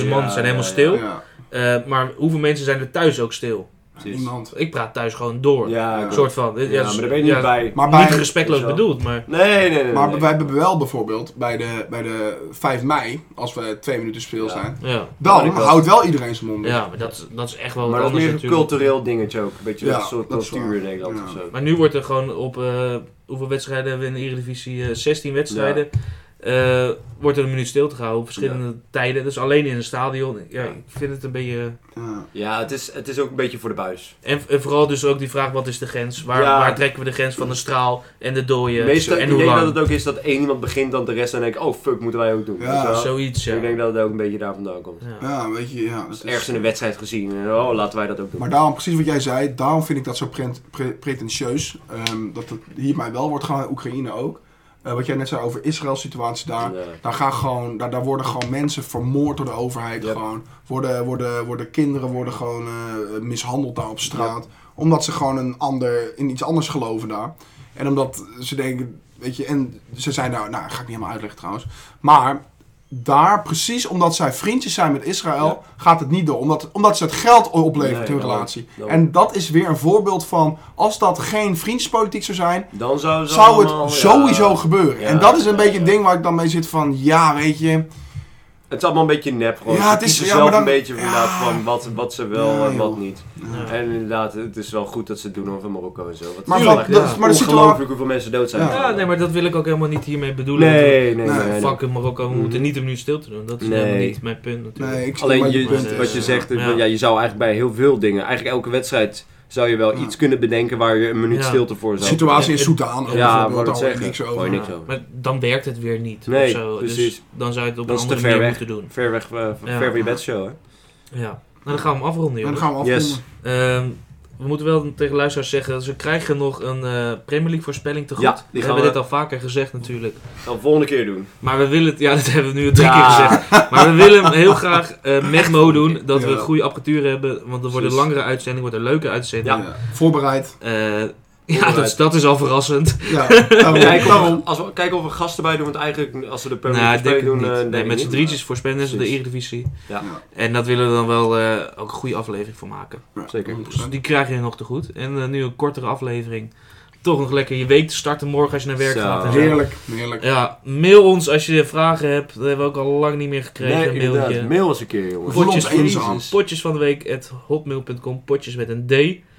[SPEAKER 2] 56.000 man
[SPEAKER 3] Ja,
[SPEAKER 2] zijn helemaal
[SPEAKER 3] ja,
[SPEAKER 2] stil.
[SPEAKER 4] Ja,
[SPEAKER 2] Eh, maar hoeveel mensen zijn er thuis ook stil?
[SPEAKER 3] Precies.
[SPEAKER 4] niemand.
[SPEAKER 2] Ik praat thuis gewoon door.
[SPEAKER 3] Ja, ik
[SPEAKER 2] Een
[SPEAKER 4] Ja.
[SPEAKER 2] soort van. eh,
[SPEAKER 3] Ja, maar daar ben je niet bij.
[SPEAKER 4] Maar
[SPEAKER 2] niet
[SPEAKER 4] bij,
[SPEAKER 2] respectloos
[SPEAKER 3] Zo.
[SPEAKER 2] bedoeld, maar
[SPEAKER 3] Nee, nee, nee.
[SPEAKER 4] maar
[SPEAKER 3] nee.
[SPEAKER 4] wij hebben wel bijvoorbeeld bij de, bij de 5 mei, als we twee minuten speel
[SPEAKER 3] Ja.
[SPEAKER 4] zijn,
[SPEAKER 2] ja.
[SPEAKER 4] dan
[SPEAKER 3] Maar ik wel.
[SPEAKER 4] houdt wel iedereen zijn mond. dicht.
[SPEAKER 2] Ja, maar dat, is- dat is echt wel wat
[SPEAKER 3] Maar dat is
[SPEAKER 2] anders
[SPEAKER 3] meer een
[SPEAKER 2] natuurlijk.
[SPEAKER 3] cultureel dingetje ook. Een beetje
[SPEAKER 4] Ja,
[SPEAKER 3] dat soort
[SPEAKER 4] dat is
[SPEAKER 3] cultuur
[SPEAKER 4] waar.
[SPEAKER 3] in Nederland
[SPEAKER 4] Ja.
[SPEAKER 3] of zo.
[SPEAKER 2] Maar nu wordt er gewoon op eh, hoeveel wedstrijden hebben we in de Eredivisie? Eh, 16 wedstrijden. Eh, wordt er een minuut stilte gehouden op verschillende tijden. Dus alleen in een stadion. Ja,
[SPEAKER 3] Ja.
[SPEAKER 2] ik vind het een beetje.
[SPEAKER 4] Ja.
[SPEAKER 3] Ja, het is, het is ook een beetje voor de buis.
[SPEAKER 2] En, en vooral dus ook die vraag: wat is de grens? Waar,
[SPEAKER 3] Ja.
[SPEAKER 2] waar trekken we de grens van de straal en de dooien?
[SPEAKER 3] Meestal,
[SPEAKER 2] en
[SPEAKER 3] ik
[SPEAKER 2] hoe
[SPEAKER 3] denk dat
[SPEAKER 2] lang?
[SPEAKER 3] het ook is dat één iemand begint, dan de rest dan denkt, oh fuck, moeten wij ook doen.
[SPEAKER 4] Ja.
[SPEAKER 3] Weet je wel?
[SPEAKER 2] Zoiets, ja.
[SPEAKER 3] Ik denk dat het ook een beetje daar vandaan komt.
[SPEAKER 2] Ja.
[SPEAKER 4] Ja, weet je, ja.
[SPEAKER 3] Dat
[SPEAKER 4] dat
[SPEAKER 3] is
[SPEAKER 4] is-
[SPEAKER 3] ergens in een wedstrijd gezien en oh, laten wij dat ook doen.
[SPEAKER 4] Maar daarom, precies wat jij zei, daarom vind ik dat zo prent- pre- pretentieus. ehm, dat het hierbij wel wordt gaan, Oekraïne ook. Eh, wat jij net zei over Israëls situatie daar.
[SPEAKER 3] Ja.
[SPEAKER 4] Daar, gaan gewoon, daar, daar worden gewoon mensen vermoord door de overheid.
[SPEAKER 3] Ja.
[SPEAKER 4] Gewoon. Worden, worden, worden kinderen worden gewoon eh, mishandeld daar op straat. Omdat ze gewoon een ander, in iets anders geloven daar. En omdat ze denken, weet je, en ze zijn daar, nou, ga ik niet helemaal uitleggen trouwens. Maar daar, precies omdat zij vriendjes zijn met Israël,
[SPEAKER 3] Ja.
[SPEAKER 4] gaat het niet door. Omdat, omdat ze het geld opleveren
[SPEAKER 3] Nee,
[SPEAKER 4] in hun
[SPEAKER 3] daarom.
[SPEAKER 4] relatie.
[SPEAKER 3] Daarom.
[SPEAKER 4] En dat is weer een voorbeeld van, als dat geen vriendjespolitiek zou zijn,
[SPEAKER 3] Dan zou, ze
[SPEAKER 4] zou het
[SPEAKER 3] allemaal, ja.
[SPEAKER 4] sowieso gebeuren.
[SPEAKER 3] Ja,
[SPEAKER 4] en dat is een
[SPEAKER 3] ja,
[SPEAKER 4] beetje
[SPEAKER 3] ja.
[SPEAKER 4] het ding waar ik dan mee zit van, ja, weet je.
[SPEAKER 3] Het is allemaal een beetje nep gewoon.
[SPEAKER 4] Ja,
[SPEAKER 3] Ze
[SPEAKER 4] het is-
[SPEAKER 3] kiezen
[SPEAKER 4] ja,
[SPEAKER 3] zelf
[SPEAKER 4] maar dan-
[SPEAKER 3] een beetje van, inderdaad
[SPEAKER 4] ja.
[SPEAKER 3] van wat, wat ze wel
[SPEAKER 4] Ja,
[SPEAKER 3] en wat
[SPEAKER 4] joh.
[SPEAKER 3] niet.
[SPEAKER 2] Ja.
[SPEAKER 3] En inderdaad, het is wel goed dat ze het doen over Marokko en zo. Want
[SPEAKER 4] Maar
[SPEAKER 3] het is
[SPEAKER 2] wat-
[SPEAKER 3] wel echt
[SPEAKER 2] dat is
[SPEAKER 4] maar de situa-
[SPEAKER 3] ongelooflijk hoeveel mensen dood zijn.
[SPEAKER 4] Ja.
[SPEAKER 2] Ja, nee, maar dat wil ik ook helemaal niet hiermee bedoelen.
[SPEAKER 3] nee, nee, nee,
[SPEAKER 4] Nee,
[SPEAKER 3] nee, nee.
[SPEAKER 2] Fuck in Marokko, we moeten niet een minuut stil te doen. Dat is
[SPEAKER 3] Nee.
[SPEAKER 2] helemaal niet mijn punt natuurlijk.
[SPEAKER 4] Nee, ik snap
[SPEAKER 3] Alleen
[SPEAKER 4] wat
[SPEAKER 3] je,
[SPEAKER 2] punt
[SPEAKER 4] bedoelt.
[SPEAKER 3] wat je
[SPEAKER 2] is,
[SPEAKER 3] zegt,
[SPEAKER 2] ja.
[SPEAKER 3] ja. je zou eigenlijk bij heel veel dingen, eigenlijk elke wedstrijd, zou je wel
[SPEAKER 4] Ja.
[SPEAKER 3] iets kunnen bedenken waar je een minuut
[SPEAKER 2] Ja.
[SPEAKER 3] stilte voor
[SPEAKER 4] De
[SPEAKER 3] zou
[SPEAKER 4] situatie in
[SPEAKER 2] Ja,
[SPEAKER 4] Soedan,
[SPEAKER 3] Ja,
[SPEAKER 4] ja,
[SPEAKER 3] wou
[SPEAKER 4] daar
[SPEAKER 3] dat
[SPEAKER 4] hoor ik
[SPEAKER 3] zeggen.
[SPEAKER 4] niks
[SPEAKER 3] Hoor
[SPEAKER 4] over.
[SPEAKER 3] je niks over.
[SPEAKER 2] Maar dan werkt het weer niet.
[SPEAKER 3] Nee,
[SPEAKER 2] of zo.
[SPEAKER 3] precies.
[SPEAKER 2] Dus dan zou je het op
[SPEAKER 3] Dat
[SPEAKER 2] een
[SPEAKER 3] is te
[SPEAKER 2] andere
[SPEAKER 3] ver
[SPEAKER 2] manier
[SPEAKER 3] weg.
[SPEAKER 2] moeten doen.
[SPEAKER 3] Ver weg, eh, van-
[SPEAKER 2] Ja.
[SPEAKER 3] ver van je bedshow, hè?
[SPEAKER 2] Ja. Nou, dan gaan we hem afronden,
[SPEAKER 4] En
[SPEAKER 2] joh.
[SPEAKER 4] dan gaan we afronden.
[SPEAKER 3] Yes.
[SPEAKER 2] Ehm, we moeten wel tegen luisteraars zeggen, ze krijgen nog een eh, Premier League voorspelling te goed.
[SPEAKER 3] Ja, die
[SPEAKER 2] we
[SPEAKER 3] gaan
[SPEAKER 2] hebben
[SPEAKER 3] we-
[SPEAKER 2] dit al vaker gezegd natuurlijk.
[SPEAKER 3] Dan volgende keer doen.
[SPEAKER 2] Maar we willen, het- ja dat hebben we nu al drie
[SPEAKER 3] Ja.
[SPEAKER 2] keer gezegd. Maar we willen hem
[SPEAKER 3] <laughs>
[SPEAKER 2] heel graag eh memo doen, dat we
[SPEAKER 4] Ja.
[SPEAKER 2] goede apparatuur hebben. Want er wordt een
[SPEAKER 3] Precies.
[SPEAKER 2] langere uitzending, wordt een leuke uitzending.
[SPEAKER 4] Ja. Voorbereid.
[SPEAKER 2] Eh, ja
[SPEAKER 3] Voorbereid.
[SPEAKER 2] dat, is- dat is al verrassend.
[SPEAKER 3] <laughs>
[SPEAKER 4] Ja, daarom. <laughs>
[SPEAKER 3] Kijken
[SPEAKER 4] daarom.
[SPEAKER 3] of, als we, kijken of we gasten bij doen, want eigenlijk als we de
[SPEAKER 2] Nou,
[SPEAKER 3] permanente
[SPEAKER 2] ik denk
[SPEAKER 3] spelen
[SPEAKER 2] het
[SPEAKER 3] doen...
[SPEAKER 2] niet.
[SPEAKER 3] eh,
[SPEAKER 2] nee,
[SPEAKER 3] denk ik
[SPEAKER 2] met z'n
[SPEAKER 3] niet.
[SPEAKER 2] drietjes voorspelers in de
[SPEAKER 3] Precies.
[SPEAKER 2] Eredivisie.
[SPEAKER 3] Ja.
[SPEAKER 4] Ja.
[SPEAKER 2] En dat willen we dan wel eh, ook een goede aflevering voor maken.
[SPEAKER 4] Ja,
[SPEAKER 3] Zeker.
[SPEAKER 4] 100%.
[SPEAKER 2] Dus die krijg je nog te goed. En eh, nu een kortere aflevering. Toch nog lekker je week te starten morgen als je naar werk
[SPEAKER 3] Zo.
[SPEAKER 2] gaat. en zo.
[SPEAKER 4] Heerlijk, heerlijk.
[SPEAKER 2] Ja, mail ons als je vragen hebt. Dat hebben we ook al lang niet meer gekregen.
[SPEAKER 3] Nee,
[SPEAKER 2] een
[SPEAKER 3] inderdaad.
[SPEAKER 2] mailtje.
[SPEAKER 3] Mail eens een keer, jongen.
[SPEAKER 4] We voelen
[SPEAKER 2] Potjes
[SPEAKER 4] ons eenzaam.
[SPEAKER 2] Potjes van de week at hotmail.com. Potjes met een D.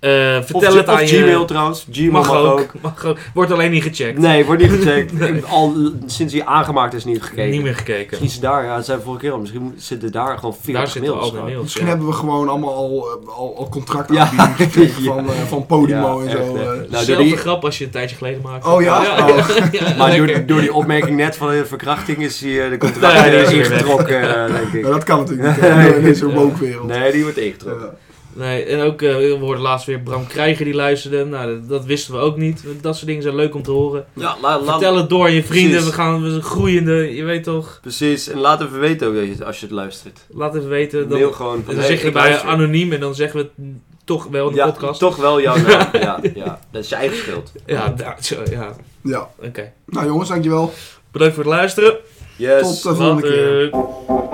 [SPEAKER 2] Eh, vertel
[SPEAKER 3] of,
[SPEAKER 2] het
[SPEAKER 3] of
[SPEAKER 2] aan je.
[SPEAKER 3] Gmail trouwens. Gmail
[SPEAKER 2] Mag,
[SPEAKER 3] mag,
[SPEAKER 2] ook.
[SPEAKER 3] ook.
[SPEAKER 2] Mag ook. Wordt alleen niet gecheckt.
[SPEAKER 3] Nee, wordt niet
[SPEAKER 2] <laughs>
[SPEAKER 3] gecheckt. Ik- Al sinds hij aangemaakt is niet gekeken.
[SPEAKER 2] Niet meer gekeken.
[SPEAKER 3] Misschien is het daar, ja, dat zei we vorige keer al. Misschien zitten daar gewoon 40
[SPEAKER 2] Daar zitten
[SPEAKER 3] mails
[SPEAKER 2] al de
[SPEAKER 3] gewoon.
[SPEAKER 2] mails.
[SPEAKER 4] Misschien
[SPEAKER 2] ja.
[SPEAKER 4] hebben we gewoon allemaal al, eh, al, al
[SPEAKER 3] <laughs> Ja.
[SPEAKER 4] contractaanbiedingen gekregen van, eh, van Podimo en
[SPEAKER 3] echt,
[SPEAKER 4] zo.
[SPEAKER 3] hè.
[SPEAKER 4] eh.
[SPEAKER 3] Nou, door
[SPEAKER 2] Zelfde
[SPEAKER 3] die,
[SPEAKER 2] grap als je een tijdje geleden maakte.
[SPEAKER 4] Oh ja?
[SPEAKER 2] ja,
[SPEAKER 4] Oh.
[SPEAKER 2] <laughs> ja,
[SPEAKER 3] maar
[SPEAKER 2] lekker.
[SPEAKER 3] door, door die opmerking net van de verkrachting is
[SPEAKER 2] <laughs>
[SPEAKER 3] hij eh, de contract
[SPEAKER 2] Nee, die
[SPEAKER 3] eh,
[SPEAKER 2] is weer weg.
[SPEAKER 3] ingetrokken, eh, denk
[SPEAKER 4] Nou,
[SPEAKER 3] ik. <laughs>
[SPEAKER 4] dat kan natuurlijk niet hè, in deze woke wereld.
[SPEAKER 3] Nee, die wordt ingetrokken.
[SPEAKER 4] Ja.
[SPEAKER 2] Nee, en ook, eh, we hoorden laatst weer Bram Krijger die luisterde. Nou, dat, dat wisten we ook niet. Dat soort dingen zijn leuk om te horen.
[SPEAKER 3] Ja, la, la-
[SPEAKER 2] Vertel het door aan je vrienden.
[SPEAKER 3] Precies.
[SPEAKER 2] We gaan we zijn groeiende. Je weet toch?
[SPEAKER 3] Precies, en laat even weten ook dat je het- als je het luistert.
[SPEAKER 2] Laat even weten. Dan,
[SPEAKER 3] Mail gewoon.
[SPEAKER 2] dan
[SPEAKER 3] hey,
[SPEAKER 2] zeg je
[SPEAKER 3] ik
[SPEAKER 2] bij
[SPEAKER 3] luister.
[SPEAKER 2] anoniem en dan zeggen we het toch wel in de
[SPEAKER 3] ja,
[SPEAKER 2] podcast.
[SPEAKER 3] toch
[SPEAKER 2] <laughs>
[SPEAKER 3] wel jouw naam. ja, ja, dat is je eigen schuld.
[SPEAKER 2] Ja, nou, zo, ja.
[SPEAKER 4] Ja.
[SPEAKER 2] oké.
[SPEAKER 4] Nou jongens, dankjewel.
[SPEAKER 2] Bedankt voor het luisteren.
[SPEAKER 3] Yes.
[SPEAKER 4] Tot de volgende keer.
[SPEAKER 2] Later.